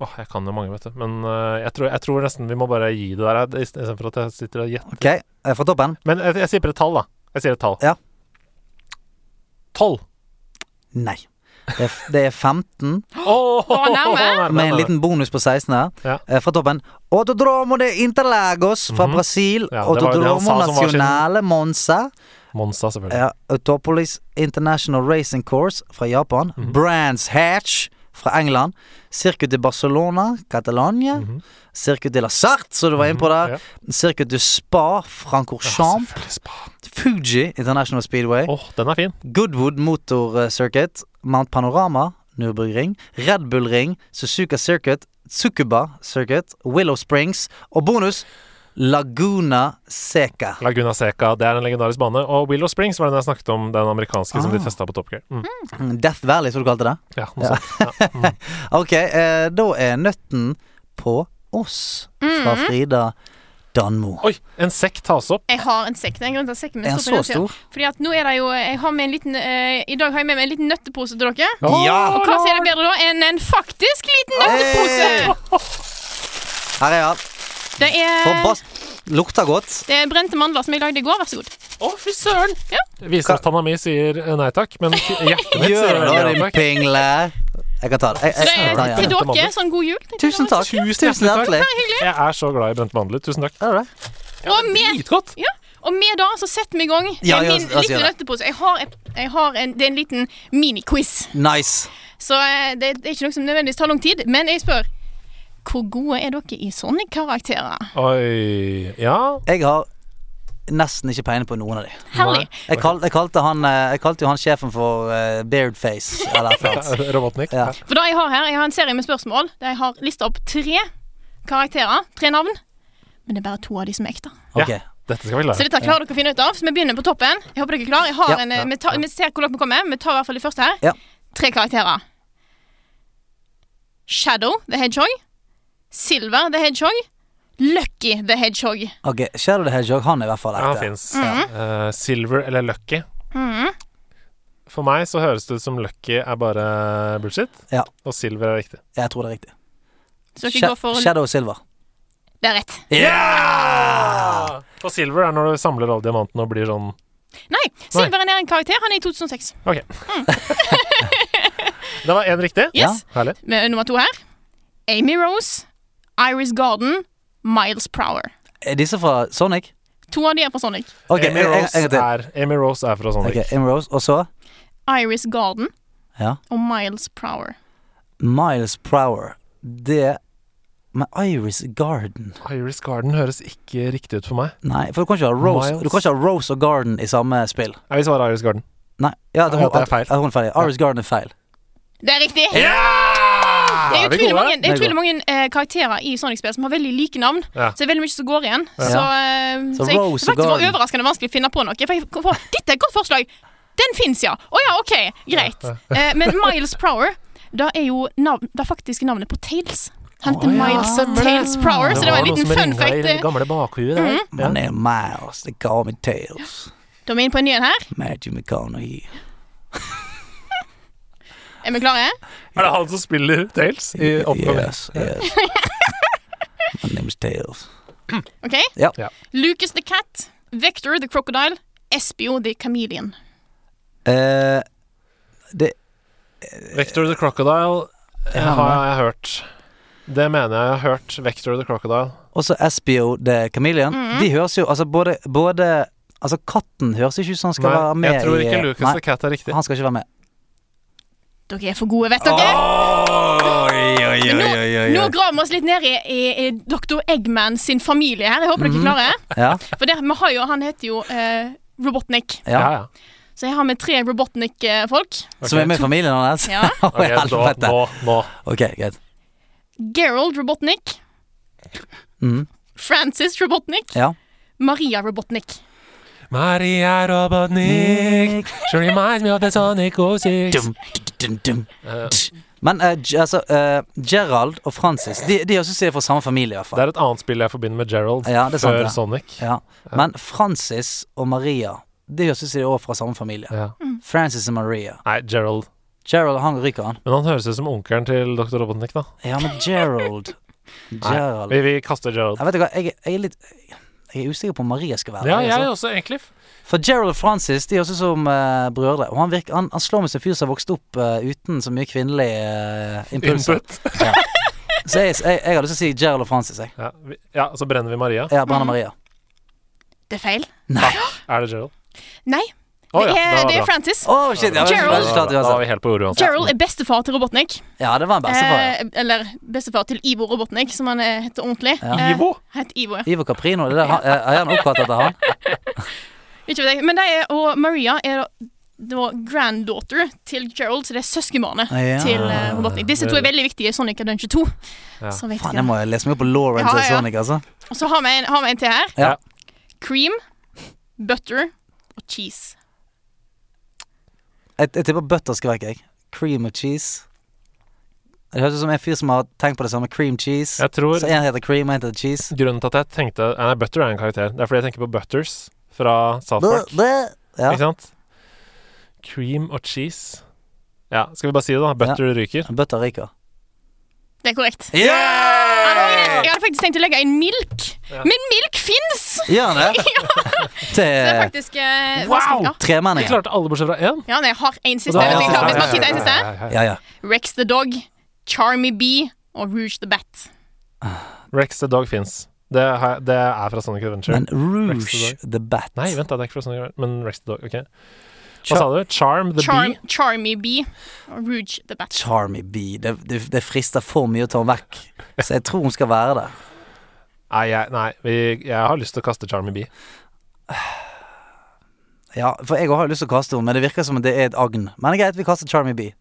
Speaker 4: Åh, jeg kan jo mange, vet du. Men eh, jeg, tror, jeg tror nesten vi må bare gi det der i- istedenfor at jeg sitter og gjetter.
Speaker 3: OK, jeg er fra toppen.
Speaker 4: Men jeg, jeg sier et tall, da. Jeg sier et tall.
Speaker 3: Ja.
Speaker 4: Tolv.
Speaker 3: Nei. Det er, det er 15,
Speaker 4: Oh,
Speaker 1: Å, nærme.
Speaker 3: med en liten bonus på 16 her.
Speaker 4: Ja.
Speaker 3: Eh, Fra toppen. Autodromo de Interlagos fra
Speaker 4: Mhm.
Speaker 3: Brasil.
Speaker 4: Ja, det var jo det han
Speaker 3: Autodromo
Speaker 4: sa som var sin-
Speaker 3: Nacionale Monza.
Speaker 4: Monsa, selvfølgelig.
Speaker 3: Ja, Autopolis International Racing Course fra Japan.
Speaker 4: Mhm.
Speaker 3: Brands Hatch fra England. Circuit de Barcelona, Catalonia. Circuit de la Sarte, som du var inne på der.
Speaker 4: Mhm. ja.
Speaker 3: Circuit de Spa, Francorchamps.
Speaker 4: Selvfølgelig spa.
Speaker 3: Fuji International Speedway.
Speaker 4: Åh, den er fin.
Speaker 3: Goodwood Motor eh, Circuit. Mount Panorama, Nürburgring. Red Bull Ring, Suzuka Circuit. Tsukuba Circuit. Willow Springs. Og bonus Laguna Seca.
Speaker 4: Laguna Seca, det er en legendarisk bane. Og Willow Springs var den jeg snakket om, den amerikanske som de
Speaker 3: Ah.
Speaker 4: testa på Top Gear. Mm.
Speaker 3: Death Valley, som du kalte det.
Speaker 4: Ja, noe sånt. Ja. Mm.
Speaker 3: Ok, eh, da er nøtten på oss fra Frida Danmo.
Speaker 4: Oi, en sekk tas opp.
Speaker 1: Jeg har en sekk. Det er en grunn til at sekken min
Speaker 3: Er
Speaker 1: står
Speaker 3: den
Speaker 1: på denne
Speaker 3: så
Speaker 1: siden.
Speaker 3: stor?
Speaker 1: Fordi at nå er det jo Jeg har med en liten eh, I dag har jeg med meg en liten nøttepose til dere.
Speaker 3: Ja!
Speaker 1: Og hva sier det bedre da enn en faktisk liten
Speaker 3: Hey!
Speaker 1: nøttepose?
Speaker 3: Her er han.
Speaker 1: Det er,
Speaker 3: Forbass... Lukter godt.
Speaker 1: det er brente mandler som jeg lagde i går. Vær så god.
Speaker 4: Å, fy søren!
Speaker 1: Ja.
Speaker 4: Viser at tanna mi sier eh, nei takk, men hjertet mitt
Speaker 3: Gjør
Speaker 4: sier
Speaker 3: det, da,
Speaker 4: ja
Speaker 3: din
Speaker 4: takk.
Speaker 3: pingle. Jeg kan ta det. Jeg, jeg,
Speaker 1: Så det
Speaker 3: jeg, tar
Speaker 1: er til
Speaker 3: det.
Speaker 4: Brente
Speaker 1: dere.
Speaker 4: mandler.
Speaker 1: Sånn god jul. tenkte jeg.
Speaker 3: Tusen takk.
Speaker 4: Tusen
Speaker 3: Tusen hjertelig.
Speaker 4: hjertelig Jeg er så glad i brente mandler. Tusen takk.
Speaker 3: Er det det?
Speaker 1: Og med,
Speaker 4: Dritgodt.
Speaker 1: ja, og med da så setter vi i gang med
Speaker 3: Ja, ja,
Speaker 1: min
Speaker 3: la oss
Speaker 1: lille
Speaker 3: gjøre det.
Speaker 1: nøttepose. Jeg har, et- jeg har en, det er en liten mini-quiz.
Speaker 3: Nice.
Speaker 1: Så eh, det, det er ikke noe som nødvendigvis tar lang tid. Men jeg spør hvor gode er dere i sånne karakterer?
Speaker 4: Oi. Ja.
Speaker 3: Jeg har nesten ikke peiling på noen av de.
Speaker 1: Herlig.
Speaker 3: Jeg, kal, jeg, kalte, han, eh, jeg kalte jo han sjefen for eh, Beardface, eller et eller annet.
Speaker 4: Robotnik.
Speaker 3: Ja.
Speaker 1: For da jeg har her, jeg har en serie med spørsmål der jeg har lista opp tre karakterer, tre navn. Men det er bare to av de som er ekte.
Speaker 3: Ok.
Speaker 4: Dette skal vi
Speaker 1: Så
Speaker 4: lære.
Speaker 1: dette klarer dere å finne ut av. Så vi begynner på toppen. Jeg håper dere er klar. Jeg har
Speaker 3: Ja.
Speaker 1: en, eh, vi, tar, vi ser hvor langt vi kommer. Vi tar i hvert fall det første her.
Speaker 3: Ja.
Speaker 1: Tre karakterer. Shadow the Hedgehog. Silver the Hedgehog. Lucky the Hedgehog.
Speaker 3: Ok, Shadow the Hedgehog, han er i hvert fall
Speaker 4: Ja, han
Speaker 3: ekte.
Speaker 4: fins.
Speaker 1: Mhm.
Speaker 4: Silver eller Lucky? For meg så høres det ut som Lucky er bare bullshit,
Speaker 3: Ja,
Speaker 4: og Silver er riktig.
Speaker 3: jeg tror det er riktig.
Speaker 1: Så dere
Speaker 3: Sha-
Speaker 1: går for
Speaker 3: Shadow Silver.
Speaker 1: Det er rett.
Speaker 4: Yeah! Og silver er når du samler alle diamantene og blir sånn
Speaker 1: Nei, Silveren er en karakter. Han er i 2006.
Speaker 4: OK.
Speaker 1: Mhm.
Speaker 4: det var én riktig.
Speaker 1: Yes.
Speaker 4: Herlig.
Speaker 1: Med nummer to her. Amy Rose, Iris Garden, Miles Prower.
Speaker 3: Er disse fra Sonic?
Speaker 1: To av de er fra Sonic.
Speaker 3: Ok,
Speaker 4: Amy,
Speaker 3: en- en-
Speaker 4: Rose
Speaker 3: en gang til.
Speaker 4: er, Amy Rose er fra Sonic.
Speaker 3: Ok, Amy Rose, og så
Speaker 1: Iris Garden
Speaker 3: Ja.
Speaker 1: og Miles Prower.
Speaker 3: Miles Prower. Det med Iris Garden
Speaker 4: Iris Garden høres ikke riktig ut for meg.
Speaker 3: Nei, for du kan ikke ha Rose,
Speaker 4: Miles.
Speaker 3: du kan ikke ha Rose og Garden i samme spill.
Speaker 4: Jeg vil svare Iris Garden.
Speaker 3: Nei. Ja, det,
Speaker 4: Ja, det er feil.
Speaker 3: At, at hun er feil. Iris Garden er feil.
Speaker 1: Det er riktig! Det er
Speaker 4: Er vi
Speaker 1: utrolig
Speaker 4: gode?
Speaker 1: mange, det er
Speaker 3: Nei,
Speaker 1: utrolig
Speaker 3: gode.
Speaker 1: mange eh, karakterer i Sonic-spill som har veldig like navn.
Speaker 4: Ja.
Speaker 1: Så det er veldig mye som går igjen. Så, eh,
Speaker 3: Så
Speaker 1: så jeg,
Speaker 3: Rose
Speaker 1: det faktisk var
Speaker 3: Garden.
Speaker 1: overraskende vanskelig å finne på noe. For jeg kom på, Dette er et godt forslag! Den fins, ja! Å ja, OK, greit. Eh, men Miles Prower, da er jo navn, det faktiske navnet på Tales. Han heter Miles Tales Prower, så det var en liten fun fact.
Speaker 4: Det
Speaker 1: eh. Mhm.
Speaker 4: gamle bakhuet der.
Speaker 3: My name Miles, they call me Tails.
Speaker 1: Da er vi inne på en ny en her.
Speaker 3: Matthew McConaughey.
Speaker 1: Er vi klare?
Speaker 4: Er det han som spiller Tales i Oppgave?
Speaker 3: Yes, yes. My name is Tails.
Speaker 1: Ok?
Speaker 3: Ja.
Speaker 4: Ja.
Speaker 1: Lucas the Cat, Vector the Crocodile, Espio the Chameleon.
Speaker 3: Eh, det
Speaker 4: Vector the Crocodile eh, har jeg hørt. Det mener jeg jeg har hørt. Vector the Crocodile.
Speaker 3: Også Espio the Chameleon. De høres jo Altså, både, både Altså, katten høres ikke ut som han skal
Speaker 4: Nei,
Speaker 3: være med
Speaker 4: jeg tror
Speaker 3: i eh,
Speaker 4: ikke Lucas the Cat er riktig.
Speaker 3: Han skal ikke være med.
Speaker 1: Dere er for gode, vet dere.
Speaker 3: Oi, oi,
Speaker 1: Men
Speaker 3: oi,
Speaker 1: nå,
Speaker 3: oi, oi.
Speaker 1: nå graver vi oss litt ned i, i, i Dr. Eggman sin familie her. Jeg håper
Speaker 3: Mhm.
Speaker 1: dere klarer.
Speaker 3: Ja,
Speaker 1: For det, vi har jo, han heter jo eh, Robotnik.
Speaker 3: ja.
Speaker 4: Ja, ja.
Speaker 1: Så jeg har med tre Robotnik-folk.
Speaker 3: Som er med i familien hans?
Speaker 1: Ja.
Speaker 3: Å,
Speaker 4: Ok, nå,
Speaker 3: helvete.
Speaker 4: nå, nå.
Speaker 3: Ok, greit.
Speaker 1: Gerald Robotnik.
Speaker 3: Mhm.
Speaker 1: Francis Robotnik.
Speaker 3: Ja.
Speaker 1: Maria Robotnik.
Speaker 4: Maria Robotnik, she reminds me of the Sonic 06.
Speaker 3: Dum, dum, dum, dum. Men eh, G- altså, eh, Gerald og Francis De, de også sier fra samme familie, i hvert
Speaker 4: Det
Speaker 3: fall.
Speaker 4: er et annet spill jeg forbinder med Gerald
Speaker 3: Ja, det er sant,
Speaker 4: før
Speaker 3: ja.
Speaker 4: Sonic.
Speaker 3: Ja. Men Francis og Maria De høres ut som de er også fra samme familie.
Speaker 4: Ja.
Speaker 3: Francis og Maria.
Speaker 4: Nei, Gerald.
Speaker 3: Gerald, han ryker, han.
Speaker 4: Men han høres ut som onkelen til Dr. Robotnik, da.
Speaker 3: Ja, men Gerald Gerald
Speaker 4: Vi, vi kaster Gerald.
Speaker 3: Jeg vet ikke hva, jeg, jeg er litt Jeg er usikker på om Maria skal være
Speaker 4: Ja,
Speaker 3: der,
Speaker 4: jeg
Speaker 3: altså.
Speaker 4: også, egentlig.
Speaker 3: For Gerald og Francis De er også som eh, brødre. Og han, virker, han, han slår meg som en fyr som har vokst opp eh, uten så mye kvinnelig eh, impulser.
Speaker 4: Input.
Speaker 3: Ja. Så jeg, jeg, jeg har lyst til å si Gerald og Francis. Jeg.
Speaker 4: Ja, vi, ja, så brenner vi Maria.
Speaker 3: Ja, Brenna
Speaker 1: Mm.
Speaker 3: Maria.
Speaker 1: Det er feil.
Speaker 4: Er det Gerald?
Speaker 1: Nei, det,
Speaker 4: Å, ja,
Speaker 1: er,
Speaker 4: var
Speaker 1: det er
Speaker 4: bra.
Speaker 1: Francis.
Speaker 3: Å, shit! Jeg,
Speaker 1: Gerald.
Speaker 3: jeg, klart,
Speaker 4: Da var
Speaker 3: uansett.
Speaker 4: vi helt på ordet uansett.
Speaker 1: Gerald er bestefar til Robotnik.
Speaker 3: ja, det var en bestefar.
Speaker 1: Eh, eller bestefar til Ivo Robotnik, som han eh, heter ordentlig. Eh,
Speaker 4: Ivo?
Speaker 1: han heter Ivo, ja.
Speaker 3: Ivo Caprino. Det der, han, eh, er han oppkalt etter han?
Speaker 1: Ikke vet jeg. Men de er, og Maria er da- det var granddaughter til Gerald, så det er søskenbarnet
Speaker 3: Ah, Ja.
Speaker 1: til eh, Robotnik. Disse to er veldig viktige i Sonic Adventure 2.
Speaker 4: Ja.
Speaker 1: Så vet
Speaker 3: Faen,
Speaker 1: ikke.
Speaker 3: jeg må lese meg opp på Lauren til
Speaker 1: Ja, ja.
Speaker 3: Sonic, altså.
Speaker 1: Og så har vi en, har vi en til her.
Speaker 3: Ja.
Speaker 1: Cream, butter og cheese.
Speaker 3: Jeg, jeg tipper butter skal vekk, jeg. Cream og cheese. Det høres ut som en fyr som har tenkt på det samme. Cream cheese.
Speaker 4: Jeg tror
Speaker 3: Så en heter cream, og en heter cheese.
Speaker 4: grunnen til at jeg tenkte eh, Nei, Butter er en karakter. Det er fordi jeg tenker på Butters fra South
Speaker 3: Blæ,
Speaker 4: Park.
Speaker 3: blæ. Ja.
Speaker 4: Ikke sant? Cream og cheese. Ja, skal vi bare si det, da? Butter ryker.
Speaker 3: Butter ryker.
Speaker 1: Det er korrekt. Ah, Jeg hadde-
Speaker 3: Yeah!
Speaker 1: Jeg hadde faktisk tenkt å legge inn milk, men milk fins!
Speaker 3: Gjør han det?
Speaker 1: Det er
Speaker 3: Til
Speaker 1: faktisk eh,
Speaker 4: Wow!
Speaker 1: vanskelig. Ja.
Speaker 4: Vi
Speaker 3: tremenninger.
Speaker 4: klarte alle bortsett fra én.
Speaker 1: Ja, nei, jeg har én siste.
Speaker 4: Da-
Speaker 1: hvis jeg klarer- Hvis man
Speaker 4: Ja, ja,
Speaker 1: titter en siste.
Speaker 4: ja, ja, ja.
Speaker 3: Ja, ja.
Speaker 1: Rex the Dog, Charmy Bee og Rouge the Bat.
Speaker 4: Rex the Dog fins. Det, har jeg- det er fra Sonic Adventure.
Speaker 3: Men Rouge
Speaker 4: Rex
Speaker 3: the Bat
Speaker 4: Nei, vent da, det er ikke fra Sonic Adventure, men Rex the Dog. ok Hva sa du? Charm the
Speaker 1: Charm,
Speaker 4: Bee?
Speaker 1: Charmy Bee og Rouge the Bat.
Speaker 3: Charmy Bee. Det, det, det frister for mye å ta henne vekk. Så jeg tror hun skal være der.
Speaker 4: Nei, jeg, nei vi, jeg har lyst til å kaste Charmy Bee.
Speaker 3: Ja, for jeg har jo lyst til å kaste henne, men det virker som at det er et agn. Men det er greit, vi kaster Charmy Bee.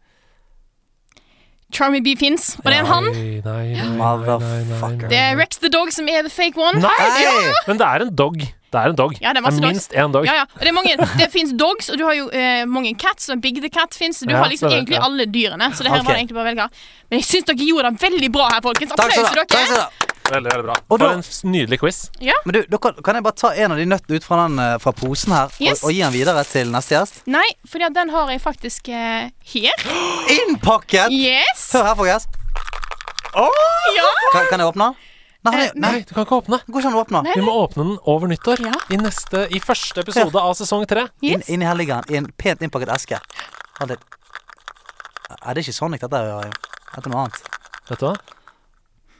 Speaker 1: Charmy Bee fins, og det er en han.
Speaker 4: Nei, nei, nei, nei, nei, nei,
Speaker 3: Motherfucker.
Speaker 1: Det er Rex the Dog som er the fake one.
Speaker 4: Nei!
Speaker 3: Hei!
Speaker 4: Men det er en dog. Det er en dog.
Speaker 1: Ja, det er masse dogs.
Speaker 4: minst én dog.
Speaker 1: Ja, ja. Og det er mange, det fins dogs, og du har jo eh, mange cats, og Big the Cat fins. Du
Speaker 4: Ja,
Speaker 1: har liksom
Speaker 4: stemmer,
Speaker 1: egentlig
Speaker 4: ja.
Speaker 1: alle dyrene. Så det her
Speaker 3: Ok.
Speaker 1: var det egentlig bare å velge. Men jeg syns dere gjorde det veldig bra her, folkens.
Speaker 3: Takk
Speaker 1: Applaus
Speaker 3: skal
Speaker 1: til
Speaker 3: du ha. takk skal
Speaker 1: dere.
Speaker 3: du ha.
Speaker 4: Veldig, veldig bra.
Speaker 3: Og
Speaker 4: For
Speaker 3: da-
Speaker 4: en s- nydelig quiz.
Speaker 3: Men du, da kan, kan jeg bare ta en av de nøttene ut fra, den, eh, fra posen her
Speaker 1: Yes.
Speaker 3: og, og gi den videre til neste gjest?
Speaker 1: Nei, for den har jeg faktisk eh, her.
Speaker 3: Innpakket!
Speaker 1: Yes!
Speaker 3: Hør her, folkens.
Speaker 1: Ja.
Speaker 3: Kan, kan jeg åpne den? Nei,
Speaker 1: Eh,
Speaker 3: han er- nei,
Speaker 4: Nei, du kan ikke åpne.
Speaker 3: det går ikke an å åpne den.
Speaker 4: Vi må åpne den over nyttår.
Speaker 1: Ja.
Speaker 4: I neste, i første episode av sesong tre.
Speaker 3: Inn,
Speaker 1: Yes.
Speaker 3: inni her ligger den i en pent innpakket eske. Ha litt Er det er ikke Sonic, dette er jo Dette er noe annet.
Speaker 4: Vet du hva?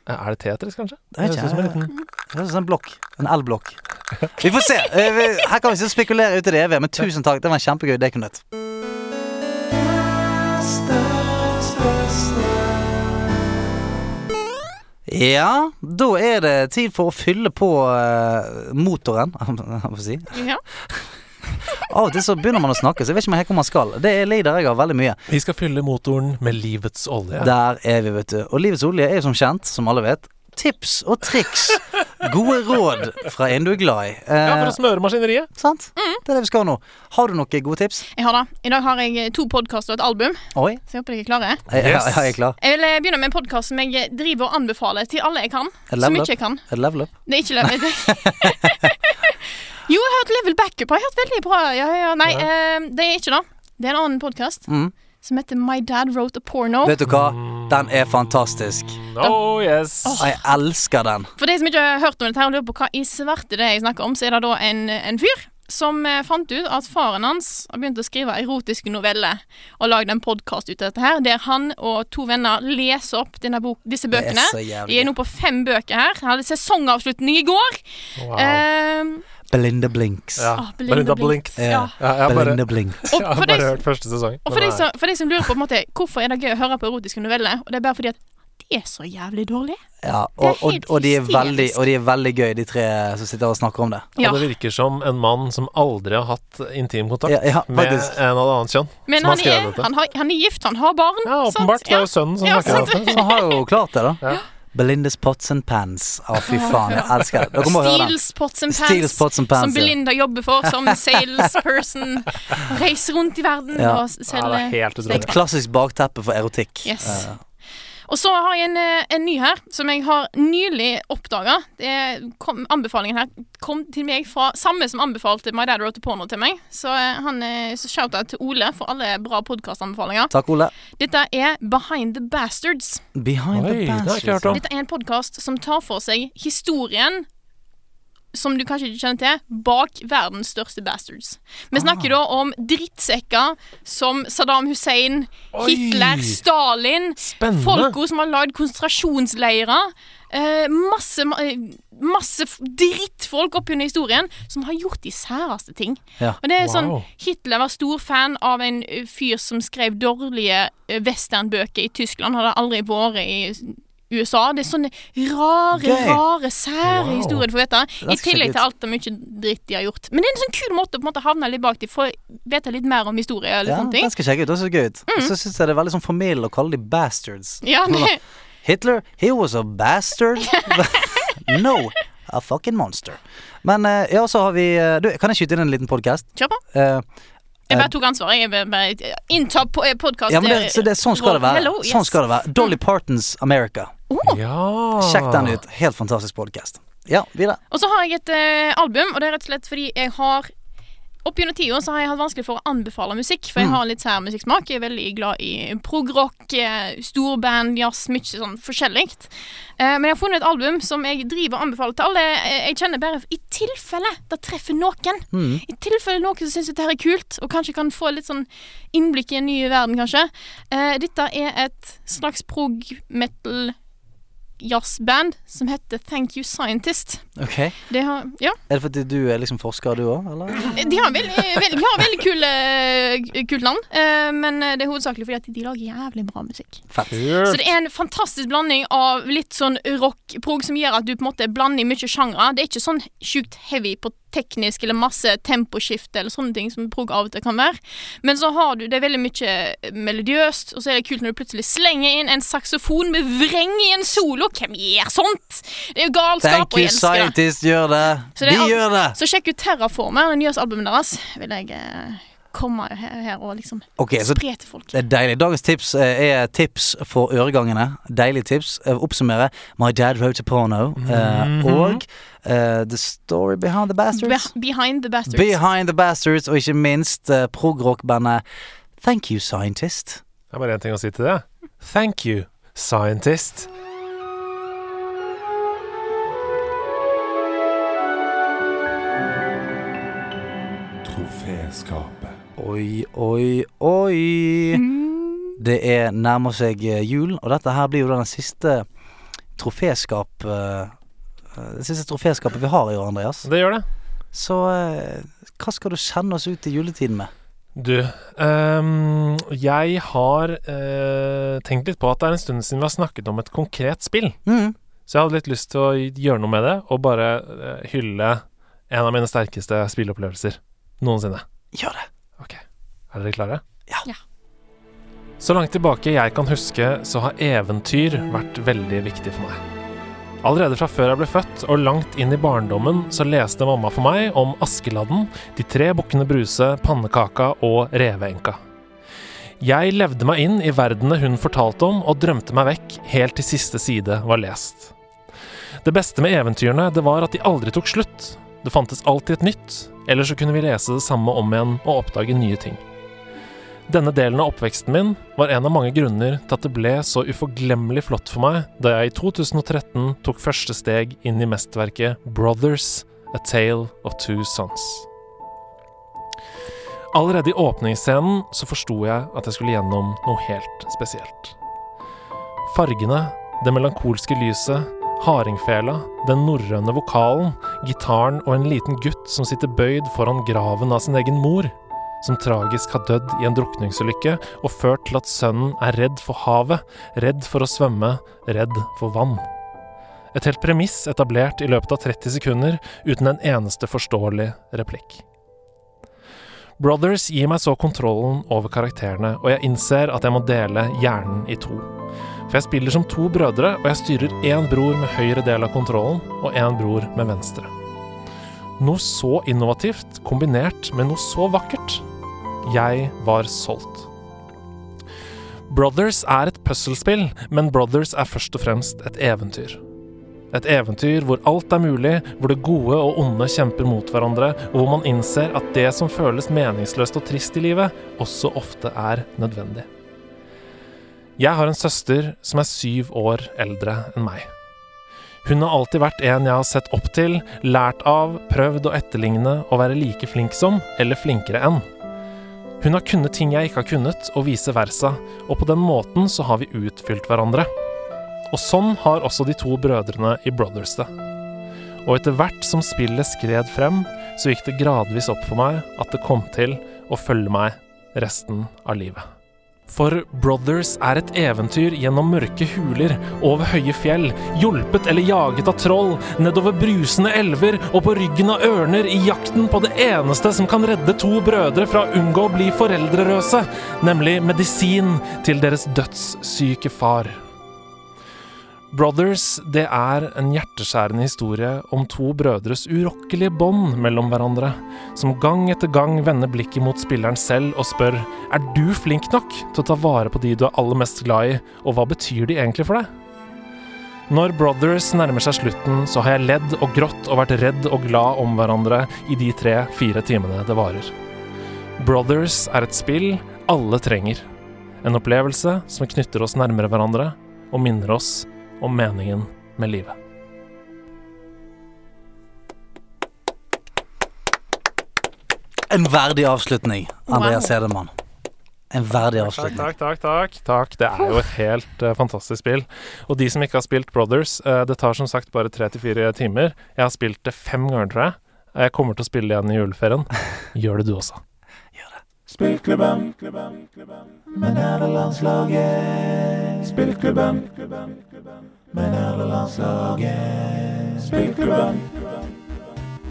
Speaker 4: Eh, Er det Tetris, kanskje?
Speaker 3: Det vet
Speaker 4: høres
Speaker 3: ikke
Speaker 4: ut som en
Speaker 3: jeg.
Speaker 4: liten-
Speaker 3: Det høres ut som en blokk. En L-blokk. Vi får se. Eh, vi- Her kan vi sitte og spekulere ut i det evige, men tusen takk. Det var en kjempegøy dekunøtt. Ja, da er det tid for å fylle på eh, motoren, jeg får si.
Speaker 1: Ja.
Speaker 3: Av og til så begynner man å snakke, så jeg vet ikke helt hvor man skal. Det er lider jeg av veldig mye.
Speaker 4: Vi skal fylle motoren med livets olje.
Speaker 3: Der er vi, vet du. Og Livets olje er jo som kjent, som alle vet, tips og triks. Gode råd fra en du er glad i.
Speaker 4: Ja, for
Speaker 3: Eh,
Speaker 4: å smøre maskineriet.
Speaker 3: sant?
Speaker 1: Mm.
Speaker 3: Det er det vi skal nå. Har du noen gode tips?
Speaker 1: Jeg har det. I dag har jeg eh, to podkaster og et album,
Speaker 3: Oi,
Speaker 1: så jeg håper dere er klare.
Speaker 3: jeg,
Speaker 4: Yes.
Speaker 3: jeg, jeg er klar.
Speaker 1: Jeg vil eh, begynne med en podkast som jeg eh, driver og anbefaler til alle jeg kan.
Speaker 3: Et
Speaker 1: Så
Speaker 3: level
Speaker 1: mye
Speaker 3: up?
Speaker 1: jeg kan.
Speaker 3: Er det level up?
Speaker 1: Det er ikke level jo, jeg har hørt Level Backup. Jeg har hørt veldig bra. Ja, ja, ja. Nei, eh, det er ikke det. Det er en annen podkast
Speaker 3: Mm.
Speaker 1: som heter My Dad Wrote a Porno.
Speaker 3: Vet du hva? Den er fantastisk.
Speaker 4: Oh yes.
Speaker 3: Jeg elsker den.
Speaker 1: For de som ikke har hørt om dette her og lurer på hva i svarte det er jeg snakker om, så er det da en, en fyr som eh, fant ut at faren hans har begynt å skrive erotiske noveller og lagd en podkast ut av dette her, der han og to venner leser opp denne bok, disse
Speaker 3: Det er
Speaker 1: bøkene.
Speaker 3: så jævlig
Speaker 1: De er nå på fem bøker her. Han hadde sesongavslutning i går.
Speaker 4: Wow.
Speaker 1: Eh,
Speaker 3: Belinda Blinks.
Speaker 4: ja.
Speaker 1: ah,
Speaker 4: Belinda Blink.
Speaker 1: Ja.
Speaker 3: Ja.
Speaker 4: Ja, jeg har bare,
Speaker 3: Belinda Blinks.
Speaker 1: Og
Speaker 4: jeg har
Speaker 1: for deg
Speaker 4: bare hørt første sesong.
Speaker 1: Og for
Speaker 4: men
Speaker 1: de, som, for de som lurer på, på en måte, hvorfor er det gøy å høre på erotiske noveller, og det er bare fordi at de er så jævlig dårlige.
Speaker 3: Ja, og, og,
Speaker 1: helt
Speaker 3: og, de er
Speaker 1: hysterisk.
Speaker 3: veldig, og de er veldig gøy, de tre som sitter og snakker om det.
Speaker 1: Ja.
Speaker 4: eh, Og det virker som en mann som aldri har hatt intimkontakt
Speaker 3: Ja, ja,
Speaker 4: med
Speaker 3: faktisk.
Speaker 4: en av det annet kjønn.
Speaker 1: Men
Speaker 4: som har
Speaker 1: han
Speaker 4: skrevet
Speaker 1: er,
Speaker 4: dette.
Speaker 1: han, har, han er gift, han har barn.
Speaker 4: Ja,
Speaker 1: sant?
Speaker 4: åpenbart. Det er
Speaker 1: Ja.
Speaker 4: jo sønnen som
Speaker 1: Ja,
Speaker 4: snakker om
Speaker 1: sant.
Speaker 4: dette.
Speaker 3: Så har jo klart det, da.
Speaker 4: Ja.
Speaker 3: Belindas Pots and Pans. Å, fy faen, jeg elsker det. Dere må høre den.
Speaker 1: Steels Pots and Pans,
Speaker 3: Steels Pots and Pans,
Speaker 1: som
Speaker 3: ja.
Speaker 1: Belinda jobber for som salesperson. Reiser rundt i verden
Speaker 3: Ja.
Speaker 4: Ja,
Speaker 1: og
Speaker 4: det er
Speaker 1: selger
Speaker 4: helt utrolig.
Speaker 3: Et klassisk bakteppe for erotikk.
Speaker 1: Yes.
Speaker 3: Eh,
Speaker 1: Og så har jeg en, eh, en ny her, som jeg har nylig oppdaga. Anbefalingen her kom til meg fra samme som anbefalte My Dad Wrote a Porno til meg. Så, eh, han, eh, så shout-out til Ole for alle bra podkastanbefalinger.
Speaker 3: takk, Ole.
Speaker 1: Dette er Behind the Bastards.
Speaker 3: Behind
Speaker 4: Oi,
Speaker 3: the
Speaker 4: det har jeg
Speaker 3: Bastards.
Speaker 4: ikke hørt om.
Speaker 1: Dette er en podkast som tar for seg historien som du kanskje ikke kjenner til, bak verdens største bastards. Vi snakker da om drittsekker som Saddam Hussein, Hitler, Stalin,
Speaker 4: Spennende.
Speaker 1: folka som har lagd konsentrasjonsleirer. eh, masse ma- eh, masse f- drittfolk oppunder historien som har gjort de særeste ting.
Speaker 3: Ja.
Speaker 1: Og det er sånn,
Speaker 4: Wow.
Speaker 1: Hitler var stor fan av en ø, fyr som skrev dårlige ø, westernbøker i Tyskland. Hadde aldri vært i s- USA. Det er sånne rare,
Speaker 3: Gøy.
Speaker 1: rare, sære
Speaker 4: Wow.
Speaker 1: historier du får vite.
Speaker 3: skal
Speaker 1: I
Speaker 3: jeg sjekke
Speaker 1: tillegg
Speaker 3: ut.
Speaker 1: til alt det mye dritt de har gjort. Men det er en sånn kul måte å på en måte havne litt bak de får vite litt mer om historie eller
Speaker 3: Ja,
Speaker 1: sånne
Speaker 3: den
Speaker 1: ting. Mm.
Speaker 3: skal jeg sjekke ut. Det ser gøy ut. Og Så syns jeg det er veldig sånn formidlende å kalle de bastards.
Speaker 1: Ja,
Speaker 3: Sånn
Speaker 1: det-
Speaker 3: da, Hitler, he was a bastard. no, a fucking monster. Men eh, ja, så har vi eh, Du, kan jeg skyte inn en liten Eh, podkast?
Speaker 1: Kjør på. Jeg bare tok ansvar. Jeg bare- bare eh, innta podkast.
Speaker 3: Ja, men det, så det, sånn skal det være.
Speaker 1: Hello, yes. Mm.
Speaker 3: Sånn skal det være. Dolly Partons America.
Speaker 4: Ja.
Speaker 3: Sjekk den ut. Helt fantastisk podkast. Ja, videre.
Speaker 1: Og så har jeg et eh, album, og det er rett og slett fordi jeg har Opp gjennom tida så har jeg hatt vanskelig for å anbefale musikk, for jeg har litt sær musikksmak. Jeg er veldig glad i progrock, eh, storband, jazz, mye sånn forskjellig. Eh, Men jeg har funnet et album som jeg driver og anbefaler til alle. eh, Jeg kjenner bare i tilfelle det treffer noen. I tilfelle noen som syns dette her er kult, og kanskje kan få litt sånn innblikk i en ny verden, kanskje. Eh, Dette er et slags prog-metal jazzband som heter Thank You Scientist.
Speaker 3: Ok
Speaker 1: Det har, ja.
Speaker 3: Er det fordi du er liksom forsker, du òg, eller?
Speaker 1: De har veldig, veldig, de har veldig kule, kult navn, eh, men det er hovedsakelig fordi at de lager jævlig bra musikk.
Speaker 3: Fett.
Speaker 1: Så det er en fantastisk blanding av litt sånn rock-prog som gjør at du på en måte blander i mye sjangre. Det er ikke sånn sjukt heavy på teknisk eller masse temposkifte eller sånne ting som prog av og til kan være. Men så har du det er veldig mye melodiøst, og så er det kult når du plutselig slenger inn en saksofon med vreng i en solo. Hvem gjør sånt? Det er jo galskap,
Speaker 3: Thank
Speaker 1: og
Speaker 3: you,
Speaker 1: jeg elsker det.
Speaker 3: scientist, gjør det.
Speaker 1: Så det er
Speaker 3: Vi
Speaker 1: alt-
Speaker 3: gjør det.
Speaker 1: Så sjekk ut Terraformer, det nyeste albumet deres. Vil jeg eh, komme her, her og liksom
Speaker 3: Ok, så
Speaker 1: spre til folk.
Speaker 3: Det er deilig. Dagens tips eh, er tips for øregangene. Deilige tips. Eh, Oppsummere My Dad Wrote a Porno eh,
Speaker 1: Mhm.
Speaker 3: og eh, The Story Behind the Bastards.
Speaker 1: Be behind the Bastards.
Speaker 3: Behind the Bastards, og ikke minst uh, progrockbandet Thank You Scientist.
Speaker 4: Det er bare én ting å si til det. Thank you, scientist.
Speaker 7: Troféskapet.
Speaker 3: Oi, oi, oi.
Speaker 1: Mm.
Speaker 3: Det er nærmer seg eh, jul, og dette her blir jo da den siste troféskap... eh, eh, det siste troféskapet vi har i år, Andreas.
Speaker 4: Det gjør det.
Speaker 3: Så eh, hva skal du sende oss ut i juletiden med?
Speaker 4: Du, ehm, jeg har eh, tenkt litt på at det er en stund siden vi har snakket om et konkret spill.
Speaker 3: Mm.
Speaker 4: Så jeg hadde litt lyst til å gjøre noe med det, og bare eh, hylle en av mine sterkeste spilleopplevelser noensinne.
Speaker 3: Gjør det.
Speaker 4: Ok, er dere klare?
Speaker 3: Ja.
Speaker 1: Ja.
Speaker 4: Så langt tilbake jeg kan huske, så har eventyr vært veldig viktig for meg. Allerede fra før jeg ble født, og langt inn i barndommen, så leste mamma for meg om Askeladden, De tre bukkene Bruse, Pannekaka og Reveenka. Jeg levde meg inn i verdenene hun fortalte om, og drømte meg vekk helt til siste side var lest. Det beste med eventyrene, det var at de aldri tok slutt. Det fantes alltid et nytt, eller så kunne vi lese det samme om igjen og oppdage nye ting. Denne delen av oppveksten min var en av mange grunner til at det ble så uforglemmelig flott for meg da jeg i 2013 tok første steg inn i mesterverket Brothers, A Tale of Two Sons. Allerede i åpningsscenen så forsto jeg at jeg skulle gjennom noe helt spesielt. Fargene, det melankolske lyset, hardingfela, den norrøne vokalen, gitaren og en liten gutt som sitter bøyd foran graven av sin egen mor, som tragisk har dødd i en drukningsulykke og ført til at sønnen er redd for havet, redd for å svømme, redd for vann. Et helt premiss etablert i løpet av 30 sekunder uten en eneste forståelig replikk. Brothers gir meg så kontrollen over karakterene, og jeg innser at jeg må dele hjernen i to. For jeg spiller som to brødre, og jeg styrer én bror med høyre del av kontrollen og én bror med venstre. Noe så innovativt kombinert med noe så vakkert. Jeg var solgt. Brothers er et puzzlespill, men Brothers er først og fremst et eventyr. Et eventyr hvor alt er mulig, hvor det gode og onde kjemper mot hverandre, og hvor man innser at det som føles meningsløst og trist i livet, også ofte er nødvendig. Jeg har en søster som er syv år eldre enn meg. Hun har alltid vært en jeg har sett opp til, lært av, prøvd å etterligne og være like flink som, eller flinkere enn. Hun har kunnet ting jeg ikke har kunnet, og vice versa, og på den måten så har vi utfylt hverandre. Og sånn har også de to brødrene i Brothers det. Og etter hvert som spillet skred frem, så gikk det gradvis opp for meg at det kom til å følge meg resten av livet. For Brothers er et eventyr gjennom mørke huler, over høye fjell, hjulpet eller jaget av troll, nedover brusende elver og på ryggen av ørner i jakten på det eneste som kan redde to brødre fra å unngå å bli foreldreløse, nemlig medisin til deres dødssyke far. Brothers, det er en hjerteskjærende historie om to brødres urokkelige bånd mellom hverandre, som gang etter gang vender blikket mot spilleren selv og spør er du flink nok til å ta vare på de du er aller mest glad i, og hva betyr de egentlig for deg? Når Brothers nærmer seg slutten, så har jeg ledd og grått og vært redd og glad om hverandre i de tre-fire timene det varer. Brothers er et spill alle trenger. En opplevelse som knytter oss nærmere hverandre og minner oss om meningen med livet.
Speaker 3: En verdig avslutning, Andreas Hedemann. En verdig
Speaker 4: Takk,
Speaker 3: avslutning.
Speaker 4: takk, takk, takk, takk. Det er jo et helt eh, fantastisk spill. Og de som ikke har spilt Brothers, eh, det tar som sagt bare tre til fire timer. Jeg har spilt det fem ganger, tror jeg. Jeg kommer til å spille igjen i juleferien. Gjør det du også.
Speaker 7: Spillklubben. Men er det landslaget? Spillklubben. Men er det landslaget? Spillklubben.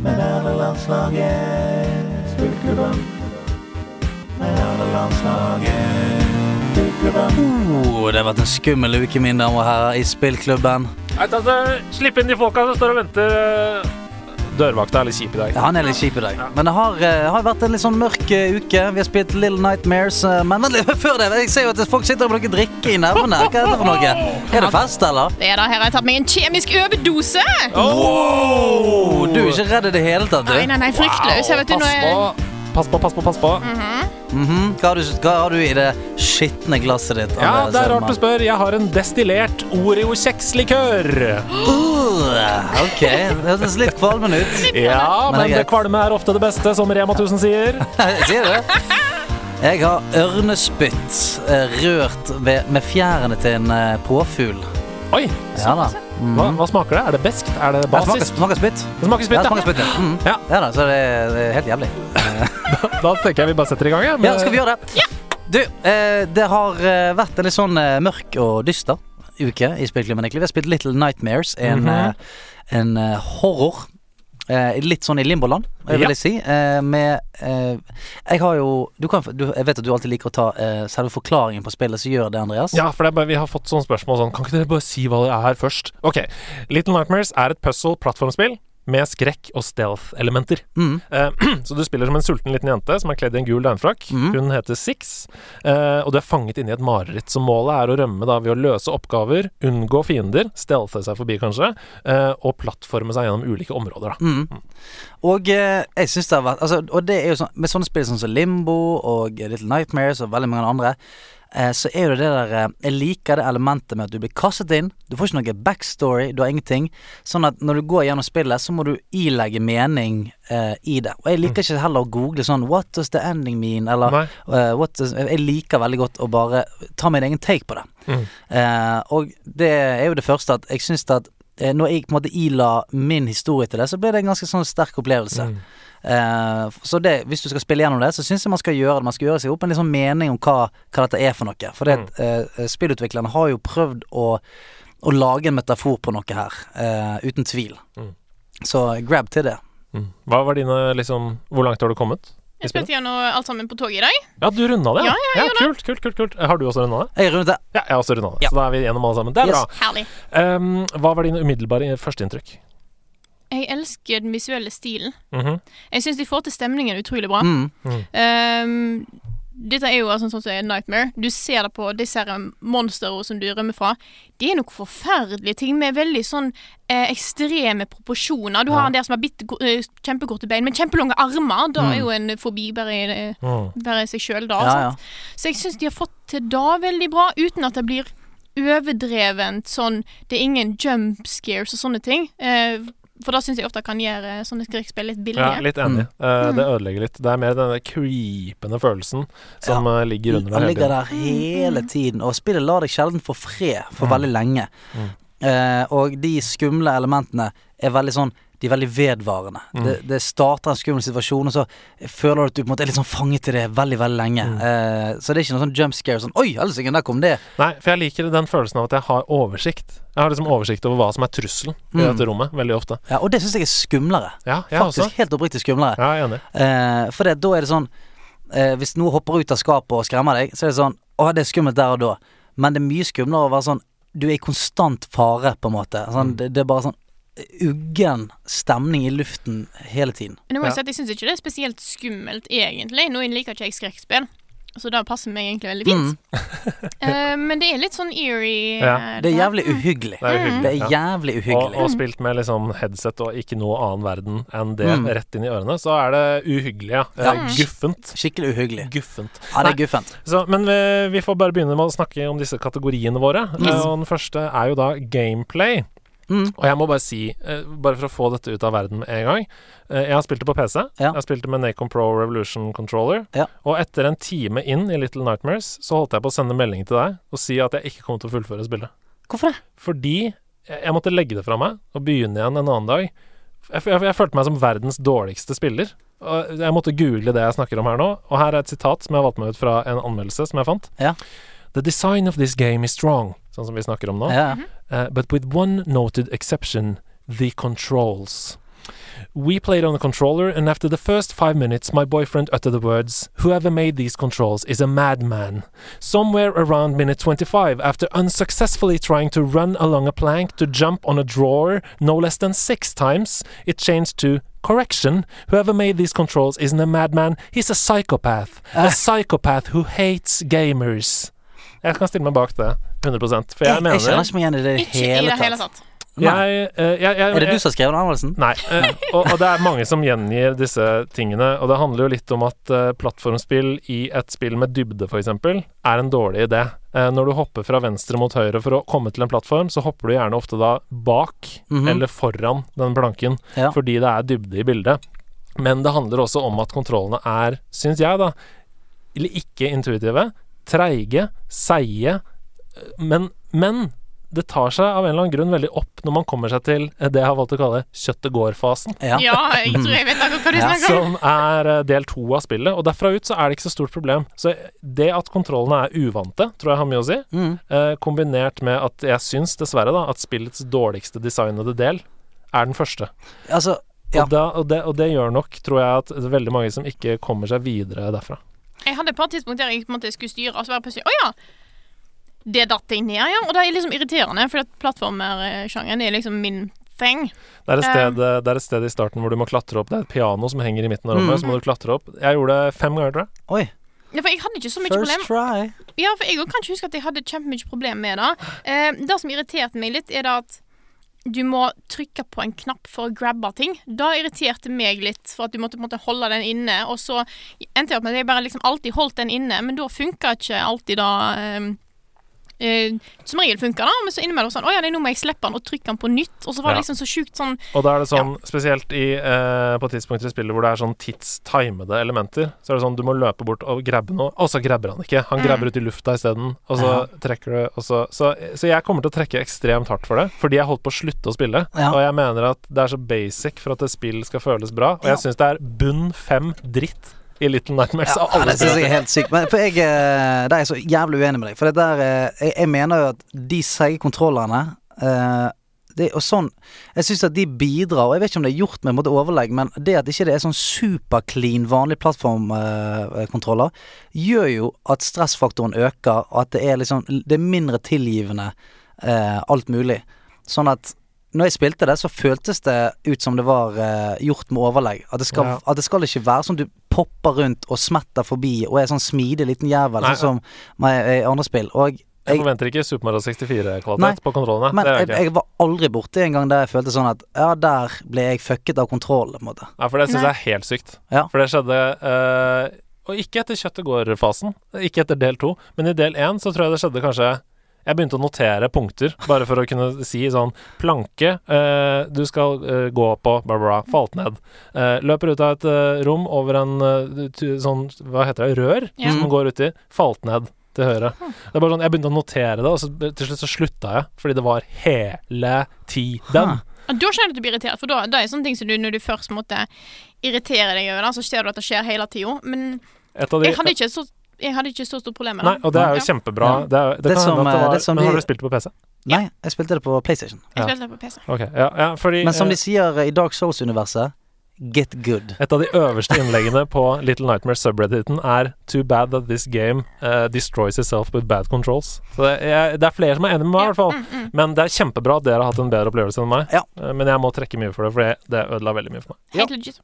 Speaker 7: Men er det landslaget? Spillklubben. Men er det landslaget? Spillklubben.
Speaker 3: Oh, det har vært en skummel uke, mine damer og herrer, i spillklubben.
Speaker 4: Slipp inn de folka som står og venter. eh. Dørvakta er litt kjip i dag.
Speaker 3: Ja, han er litt kjip i dag. Men det har, eh, har vært en litt sånn mørk eh, uke. Vi har spilt Little Nightmares. eh, Men vent litt, før det, jeg ser jo at folk sitter og bruker drikke i nervene. Hva er det for noe? Er det fest, eller?
Speaker 1: Det er da, her har jeg tatt meg en kjemisk overdose!
Speaker 3: Oh, du er ikke redd i det hele tatt,
Speaker 1: Nei,
Speaker 3: du?
Speaker 1: nei, nei, fryktløs. Jeg Mm. vet du, nå
Speaker 4: Pass
Speaker 1: er
Speaker 4: på, pass på, pass på. Pass på.
Speaker 3: Mhm. hva, har du, hva har du i det skitne glasset ditt?
Speaker 4: Ja,
Speaker 3: Andreas
Speaker 4: det er rart
Speaker 3: Hedman?
Speaker 4: du spør. Jeg har en destillert Oreo-kjekslikør.
Speaker 3: Uh, Ok, det hørtes litt kvalmende ut. Men
Speaker 4: Ja,
Speaker 3: det er
Speaker 4: men det
Speaker 3: greit.
Speaker 4: kvalme er ofte det beste, som Rema 1000 sier.
Speaker 3: Sier du det? Jeg har ørnespytt eh, rørt ved, med fjærene til en eh, påfugl.
Speaker 4: Oi,
Speaker 3: Ja da.
Speaker 4: hva, hva smaker det? Er det beskt? Er det
Speaker 3: Mhm. Ja, smaker,
Speaker 4: basis?
Speaker 3: smaker spytt.
Speaker 4: Det smaker
Speaker 3: Ja,
Speaker 4: spytt,
Speaker 3: smaker spytt. ja. Mm.
Speaker 4: Ja.
Speaker 3: Ja da, så det er, det er helt jævlig.
Speaker 4: Da tenker jeg vi bare setter i gang. Ja,
Speaker 3: Ja, skal vi gjøre det? Du, eh, det har eh, vært en litt sånn eh, mørk og dyster uke i spillklubben. egentlig. Vi har spilt Little Nightmares, en,
Speaker 4: Mhm.
Speaker 3: eh, en eh, horror. Eh, litt sånn i limboland, vil
Speaker 4: Ja.
Speaker 3: jeg si. Eh, med eh, Jeg har jo du kan, du, Jeg vet at du alltid liker å ta eh, selve forklaringen på spillet, så gjør det, Andreas.
Speaker 4: Ja, for det er bare, vi har fått sånne spørsmål sånn Kan ikke dere bare si hva det er først? Ok, Little Nightmares er et puzzle-plattformspill med skrekk og stealth-elementer.
Speaker 3: Mm.
Speaker 4: Eh, så du spiller som en sulten liten jente som er kledd i en gul døgnfrakk.
Speaker 3: Mm.
Speaker 4: Hun heter Six, eh, og du er fanget inne i et mareritt. Så målet er å rømme da ved å løse oppgaver, unngå fiender, stealthe seg forbi kanskje, eh, og plattforme seg gjennom ulike områder, da.
Speaker 3: Mm. Og eh, jeg synes det har vært altså, Og det er jo sånn Med sånne spill sånn som Limbo og eh, Little Nightmares og veldig mange andre eh, så er jo det det der eh, Jeg liker det elementet med at du blir kastet inn. Du får ikke noe backstory, du har ingenting. Sånn at når du går gjennom spillet, så må du ilegge mening eh, i det. Og jeg liker ikke heller å google sånn What does the ending mean? Eller eh, what does, Jeg liker veldig godt å bare ta min egen take på det. Eh, og det er jo det første at jeg syns at eh, når jeg på en måte ila min historie til det, så ble det en ganske sånn sterk opplevelse. Eh, så det, hvis du skal spille gjennom det, så syns jeg man skal gjøre det. Man skal gjøre seg opp en litt sånn mening om hva, hva dette er for noe. For det, at, eh, spillutviklerne har jo prøvd å, å lage en metafor på noe her, eh, uten tvil.
Speaker 4: Mm.
Speaker 3: Så grab til det.
Speaker 4: Mm. Hva var dine liksom Hvor langt har du kommet? i
Speaker 1: Jeg
Speaker 4: spillet?
Speaker 1: spilte gjennom alt sammen på toget i dag.
Speaker 4: Ja, du runda det?
Speaker 1: Ja, ja, jeg gjorde
Speaker 4: kult, kult, kult, kult. Har du også runda det?
Speaker 3: Jeg rundet det.
Speaker 4: Ja, jeg har også runda det. Så da er vi gjennom alle sammen. Det er
Speaker 3: Yes.
Speaker 4: bra.
Speaker 1: Herlig.
Speaker 4: Ehm, hva var dine umiddelbare førsteinntrykk?
Speaker 1: Jeg elsker den visuelle stilen.
Speaker 4: Mhm.
Speaker 1: Jeg syns de får til stemningen utrolig bra.
Speaker 4: Mm. Mm.
Speaker 1: Ehm, dette er jo altså sånn som er Nightmare. Du ser det på disse her monstrene som du rømmer fra. Det er noen forferdelige ting med veldig sånn eh, ekstreme proporsjoner. Du har en der som har bitte, ko- eh, kjempekorte bein, men kjempelange armer. Da
Speaker 3: Mm.
Speaker 1: er jo en fobi bare, i- eh,
Speaker 3: Mm.
Speaker 1: bare i seg sjøl, da. altså.
Speaker 3: Ja,
Speaker 1: sant? Så jeg syns de har fått til det veldig bra, uten at det blir overdrevent sånn Det er ingen jump scares og sånne ting. Eh, for da syns jeg ofte kan gjøre eh, sånne skrekkspill litt billige.
Speaker 4: Ja, litt enig.
Speaker 1: Mm.
Speaker 4: Eh, det ødelegger litt. Det er mer den der creepende følelsen som eh, ligger under
Speaker 3: Han
Speaker 4: der. hele
Speaker 3: ligger
Speaker 4: tiden.
Speaker 3: der hele tiden, og spillet lar deg sjelden få fred for veldig lenge.
Speaker 4: Mm.
Speaker 3: Eh, og de skumle elementene er veldig sånn de er veldig vedvarende.
Speaker 4: Mm.
Speaker 3: Det, det starter en skummel situasjon, og så føler du at du på en måte er litt sånn fanget i det veldig veldig lenge.
Speaker 4: Mm.
Speaker 3: Eh, så det er ikke noe sånn jump scare sånn Oi, helsike, der kom det!
Speaker 4: Nei, for jeg liker den følelsen av at jeg har oversikt. Jeg har liksom oversikt over hva som er trusselen i
Speaker 3: Mm.
Speaker 4: dette rommet, veldig ofte.
Speaker 3: Ja, og det syns jeg er skumlere.
Speaker 4: Ja, jeg
Speaker 3: Faktisk
Speaker 4: også.
Speaker 3: helt oppriktig skumlere.
Speaker 4: Ja, jeg er enig.
Speaker 3: Eh, for det, da er det sånn eh, Hvis noe hopper ut av skapet og skremmer deg, så er det sånn Å, det er skummelt der og da. Men det er mye skumlere å være sånn Du er i konstant fare, på en måte.
Speaker 4: Mm.
Speaker 3: Sånn, det, det er bare sånn uggen stemning i luften hele tiden.
Speaker 1: Men jeg må jo si at jeg syns ikke det er spesielt skummelt, egentlig. Nå liker ikke jeg skrekkspill, så det passer meg egentlig veldig
Speaker 4: Mm.
Speaker 1: fint.
Speaker 3: Mm.
Speaker 1: Eh, men det er litt sånn eerie. eh,
Speaker 3: Det er
Speaker 1: her.
Speaker 3: jævlig uhyggelig.
Speaker 4: Det er uhyggelig,
Speaker 3: Det
Speaker 4: ja.
Speaker 3: er jævlig uhyggelig.
Speaker 4: Og, og spilt med liksom headset og ikke noe annen verden enn det
Speaker 3: Mm.
Speaker 4: rett inn i ørene, så er det uhyggelig, ja. Eh,
Speaker 3: Ja.
Speaker 4: Guffent.
Speaker 3: Skikkelig uhyggelig.
Speaker 4: Guffent.
Speaker 3: Ja, det
Speaker 4: Nei,
Speaker 3: er guffent.
Speaker 4: Så, men vi, vi får bare begynne med å snakke om disse kategoriene våre.
Speaker 3: Yes.
Speaker 4: Eh, Og den første er jo da gameplay.
Speaker 3: Mm.
Speaker 4: Og jeg må bare si, eh, bare for å få dette ut av verden med en gang eh, Jeg har spilt det på PC. Jeg har spilt det med Nacon Pro Revolution Controller.
Speaker 3: Ja.
Speaker 4: Og etter en time inn i Little Nightmares så holdt jeg på å sende melding til deg og si at jeg ikke kom til å fullføre spillet.
Speaker 3: Hvorfor det?
Speaker 4: Fordi jeg jeg måtte legge det fra meg og begynne igjen en annen dag. Jeg, f- jeg, jeg følte meg som verdens dårligste spiller. Og jeg måtte google det jeg snakker om her nå. Og her er et sitat som jeg valgte meg ut fra en anmeldelse som jeg fant.
Speaker 3: Ja.
Speaker 4: The design of this game is strong, sånn som vi snakker om nå.
Speaker 3: Ja, ja.
Speaker 1: Mhm.
Speaker 4: Uh, but with one noted exception, the controls. We played on the controller, and after the first five minutes, my boyfriend uttered the words, Whoever made these controls is a madman. Somewhere around minute 25, after unsuccessfully trying to run along a plank to jump on a drawer no less than six times, it changed to, Correction, whoever made these controls isn't a madman, he's a psychopath. A psychopath who hates gamers. Jeg kan stille meg bak det 100 for jeg,
Speaker 3: Jeg,
Speaker 4: mener
Speaker 3: jeg kjenner ikke meg igjen i det i
Speaker 1: Ikke i det hele tatt.
Speaker 3: Nei.
Speaker 4: jeg, eh, jeg, jeg,
Speaker 3: Er det du som har skrevet den anmeldelsen?
Speaker 4: Nei. eh, og, og det er mange som gjengir disse tingene. Og det handler jo litt om at eh, plattformspill i et spill med dybde, f.eks., er en dårlig idé. Eh, når du hopper fra venstre mot høyre for å komme til en plattform, så hopper du gjerne ofte da bak
Speaker 3: Mhm.
Speaker 4: eller foran den planken,
Speaker 3: Ja.
Speaker 4: fordi det er dybde i bildet. Men det handler også om at kontrollene er, syns jeg, da, eller ikke intuitive, treige, seige, eh, men, men det tar seg av en eller annen grunn veldig opp når man kommer seg til eh, det jeg har valgt å kalle kjøttet går-fasen.
Speaker 1: Ja, jeg tror jeg vet akkurat hva du
Speaker 4: Ja,
Speaker 1: snakker om.
Speaker 4: som er eh, del to av spillet. Og derfra ut så er det ikke så stort problem. Så det at kontrollene er uvante, tror jeg har mye å si.
Speaker 3: Mm.
Speaker 4: Eh, kombinert med at jeg syns, dessverre, da, at spillets dårligste designede del er den første.
Speaker 3: Altså, ja.
Speaker 4: Og, da, og, det, og det gjør nok, tror jeg, at det er veldig mange som ikke kommer seg videre derfra.
Speaker 1: Jeg hadde et par tidspunkt der jeg på en måte skulle styre, og så bare plutselig Å ja! Det datt jeg ned, ja. Og det er liksom irriterende, for plattformersjangeren er liksom min thing.
Speaker 4: Det er, et
Speaker 1: Eh.
Speaker 4: sted, det er et sted i starten hvor du må klatre opp. Det er et piano som henger i midten av rommet,
Speaker 3: Mm.
Speaker 4: så må du klatre opp. Jeg gjorde det fem ganger, tror jeg.
Speaker 3: Oi.
Speaker 1: Ja, for jeg hadde ikke så mye
Speaker 3: First
Speaker 1: problem.
Speaker 3: try.
Speaker 1: Ja, for jeg kan ikke huske at jeg hadde kjempemye problem med det. Eh, det som irriterte meg litt, er det at du må trykke på en knapp for å grabbe ting. Da irriterte meg litt, for at du måtte på en måte holde den inne. Og så endte jeg opp med at jeg bare liksom alltid holdt den inne, men da funka ikke alltid da eh, eh, Som regel funka det, men så innimellom sånn Å ja, nei, nå må jeg slippe den og trykke den på nytt. Og så var
Speaker 4: Ja.
Speaker 1: det liksom så sjukt sånn
Speaker 4: Og da er det sånn, spesielt i, eh, på tidspunkter i spillet hvor det er sånn tidstimede elementer, så er det sånn du må løpe bort og grabbe noe, og så grabber han ikke. Han
Speaker 1: Mm.
Speaker 4: grabber ut i lufta isteden, og så trekker du og så, så, så jeg kommer til å trekke ekstremt hardt for det, fordi jeg holdt på å slutte å spille.
Speaker 3: Ja.
Speaker 4: Og jeg mener at det er så basic for at et spill skal føles bra, og
Speaker 3: Ja.
Speaker 4: jeg syns det er bunn fem dritt i Little Nightmares
Speaker 3: Ja,
Speaker 4: av alle
Speaker 3: det syns jeg
Speaker 4: spill.
Speaker 3: er helt sykt. Men for jeg, eh, der er jeg så jævlig uenig med deg. For det der eh, Jeg, jeg mener jo at de seige kontrollerne eh, det, og sånn, Jeg syns at de bidrar, og jeg vet ikke om det er gjort med en måte overlegg, men det at ikke det er sånn superclean, vanlig plattformkontroller, eh, gjør jo at stressfaktoren øker, og at det er liksom Det er mindre tilgivende eh, alt mulig. Sånn at når jeg spilte det, så føltes det ut som det var eh, gjort med overlegg. At det, skal,
Speaker 4: Ja.
Speaker 3: at det skal ikke være sånn du popper rundt og smetter forbi og er sånn smidig liten jævel,
Speaker 4: Nei,
Speaker 3: sånn som meg i andre spill. Og
Speaker 4: Jeg
Speaker 3: jeg,
Speaker 4: forventer ikke Super Mario 64-kvalitet
Speaker 3: Nei,
Speaker 4: på kontrollene.
Speaker 3: men
Speaker 4: det gjør
Speaker 3: jeg,
Speaker 4: jeg ikke.
Speaker 3: jeg var aldri borti en gang der jeg følte sånn at ja, der ble jeg fucket av kontroll, på en måte.
Speaker 4: Ja, for det syns
Speaker 1: Nei.
Speaker 4: jeg er helt sykt.
Speaker 3: Ja.
Speaker 4: For det skjedde eh, Og ikke etter kjøttet går-fasen, ikke etter del to, men i del én så tror jeg det skjedde kanskje jeg begynte å notere punkter, bare for å kunne si sånn Planke, eh, du skal eh, gå på bla, bla, bla, falt ned. Eh, løper ut av et eh, rom over en eh, tu, sånn, hva heter det, rør
Speaker 1: Ja.
Speaker 4: som går uti. Falt ned til høyre. Det er bare sånn, Jeg begynte å notere det, og så til slutt så slutta jeg, fordi det var hele tiden.
Speaker 3: Huh.
Speaker 1: Ja, Da skjønner jeg at du blir irritert, for da, da er sånne ting som du når du først måtte irritere deg over det, så ser du at det skjer hele tida. Men
Speaker 4: Et av de-
Speaker 1: jeg hadde ikke så, jeg hadde ikke så stort problem med
Speaker 4: Nei, og det er jo
Speaker 1: Ja.
Speaker 4: kjempebra.
Speaker 3: Ja.
Speaker 4: Det, er, det,
Speaker 3: Det
Speaker 4: kan
Speaker 3: som,
Speaker 4: hende at det
Speaker 3: eh,
Speaker 4: var
Speaker 3: det som
Speaker 4: Men
Speaker 3: de-
Speaker 4: har du spilt det på PC?
Speaker 3: Nei, jeg spilte det på PlayStation.
Speaker 4: Ja.
Speaker 1: Jeg spilte det på PC.
Speaker 4: Ok, ja, ja fordi
Speaker 3: Men som
Speaker 4: eh,
Speaker 3: de sier i Dark Souls-universet, get good.
Speaker 4: et av de øverste innleggene på Little Nightmares subredditen er Too bad that this game eh, destroys itself with bad controls. Så det er, det er flere som er enig med meg, i hvert fall. Men det er kjempebra at dere har hatt en bedre opplevelse enn meg.
Speaker 3: Ja.
Speaker 4: Eh, Men jeg må trekke mye for det, for det- det ødela veldig mye for meg.
Speaker 1: Helt legit.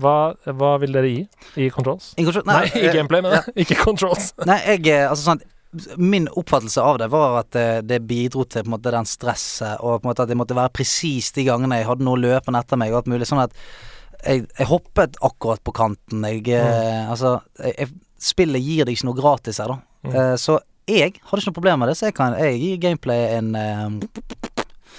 Speaker 4: Hva, hva vil dere gi i controls?
Speaker 3: Ingen kontroll-
Speaker 4: Nei, i
Speaker 3: eh,
Speaker 4: gameplay, men ikke controls.
Speaker 3: Nei, jeg eh, Altså sånn Min oppfattelse av det var at det, det bidro til på en måte den stresset, og på en måte at jeg måtte være presis de gangene jeg hadde noe løpende etter meg og alt mulig. Sånn at jeg, jeg hoppet akkurat på kanten. Jeg, eh,
Speaker 4: Mm.
Speaker 3: Altså jeg, jeg, Spillet gir deg ikke noe gratis her, da.
Speaker 4: Mm.
Speaker 3: Eh, så jeg hadde ikke noe problem med det, så jeg kan jeg gir gameplay en eh,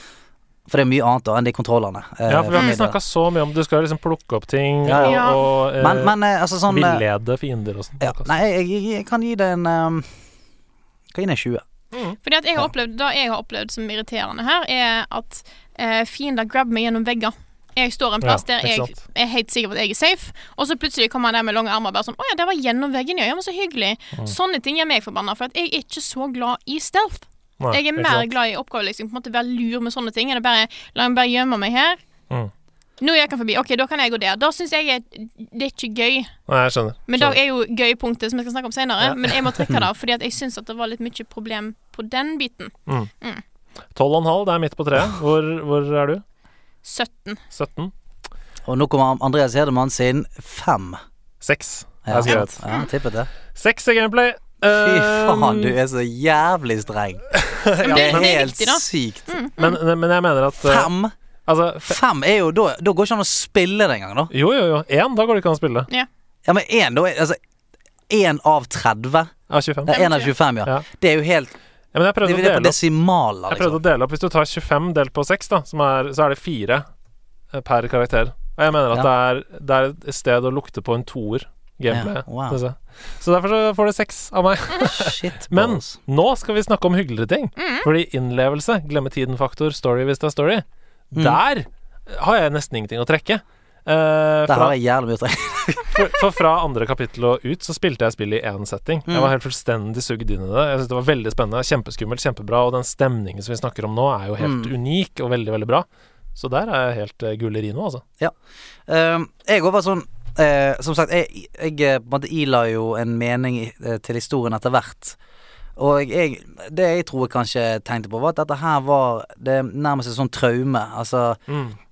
Speaker 3: For det er mye annet da enn de kontrollene. eh,
Speaker 4: Ja, for vi
Speaker 3: fra
Speaker 4: har
Speaker 3: min
Speaker 4: ikke snakka så mye om Du skal liksom plukke opp ting
Speaker 3: Ja,
Speaker 1: ja.
Speaker 4: og, og eh,
Speaker 3: side. Men, men eh, altså sånn eh,
Speaker 4: villede fiender og sånn.
Speaker 3: ja, Nei, jeg, jeg, jeg kan gi det en eh, Kan gi det en 20.
Speaker 1: Fordi at jeg har opplevd, Det jeg har opplevd som irriterende her, er at eh, fiender grabber meg gjennom vegger. Jeg står en plass
Speaker 4: Ja,
Speaker 1: der
Speaker 4: ikke
Speaker 1: jeg
Speaker 4: sant.
Speaker 1: er helt sikker på at jeg er safe, og så plutselig kommer han der med lange armer og bare sånn 'Å ja, der var gjennom veggen, ja. ja men så hyggelig.'
Speaker 4: Mm.
Speaker 1: Sånne ting gjør meg forbanna, for at jeg er ikke så glad i stealth.
Speaker 4: Nei,
Speaker 1: jeg er
Speaker 4: ikke
Speaker 1: mer
Speaker 4: sant.
Speaker 1: glad i oppgaver, liksom. På en måte være lur med sånne ting. Er det bare La meg bare gjemme meg her.
Speaker 4: Mm.
Speaker 1: Nå gikk han forbi. OK, da kan jeg gå der. Da syns jeg er, det er ikke gøy.
Speaker 4: Nei, jeg skjønner.
Speaker 1: Men det
Speaker 4: skjønner.
Speaker 1: er jo gøy punktet som jeg skal snakke om senere.
Speaker 4: Ja.
Speaker 1: Men jeg må trekke det, fordi at jeg syns at det var litt mye problem på den biten.
Speaker 4: 12,5, det er midt på treet. Hvor, hvor er du?
Speaker 1: 17.
Speaker 4: 17?
Speaker 3: Og nå kommer Andreas Hedemann sin fem.
Speaker 4: 6. Det
Speaker 3: Ja,
Speaker 4: er skrevet.
Speaker 3: ja tippet det.
Speaker 4: 6 i gameplay.
Speaker 3: Fy
Speaker 4: Eh,
Speaker 3: faen, du er så jævlig streng.
Speaker 1: Men
Speaker 3: Det
Speaker 1: det,
Speaker 3: er
Speaker 1: men det er
Speaker 3: helt
Speaker 1: viktig, da.
Speaker 3: sykt.
Speaker 4: men, men jeg mener at eh,
Speaker 3: Fem?
Speaker 4: Altså, fe
Speaker 3: Fem er jo Da, da går ikke an å spille det engang, da.
Speaker 4: jo, jo, jo. Én, da går det ikke an å spille.
Speaker 3: Ja, men én, da er Altså én av 30.
Speaker 4: Ja, 25.
Speaker 3: Nei, én av 25, ja.
Speaker 4: Ja.
Speaker 3: Det er jo helt
Speaker 4: Ja, men jeg
Speaker 3: Det
Speaker 4: prøvde å
Speaker 3: det er på
Speaker 4: dele opp.
Speaker 3: desimaler,
Speaker 4: Jeg prøvde
Speaker 3: liksom.
Speaker 4: å dele opp Hvis du tar 25 delt på 6, da, som er, så er det 4 per karakter. Og jeg mener at det, er, det er et sted å lukte på en toer. Gameplay.
Speaker 3: Ja, wow.
Speaker 4: synes jeg. Så derfor så får det seks av meg.
Speaker 3: Shit,
Speaker 4: Men
Speaker 3: balls.
Speaker 4: nå skal vi snakke om hyggeligere ting. Fordi innlevelse, glemme tiden-faktor, story hvis det er story,
Speaker 3: Mm.
Speaker 4: der har jeg nesten ingenting å trekke. Eh,
Speaker 3: Der
Speaker 4: fra,
Speaker 3: har jeg jævlig mye å trekke.
Speaker 4: for, for fra andre kapittel og ut så spilte jeg spillet i én setting. Jeg
Speaker 3: Mm.
Speaker 4: var helt fullstendig sugd inn i det. Jeg synes Det var veldig spennende, kjempeskummelt, kjempebra. Og den stemningen som vi snakker om nå, er jo helt
Speaker 3: Mm.
Speaker 4: unik og veldig, veldig bra. Så der er jeg helt uh, gullerino, altså.
Speaker 3: Ehm, jeg òg var sånn eh, Som sagt, jeg, jeg eh, på en måte ila jo en mening i- eh, til historien etter hvert. Og jeg, det jeg tror jeg kanskje tenkte på, var at dette her var Det er nærmest et sånn traume. Altså,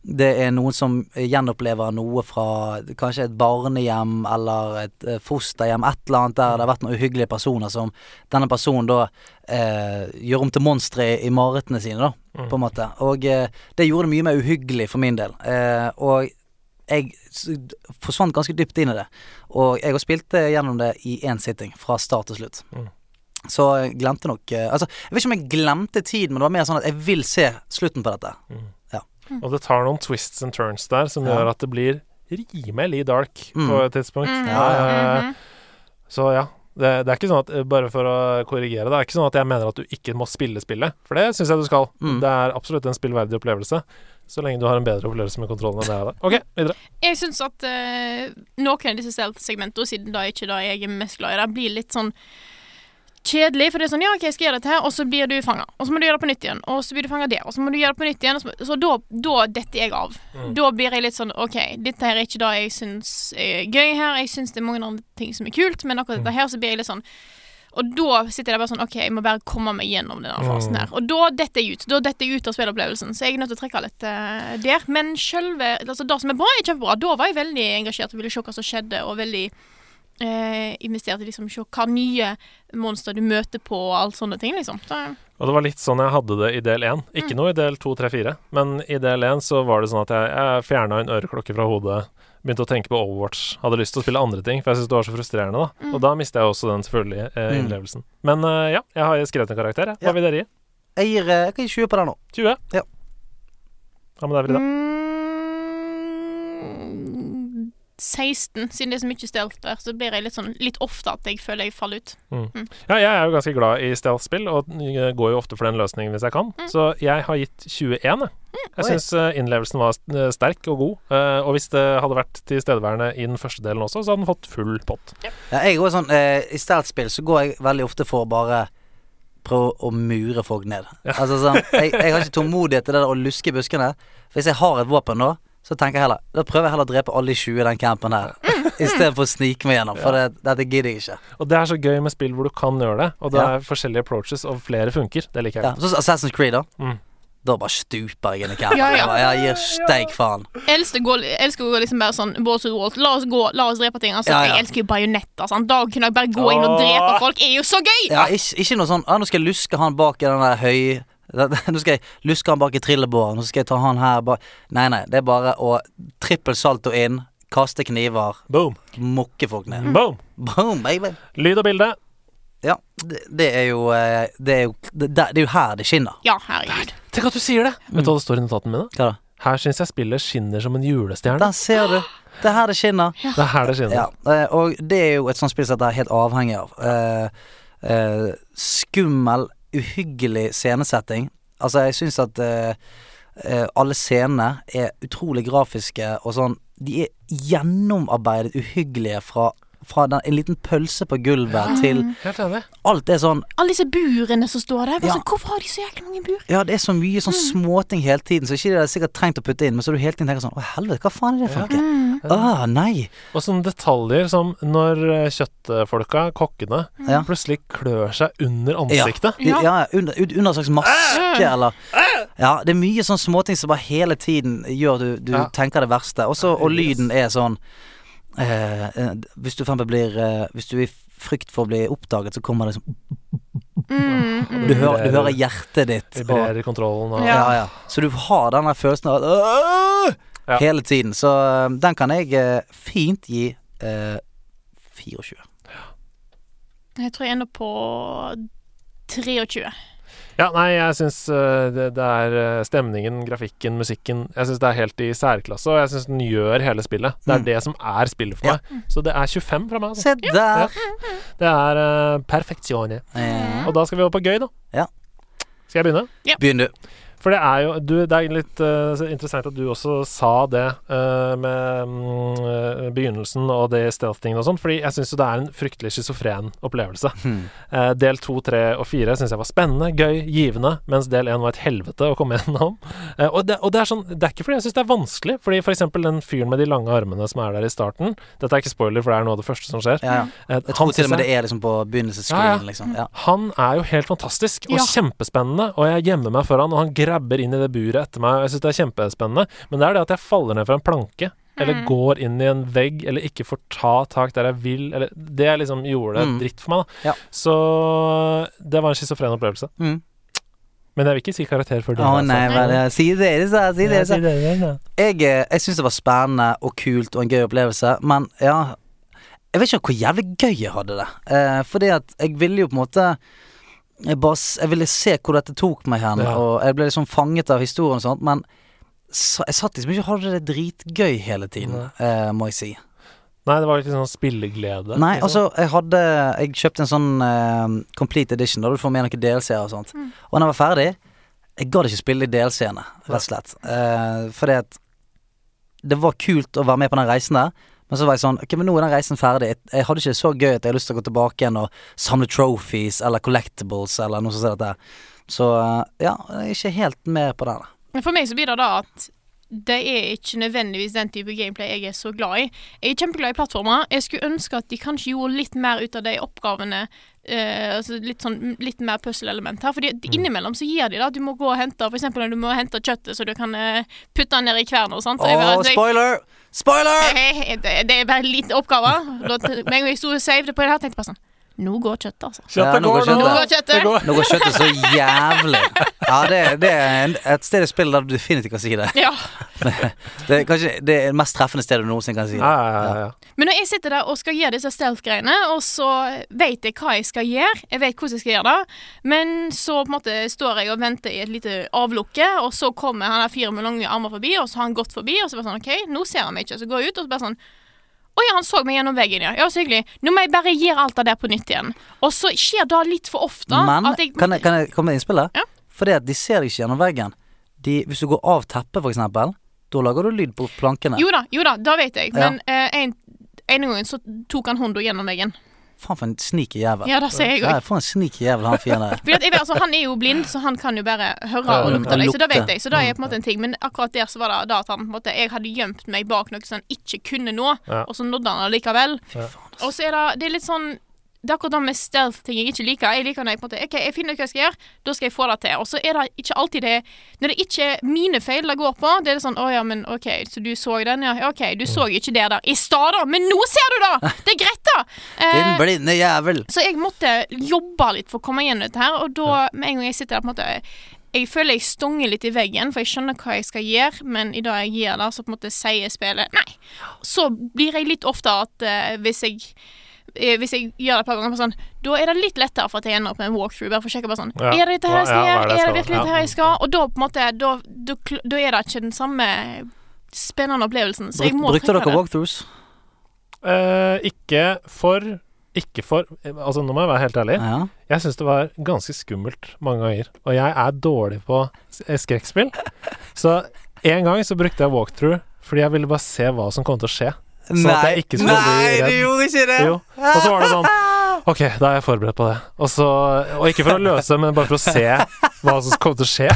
Speaker 3: det er noen som gjenopplever noe fra kanskje et barnehjem eller et eh, fosterhjem, et eller annet der det har vært noen uhyggelige personer som denne personen da eh, gjør om til monstre i, i marerittene sine, da. på en måte. Og eh, det gjorde det mye mer uhyggelig for min del. Eh, og jeg s- forsvant ganske dypt inn i det. Og jeg har spilt eh, gjennom det i én sitting, fra start til slutt.
Speaker 4: Mm.
Speaker 3: Så jeg glemte nok eh, Altså, jeg vet ikke om jeg glemte tid, men det var mer sånn at jeg vil se slutten på dette.
Speaker 4: Og det tar noen twists and turns der som
Speaker 3: Ja.
Speaker 4: gjør at det blir rimelig dark
Speaker 3: Mm.
Speaker 4: på et tidspunkt.
Speaker 1: Mhm.
Speaker 4: Eh,
Speaker 1: Mhm.
Speaker 4: Så ja. Det, det er ikke sånn at, eh, bare for å korrigere, det er ikke sånn at jeg mener at du ikke må spille spillet, for det syns jeg du skal.
Speaker 3: Mm.
Speaker 4: Det er absolutt en spillverdig opplevelse, så lenge du har en bedre opplevelse med kontrollen enn det jeg hadde. OK, videre.
Speaker 1: Jeg syns at eh, noen av disse stealth-segmentene, siden da ikke da jeg er mest glad i det, blir litt sånn kjedelig. For det er sånn, ja, OK, jeg skal gjøre dette her, og så blir du fanga. Og så må du gjøre det på nytt igjen, og så blir du fanga der, og så må du gjøre det på nytt igjen. Og så, så da, da detter jeg av. Da blir jeg litt sånn OK, dette her er ikke det jeg syns er gøy her. Jeg syns det er mange andre ting som er kult, men akkurat dette her så blir jeg litt sånn og da sitter jeg bare sånn OK, jeg må bare komme meg gjennom denne fasen her. Og da detter jeg ut. Da detter jeg ut av spillopplevelsen, så jeg er nødt til å trekke litt eh, der. Men sjølve altså, Det som er bra, er kjempebra. Da var jeg veldig engasjert og ville se hva som skjedde, og veldig eh, investert i liksom se hva nye monster du møter på, og alt sånne ting, liksom. Da,
Speaker 4: Og det var litt sånn jeg hadde det i del én. Ikke
Speaker 3: Mm.
Speaker 4: noe i del to, tre, fire. Men i del én så var det sånn at jeg, jeg fjerna en øreklokke fra hodet. Begynte å tenke på Overwatch. Hadde lyst til å spille andre ting, for jeg syntes det var så frustrerende. da Og da mista jeg også den selvfølgelig eh,
Speaker 3: Mm.
Speaker 4: innlevelsen. Men eh, ja, jeg har skrevet en karakter. Jeg. Hva
Speaker 3: Ja.
Speaker 4: vil dere gi?
Speaker 3: Jeg gir eh, jeg kan gi 20 på det nå.
Speaker 4: 20?
Speaker 3: Ja.
Speaker 4: Hva med deg, Frida?
Speaker 1: mm, 16, siden det er så mye stelt der, så blir jeg litt sånn litt ofte at jeg føler jeg faller ut.
Speaker 4: Ja, jeg er jo ganske glad i stealth-spill, og eh, går jo ofte for den løsningen hvis jeg kan. Så jeg har gitt 21, jeg. Jeg
Speaker 3: Mm. Oi.
Speaker 4: syns innlevelsen var eh, sterk og god. eh, Og hvis det hadde vært tilstedeværende i den første delen også, så hadde den fått full pott.
Speaker 3: Ja, jeg går sånn, eh, I stealth-spill så går jeg veldig ofte for bare prøve å mure folk ned. Altså sånn, jeg, jeg har ikke tålmodighet til det der å luske i buskene. Hvis jeg har et våpen nå, så tenker jeg heller Da prøver jeg heller å drepe alle i 20 i den campen her, istedenfor å snike meg gjennom. For det, dette gidder jeg ikke.
Speaker 4: Og det er så gøy med spill hvor du kan gjøre det, og det
Speaker 3: Ja.
Speaker 4: er forskjellige approaches, og flere funker. Det liker
Speaker 3: Ja,
Speaker 4: jeg.
Speaker 3: Sånn som Assassin's Creed, da.
Speaker 4: Mm.
Speaker 3: Da bare stuper jeg inn i campen.
Speaker 1: Ja, ja.
Speaker 3: Jeg, bare, jeg gir steik faen.
Speaker 1: Jeg elsker, å gå, jeg elsker å gå liksom bare sånn balls to the wall. La oss gå, la oss drepe ting. Altså,
Speaker 3: Ja, ja.
Speaker 1: Jeg elsker jo bajonetter. Sant? Da kunne jeg bare gå inn og drepe folk. Det er jo så gøy!
Speaker 3: Ja, ikke, ikke noe sånn ah, 'Nå skal jeg luske han bak i den der høy Nå skal jeg luske han bak i trillebåren, og så skal jeg ta han her bak Nei, nei. Det er bare å trippel salto inn, kaste kniver,
Speaker 4: Boom.
Speaker 3: mokke folk
Speaker 1: Mm.
Speaker 3: ned.
Speaker 4: Boom.
Speaker 3: Boom, baby.
Speaker 4: Lyd og bilde.
Speaker 3: Ja, det, det er jo eh, Det er jo det, det er jo her det skinner.
Speaker 1: Ja, herregud.
Speaker 4: Tenk at du sier det! Mm. Vet du hva det står i notatene mine?
Speaker 3: Hva da?
Speaker 4: Her syns jeg spillet skinner som en julestjerne.
Speaker 3: Der ser du. Det er her det skinner.
Speaker 4: Det er her det skinner.
Speaker 3: Ja, eh, og det er jo et sånt spill som dette er helt avhengig av. Eh, eh, skummel, uhyggelig scenesetting. Altså, jeg syns at eh, eh, alle scenene er utrolig grafiske og sånn De er gjennomarbeidet uhyggelige fra, fra den, en liten pølse på gulvet til
Speaker 4: Helt enig.
Speaker 3: Alt er sånn
Speaker 1: Alle disse burene som står der. Bare
Speaker 3: Ja.
Speaker 1: sånn, hvorfor har de så jækla mange bur?
Speaker 3: Ja, det er så mye sånn småting hele tiden, så ikke det er sikkert trengt å putte inn, men så du hele tiden tenker sånn Å, helvete, hva faen er det for noe? Ah, nei.
Speaker 4: Og sånne detaljer som når eh, kjøttfolka, kokkene,
Speaker 3: Ja.
Speaker 4: plutselig klør seg under
Speaker 3: Ja.
Speaker 4: ansiktet.
Speaker 3: Ja,
Speaker 1: Ja.
Speaker 3: ja under, un- under en slags maske,
Speaker 4: Ah.
Speaker 3: eller Ja, det er mye sånn småting som bare hele tiden gjør du, du
Speaker 4: Ja.
Speaker 3: tenker det verste. Også, og
Speaker 4: Yes.
Speaker 3: lyden er sånn eh, eh, Hvis du for eksempel blir eh, Hvis du er i frykt for å bli oppdaget, så kommer det sånn
Speaker 1: Mm,
Speaker 3: Du
Speaker 4: Mm.
Speaker 3: hører, du hører hjertet ditt. Og,
Speaker 4: Vibrerer i kontrollen og
Speaker 1: Ja.
Speaker 3: ja, ja. Så du har den der følelsen av «Åh!»
Speaker 4: Ja.
Speaker 3: hele tiden. Så eh, den kan jeg eh, fint gi eh, 24.
Speaker 1: Jeg tror jeg ender på 23.
Speaker 4: Ja, nei, jeg syns det, det er eh, stemningen, grafikken, musikken Jeg syns det er helt i særklasse, og jeg syns den gjør hele spillet. Det er
Speaker 3: Mm.
Speaker 4: det som er spillet for
Speaker 3: Ja.
Speaker 4: meg. Så det er 25 fra meg. Altså.
Speaker 3: Se der!
Speaker 4: Det er uh, perfeksjone.
Speaker 3: Eh,
Speaker 4: Og da skal vi over på gøy, da.
Speaker 3: Ja.
Speaker 4: Skal jeg begynne?
Speaker 3: Begynn, du.
Speaker 4: For det er jo du, Det er litt eh, så interessant at du også sa det eh, med mm, eh, begynnelsen og det stealth-tingene og sånn, fordi jeg syns jo det er en fryktelig schizofren opplevelse.
Speaker 3: Hmm.
Speaker 4: Eh, del to, tre og fire syns jeg var spennende, gøy, givende, mens del én var et helvete å komme gjennom. Eh, og, det, og det er sånn Det er ikke fordi jeg syns det er vanskelig, fordi for eksempel den fyren med de lange armene som er der i starten Dette er ikke spoiler, for det er noe av det første som skjer.
Speaker 3: Ja, ja.
Speaker 4: Eh,
Speaker 3: Jeg
Speaker 4: han
Speaker 3: tror til og
Speaker 4: synes
Speaker 3: med det er liksom på begynnelsesscreen,
Speaker 4: Ja, ja.
Speaker 3: liksom. Ja.
Speaker 4: han er jo helt fantastisk og
Speaker 1: Ja.
Speaker 4: kjempespennende, og jeg gjemmer meg for han, og han grabber inn i det buret etter meg, og jeg syns det er kjempespennende, men det er det at jeg faller ned fra en planke,
Speaker 3: Mm.
Speaker 4: eller går inn i en vegg, eller ikke får ta tak der jeg vil, eller Det liksom gjorde det
Speaker 3: Mm.
Speaker 4: dritt for meg, da.
Speaker 3: Ja.
Speaker 4: Så det var en schizofren opplevelse.
Speaker 3: Mm.
Speaker 4: Men jeg vil ikke si karakter før du altså.
Speaker 3: Å nei, vel, ja. si deres, da. Si altså. deres, da. Jeg, eh, jeg syns det var spennende og kult og en gøy opplevelse, men ja Jeg vet ikke hvor jævlig gøy jeg hadde det. Eh, fordi at jeg ville jo på en måte jeg, bare, s- jeg ville se hvor dette tok meg hen,
Speaker 4: Ja.
Speaker 3: og jeg ble liksom fanget av historien og sånt, men sa- jeg satt liksom ikke og hadde det dritgøy hele tiden, eh, må jeg si.
Speaker 4: Nei, det var ikke sånn spilleglede.
Speaker 3: Nei,
Speaker 4: liksom.
Speaker 3: altså, jeg hadde Jeg kjøpte en sånn eh, complete edition, da du får med noen DLC-er og sånt.
Speaker 1: Mm.
Speaker 3: Og når jeg var ferdig, jeg gadd ikke spille de DLC-ene, rett og slett. Eh, fordi at det var kult å være med på den reisen der, men så var jeg sånn Ok, men nå er den reisen ferdig. Jeg, jeg hadde ikke det så gøy at jeg har lyst til å gå tilbake igjen og samle trophies eller collectibles eller noe sånt. som dette. Så eh, ja, jeg er ikke helt med på den. da.
Speaker 1: Men For meg så blir det da at det er ikke nødvendigvis den type gameplay jeg er så glad i. Jeg er kjempeglad i plattformer. Jeg skulle ønske at de kanskje gjorde litt mer ut av de oppgavene. eh, altså litt, sånn, litt mer puzzle-element her. Fordi
Speaker 3: Mm.
Speaker 1: det- innimellom så gir de det at du må gå og hente For eksempel når du må hente kjøttet, så du kan eh, putte det ned i kverna og sånt. Og jeg
Speaker 3: Åh,
Speaker 1: bare- altså, jeg-
Speaker 3: spoiler! Spoiler!
Speaker 1: Eh, Det det er bare en liten oppgave. Da t- Med en gang jeg sto og saved på det her, tenkte jeg bare sånn Nå går kjøttet, altså.
Speaker 3: Ja,
Speaker 4: Kjøttet
Speaker 3: nå går
Speaker 4: går,
Speaker 1: Nå
Speaker 4: nå.
Speaker 1: går kjøttet.
Speaker 3: Nå går kjøttet så jævlig. Ja, det, det er en, et sted i spillet der du definitivt kan si det.
Speaker 1: Ja.
Speaker 3: Det er kanskje det er det mest treffende stedet du noensinne kan si det.
Speaker 4: Ja, ja, ja, ja.
Speaker 1: Men når jeg sitter der og skal gjøre disse stealth-greiene, og så vet jeg hva jeg skal gjøre, jeg vet hvordan jeg skal gjøre det, men så på en måte står jeg og venter i et lite avlukke, og så kommer han der fyren med lange armer forbi, og så har han gått forbi, og så bare sånn OK, nå ser han meg ikke, så går jeg ut, og så bare sånn å ja, han så meg gjennom veggen, ja. ja. Så hyggelig. Nå må jeg bare gjøre alt det der på nytt igjen. Og så skjer det litt for ofte.
Speaker 3: Men
Speaker 1: at jeg,
Speaker 3: kan jeg, kan jeg komme med innspillet?
Speaker 1: Ja.
Speaker 3: Fordi at de ser deg ikke gjennom veggen. De, hvis du går av teppet, for eksempel, da lager du lyd på plankene.
Speaker 1: Jo da, jo da, det vet jeg.
Speaker 3: Ja.
Speaker 1: Men eh, en, en gang så tok han hunden gjennom veggen.
Speaker 3: Faen for en sneaky jævel.
Speaker 1: Ja, det ser jeg òg.
Speaker 3: Ja, for en sneaky jævel han fyren der.
Speaker 1: Fordi at jeg, vet- altså, han er jo blind, så han kan jo bare høre og
Speaker 3: Ja,
Speaker 1: lukte deg. Så
Speaker 3: lukte.
Speaker 1: det vet jeg. Så det er på en måte en ting. Men akkurat der så var det da at han på en måte, jeg hadde gjemt meg bak noe som han ikke kunne nå,
Speaker 4: Ja.
Speaker 1: og så nådde han det likevel. Og så er det, det er litt sånn det er akkurat det med stealth-ting jeg ikke liker. Jeg liker når jeg på en måte, ok, jeg finner ut hva jeg skal gjøre, da skal jeg få det til. Og så er det ikke alltid det Når det ikke er mine feil det går på, det er det sånn Å ja, men OK, så du så den, ja. OK, du så ikke det der i stad, da. Men nå ser du det! Det er greit, da! Eh,
Speaker 3: Din blinde jævel.
Speaker 1: Så jeg måtte jobbe litt for å komme igjennom dette her, og da, med en gang jeg sitter der, på en måte Jeg føler jeg stonger litt i veggen, for jeg skjønner hva jeg skal gjøre, men i det jeg gjør det, så på en måte sier spillet nei. Så blir jeg litt oftere at eh, hvis jeg eh, hvis jeg gjør det et par ganger, bare sånn, da er det litt lettere for at jeg ender opp med en walkthrough. Bare for å sjekke bare sånn
Speaker 4: Ja.
Speaker 1: Er det dette her jeg
Speaker 4: Ja,
Speaker 1: skal
Speaker 4: hva er
Speaker 1: gjøre?
Speaker 4: det jeg
Speaker 1: Er det
Speaker 4: skal-
Speaker 1: virkelig dette
Speaker 4: ja.
Speaker 1: her jeg skal? Og da på en måte Da, da, kl- da er det ikke den samme spennende opplevelsen. Så jeg
Speaker 3: Bruk,
Speaker 1: må
Speaker 3: brukte
Speaker 1: trekke
Speaker 3: dere
Speaker 1: det.
Speaker 3: walkthroughs?
Speaker 4: Eh, ikke for Ikke for Altså, nå må jeg være helt ærlig.
Speaker 3: Ja.
Speaker 4: Jeg syns det var ganske skummelt mange ganger. Og jeg er dårlig på s- eh, skrekkspill. Så en gang så brukte jeg walkthrough fordi jeg ville bare se hva som kom til å skje. Sånn at jeg ikke skulle bli redd.
Speaker 3: ikke
Speaker 4: Jo. Og så var det sånn Ok, da er jeg forberedt på det. Og, så, og ikke for å løse, men bare for å se hva som kommer til å skje.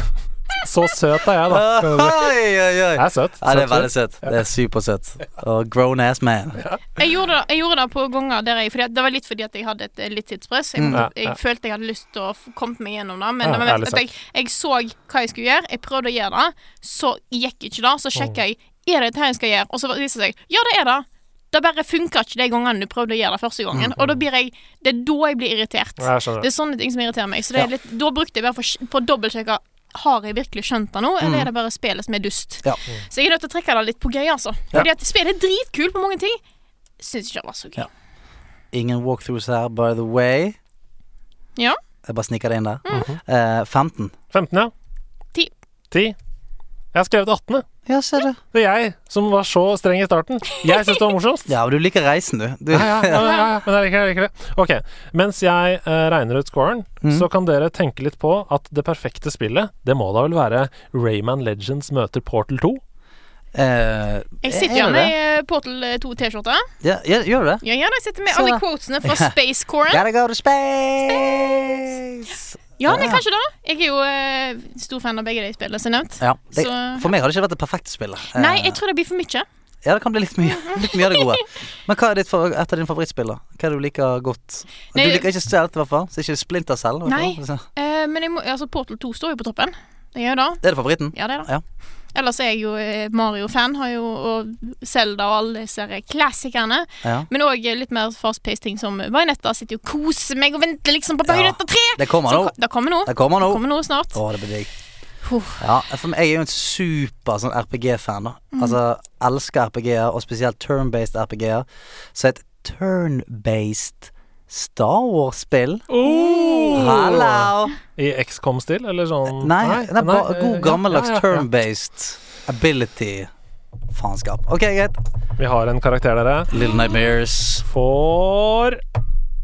Speaker 4: Så søt er jeg, da. kan du si.
Speaker 3: Oi, oi, oi.
Speaker 4: Jeg er søt.
Speaker 3: Ja, det er
Speaker 4: Søt,
Speaker 3: veldig søtt. Det er supersøtt. Og grown ass man.
Speaker 1: Jeg gjorde, det, jeg gjorde det på ganger der jeg fordi at- Det var litt fordi at jeg hadde et eh, litt tidspress. Jeg,
Speaker 3: Mm.
Speaker 1: måtte,
Speaker 4: Ja, ja.
Speaker 1: jeg følte jeg hadde lyst til å f- komme meg gjennom det, men
Speaker 4: Ja,
Speaker 1: det var
Speaker 4: ærlig
Speaker 1: at jeg, jeg så hva jeg skulle gjøre, jeg prøvde å gjøre det, så gikk ikke det. Så sjekka jeg er det dette jeg skal gjøre, og så viser det seg ja, det er det. Det bare funka ikke de gangene du prøvde å gjøre det første gangen. Og da blir jeg, det er da jeg blir irritert.
Speaker 4: Mm, Ja, jeg skjønner.
Speaker 1: Det er sånne ting som irriterer meg. Så det er litt, da brukte jeg bare for, å sj- for å dobbeltsjekke har jeg virkelig skjønt det nå, eller er det bare spillet som er dust.
Speaker 3: Mm. Ja.
Speaker 1: Så jeg er nødt til å trekke det litt på gøy, altså. Fordi at spillet er dritkult på mange ting. Syns ikke det var så gøy.
Speaker 3: Ja. Ingen walkthroughs her, by the way.
Speaker 1: Ja.
Speaker 3: Jeg bare sniker det inn der.
Speaker 1: Mm.
Speaker 3: Eh, 15.
Speaker 4: 15, ja.
Speaker 1: Ti.
Speaker 4: 10. Jeg har skrevet 18. jeg.
Speaker 3: Ja, ser du.
Speaker 4: Det er jeg som var så streng i starten. Jeg syns det var morsomst.
Speaker 3: Ja, men du liker reisen, du. du.
Speaker 4: Ja, ja, ja, ja, ja, men jeg liker, det, jeg liker det. Ok, Mens jeg eh, regner ut scoren,
Speaker 3: Mm.
Speaker 4: så kan dere tenke litt på at det perfekte spillet, det må da vel være Rayman Legends møter Portal 2?
Speaker 3: Eh,
Speaker 1: Jeg sitter
Speaker 3: gjør det.
Speaker 1: jo med Portal 2-T-skjorte.
Speaker 3: Ja, ja, gjør du det?
Speaker 1: Ja, ja, jeg sitter med
Speaker 3: Så
Speaker 1: alle
Speaker 3: da.
Speaker 1: quotesene fra Space Coren.
Speaker 3: Gotta go to space!
Speaker 1: Ja, nei, kanskje det. Jeg er jo eh, stor fan av begge de spillene som er nevnt.
Speaker 3: Ja, det,
Speaker 1: Så-
Speaker 3: for meg har det ikke vært det perfekte spillet. Eh,
Speaker 1: Nei, Mhm. jeg tror det blir for mye.
Speaker 3: Ja, det kan bli litt mye, litt mye av det gode. Men hva er ditt for, et av dine favorittspiller? Hva er det du liker godt?
Speaker 1: Nei,
Speaker 3: du liker ikke Stelt, i hvert fall. Så ikke Splinter selv. i hvert fall.
Speaker 1: Nei. Eh, men jeg må, altså, Portal 2 står jo på toppen. Det gjør jo det.
Speaker 3: Er det favoritten?
Speaker 1: Ja, det er det.
Speaker 3: Ja.
Speaker 1: Ellers er jeg jo eh, Mario-fan, har jo og Zelda og alle disse her klassikerne.
Speaker 3: Ja.
Speaker 1: Men òg litt mer fast-paced ting som Bajonetta. Sitter jo og koser meg og venter liksom på
Speaker 3: Ja,
Speaker 1: Bajonetta 3!
Speaker 3: det kommer
Speaker 1: Som
Speaker 3: nå.
Speaker 1: ko- Det kommer nå.
Speaker 3: Det kommer nå.
Speaker 1: Det kommer nå snart.
Speaker 3: Å, det blir digg.
Speaker 1: Huff.
Speaker 3: Ja, for meg- jeg er jo en super sånn RPG-fan. da Altså, Elsker RPG-er, og spesielt turn-based RPG-er. Så et turn-based Star Wars-spill Hallo!
Speaker 4: I XCOM-stil, eller sånn?
Speaker 3: Nei, det er bare
Speaker 4: eh,
Speaker 3: god gammeldags
Speaker 4: ja, ja, ja.
Speaker 3: turn-based ability-faenskap. Ok, greit.
Speaker 4: Vi har en karakter, dere.
Speaker 3: Little Nightmares.
Speaker 4: For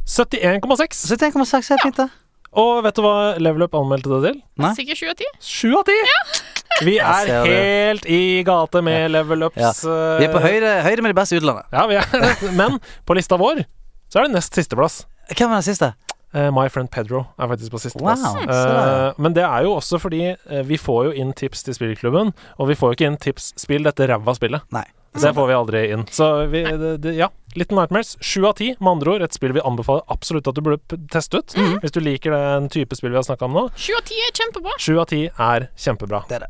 Speaker 4: 71,6.
Speaker 3: 71,6 er fint, det.
Speaker 4: Og vet du hva Level Up anmeldte det til?
Speaker 3: Nei?
Speaker 1: Sikkert 7 av 10.
Speaker 4: Sju av ti! Vi
Speaker 3: Jeg
Speaker 4: er
Speaker 3: ser det.
Speaker 4: helt i gate med Level Ups.
Speaker 3: Ja. Vi er på
Speaker 4: eh,
Speaker 3: høyde, høyde med de beste i utlandet.
Speaker 4: Ja, vi er det. Men på lista vår så er det nest sisteplass.
Speaker 3: Hvem var den siste?
Speaker 4: Eh, My Friend Pedro er faktisk på sisteplass.
Speaker 3: Wow, se
Speaker 4: Eh,
Speaker 3: der.
Speaker 4: men det er jo også fordi eh, vi får jo inn tips til spillklubben, og vi får jo ikke inn tips 'spill dette ræva spillet'.
Speaker 3: Nei.
Speaker 4: Det får vi aldri inn. Så vi, det, det, ja, Little Nightmares. Sju av ti, med andre ord. Et spill vi anbefaler absolutt at du burde p- teste ut.
Speaker 3: Mhm.
Speaker 4: Hvis du liker den type spill vi har snakka om nå.
Speaker 1: 7 av 10 er kjempebra.
Speaker 4: Sju av ti er kjempebra.
Speaker 3: Det er det.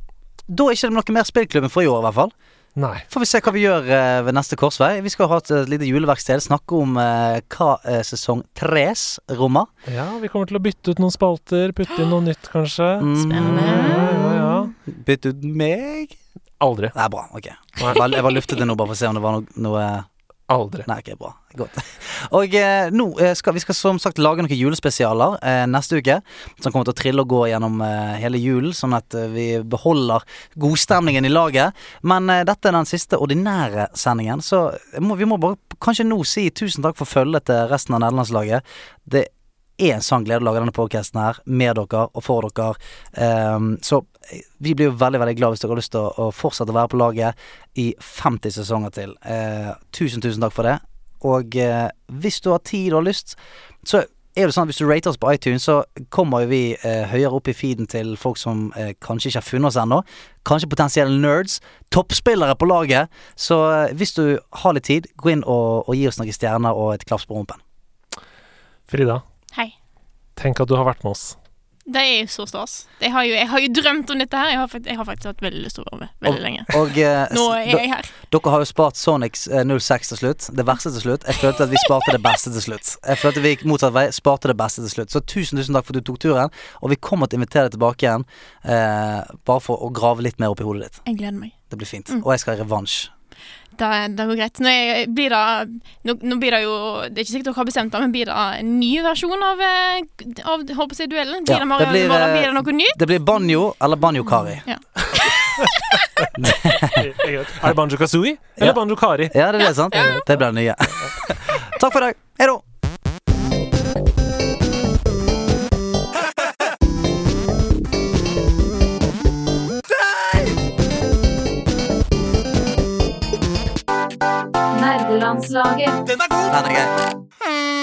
Speaker 3: Da er ikke det noe mer Spillklubben for i år, i hvert fall.
Speaker 4: Nei.
Speaker 3: Får vi se hva vi gjør eh, ved neste korsvei. Vi skal ha et, eh, lite juleverksted. Snakke om eh, hva eh, sesong tres rommer.
Speaker 4: Ja, vi kommer til å bytte ut noen spalter, putte inn noe nytt, kanskje.
Speaker 3: Mm.
Speaker 1: Spennende.
Speaker 4: Ja, ja, ja.
Speaker 3: Bytt ut Mm, meg
Speaker 4: Aldri.
Speaker 3: Nei, bra. Ok. Jeg bare, jeg bare luftet det nå, bare for å se om det var noe, noe
Speaker 4: Aldri.
Speaker 3: Nei, ok, bra. Godt. Og eh, nå eh, skal vi skal som sagt lage noen julespesialer eh, neste uke. Som kommer til å trille og gå gjennom eh, hele julen, sånn at eh, vi beholder godstemningen i laget. Men eh, dette er den siste ordinære sendingen, så må, vi må bare kanskje nå si tusen takk for følget til resten av nederlandslaget. Det er en sann glede å lage denne podkasten her med dere og for dere. Ehm, så vi blir jo veldig veldig glad hvis dere har lyst til å, å fortsette å være på laget i 50 sesonger til. Eh, tusen, tusen takk for det. Og eh, hvis du har tid og lyst, så er det sånn at hvis du rater oss på iTunes, så kommer jo vi eh, høyere opp i feeden til folk som eh, kanskje ikke har funnet oss ennå. Kanskje potensielle nerds. Toppspillere på laget. Så eh, hvis du har litt tid, gå inn og, og gi oss noen stjerner og et klaps på rumpen.
Speaker 4: Frida,
Speaker 1: Hei.
Speaker 4: tenk at du har vært med oss.
Speaker 1: Det er jo så stas. Jeg har jo, jeg har jo drømt om dette her. Jeg har, fakt- jeg har faktisk hatt veldig lyst til å være med veldig lenge.
Speaker 3: Og, eh,
Speaker 1: Nå
Speaker 3: s-
Speaker 1: er jeg her.
Speaker 3: Dere har jo spart Sonic eh, 06 til slutt. Det verste til slutt. Jeg følte at vi sparte det beste til slutt. Jeg følte vi gikk motsatt vei, sparte det beste til slutt. Så tusen, tusen takk for at du tok turen, og vi kommer til å invitere deg tilbake igjen. Eh, bare for å grave litt mer opp i hodet ditt.
Speaker 1: Jeg gleder meg.
Speaker 3: Det blir fint. Og jeg skal i revansj.
Speaker 1: Da, det går greit. Nå, er, blir det, nå, nå blir det jo Det er ikke sikkert dere har bestemt det, men blir det en ny versjon av, eh, av håper jeg, duellen? Blir
Speaker 3: Ja,
Speaker 1: det, Mario,
Speaker 3: det blir,
Speaker 1: Nivara?
Speaker 3: eh,
Speaker 1: blir det noe nytt?
Speaker 3: Det blir banjo eller banjo-kari.
Speaker 4: Er det Banjo Kazooie eller
Speaker 3: Ja.
Speaker 4: Banjo Kari?
Speaker 3: Ja, det er det, sant? Det blir det nye. Takk for i dag. Hei da.
Speaker 11: Nerdelandslaget.
Speaker 3: Den er grei.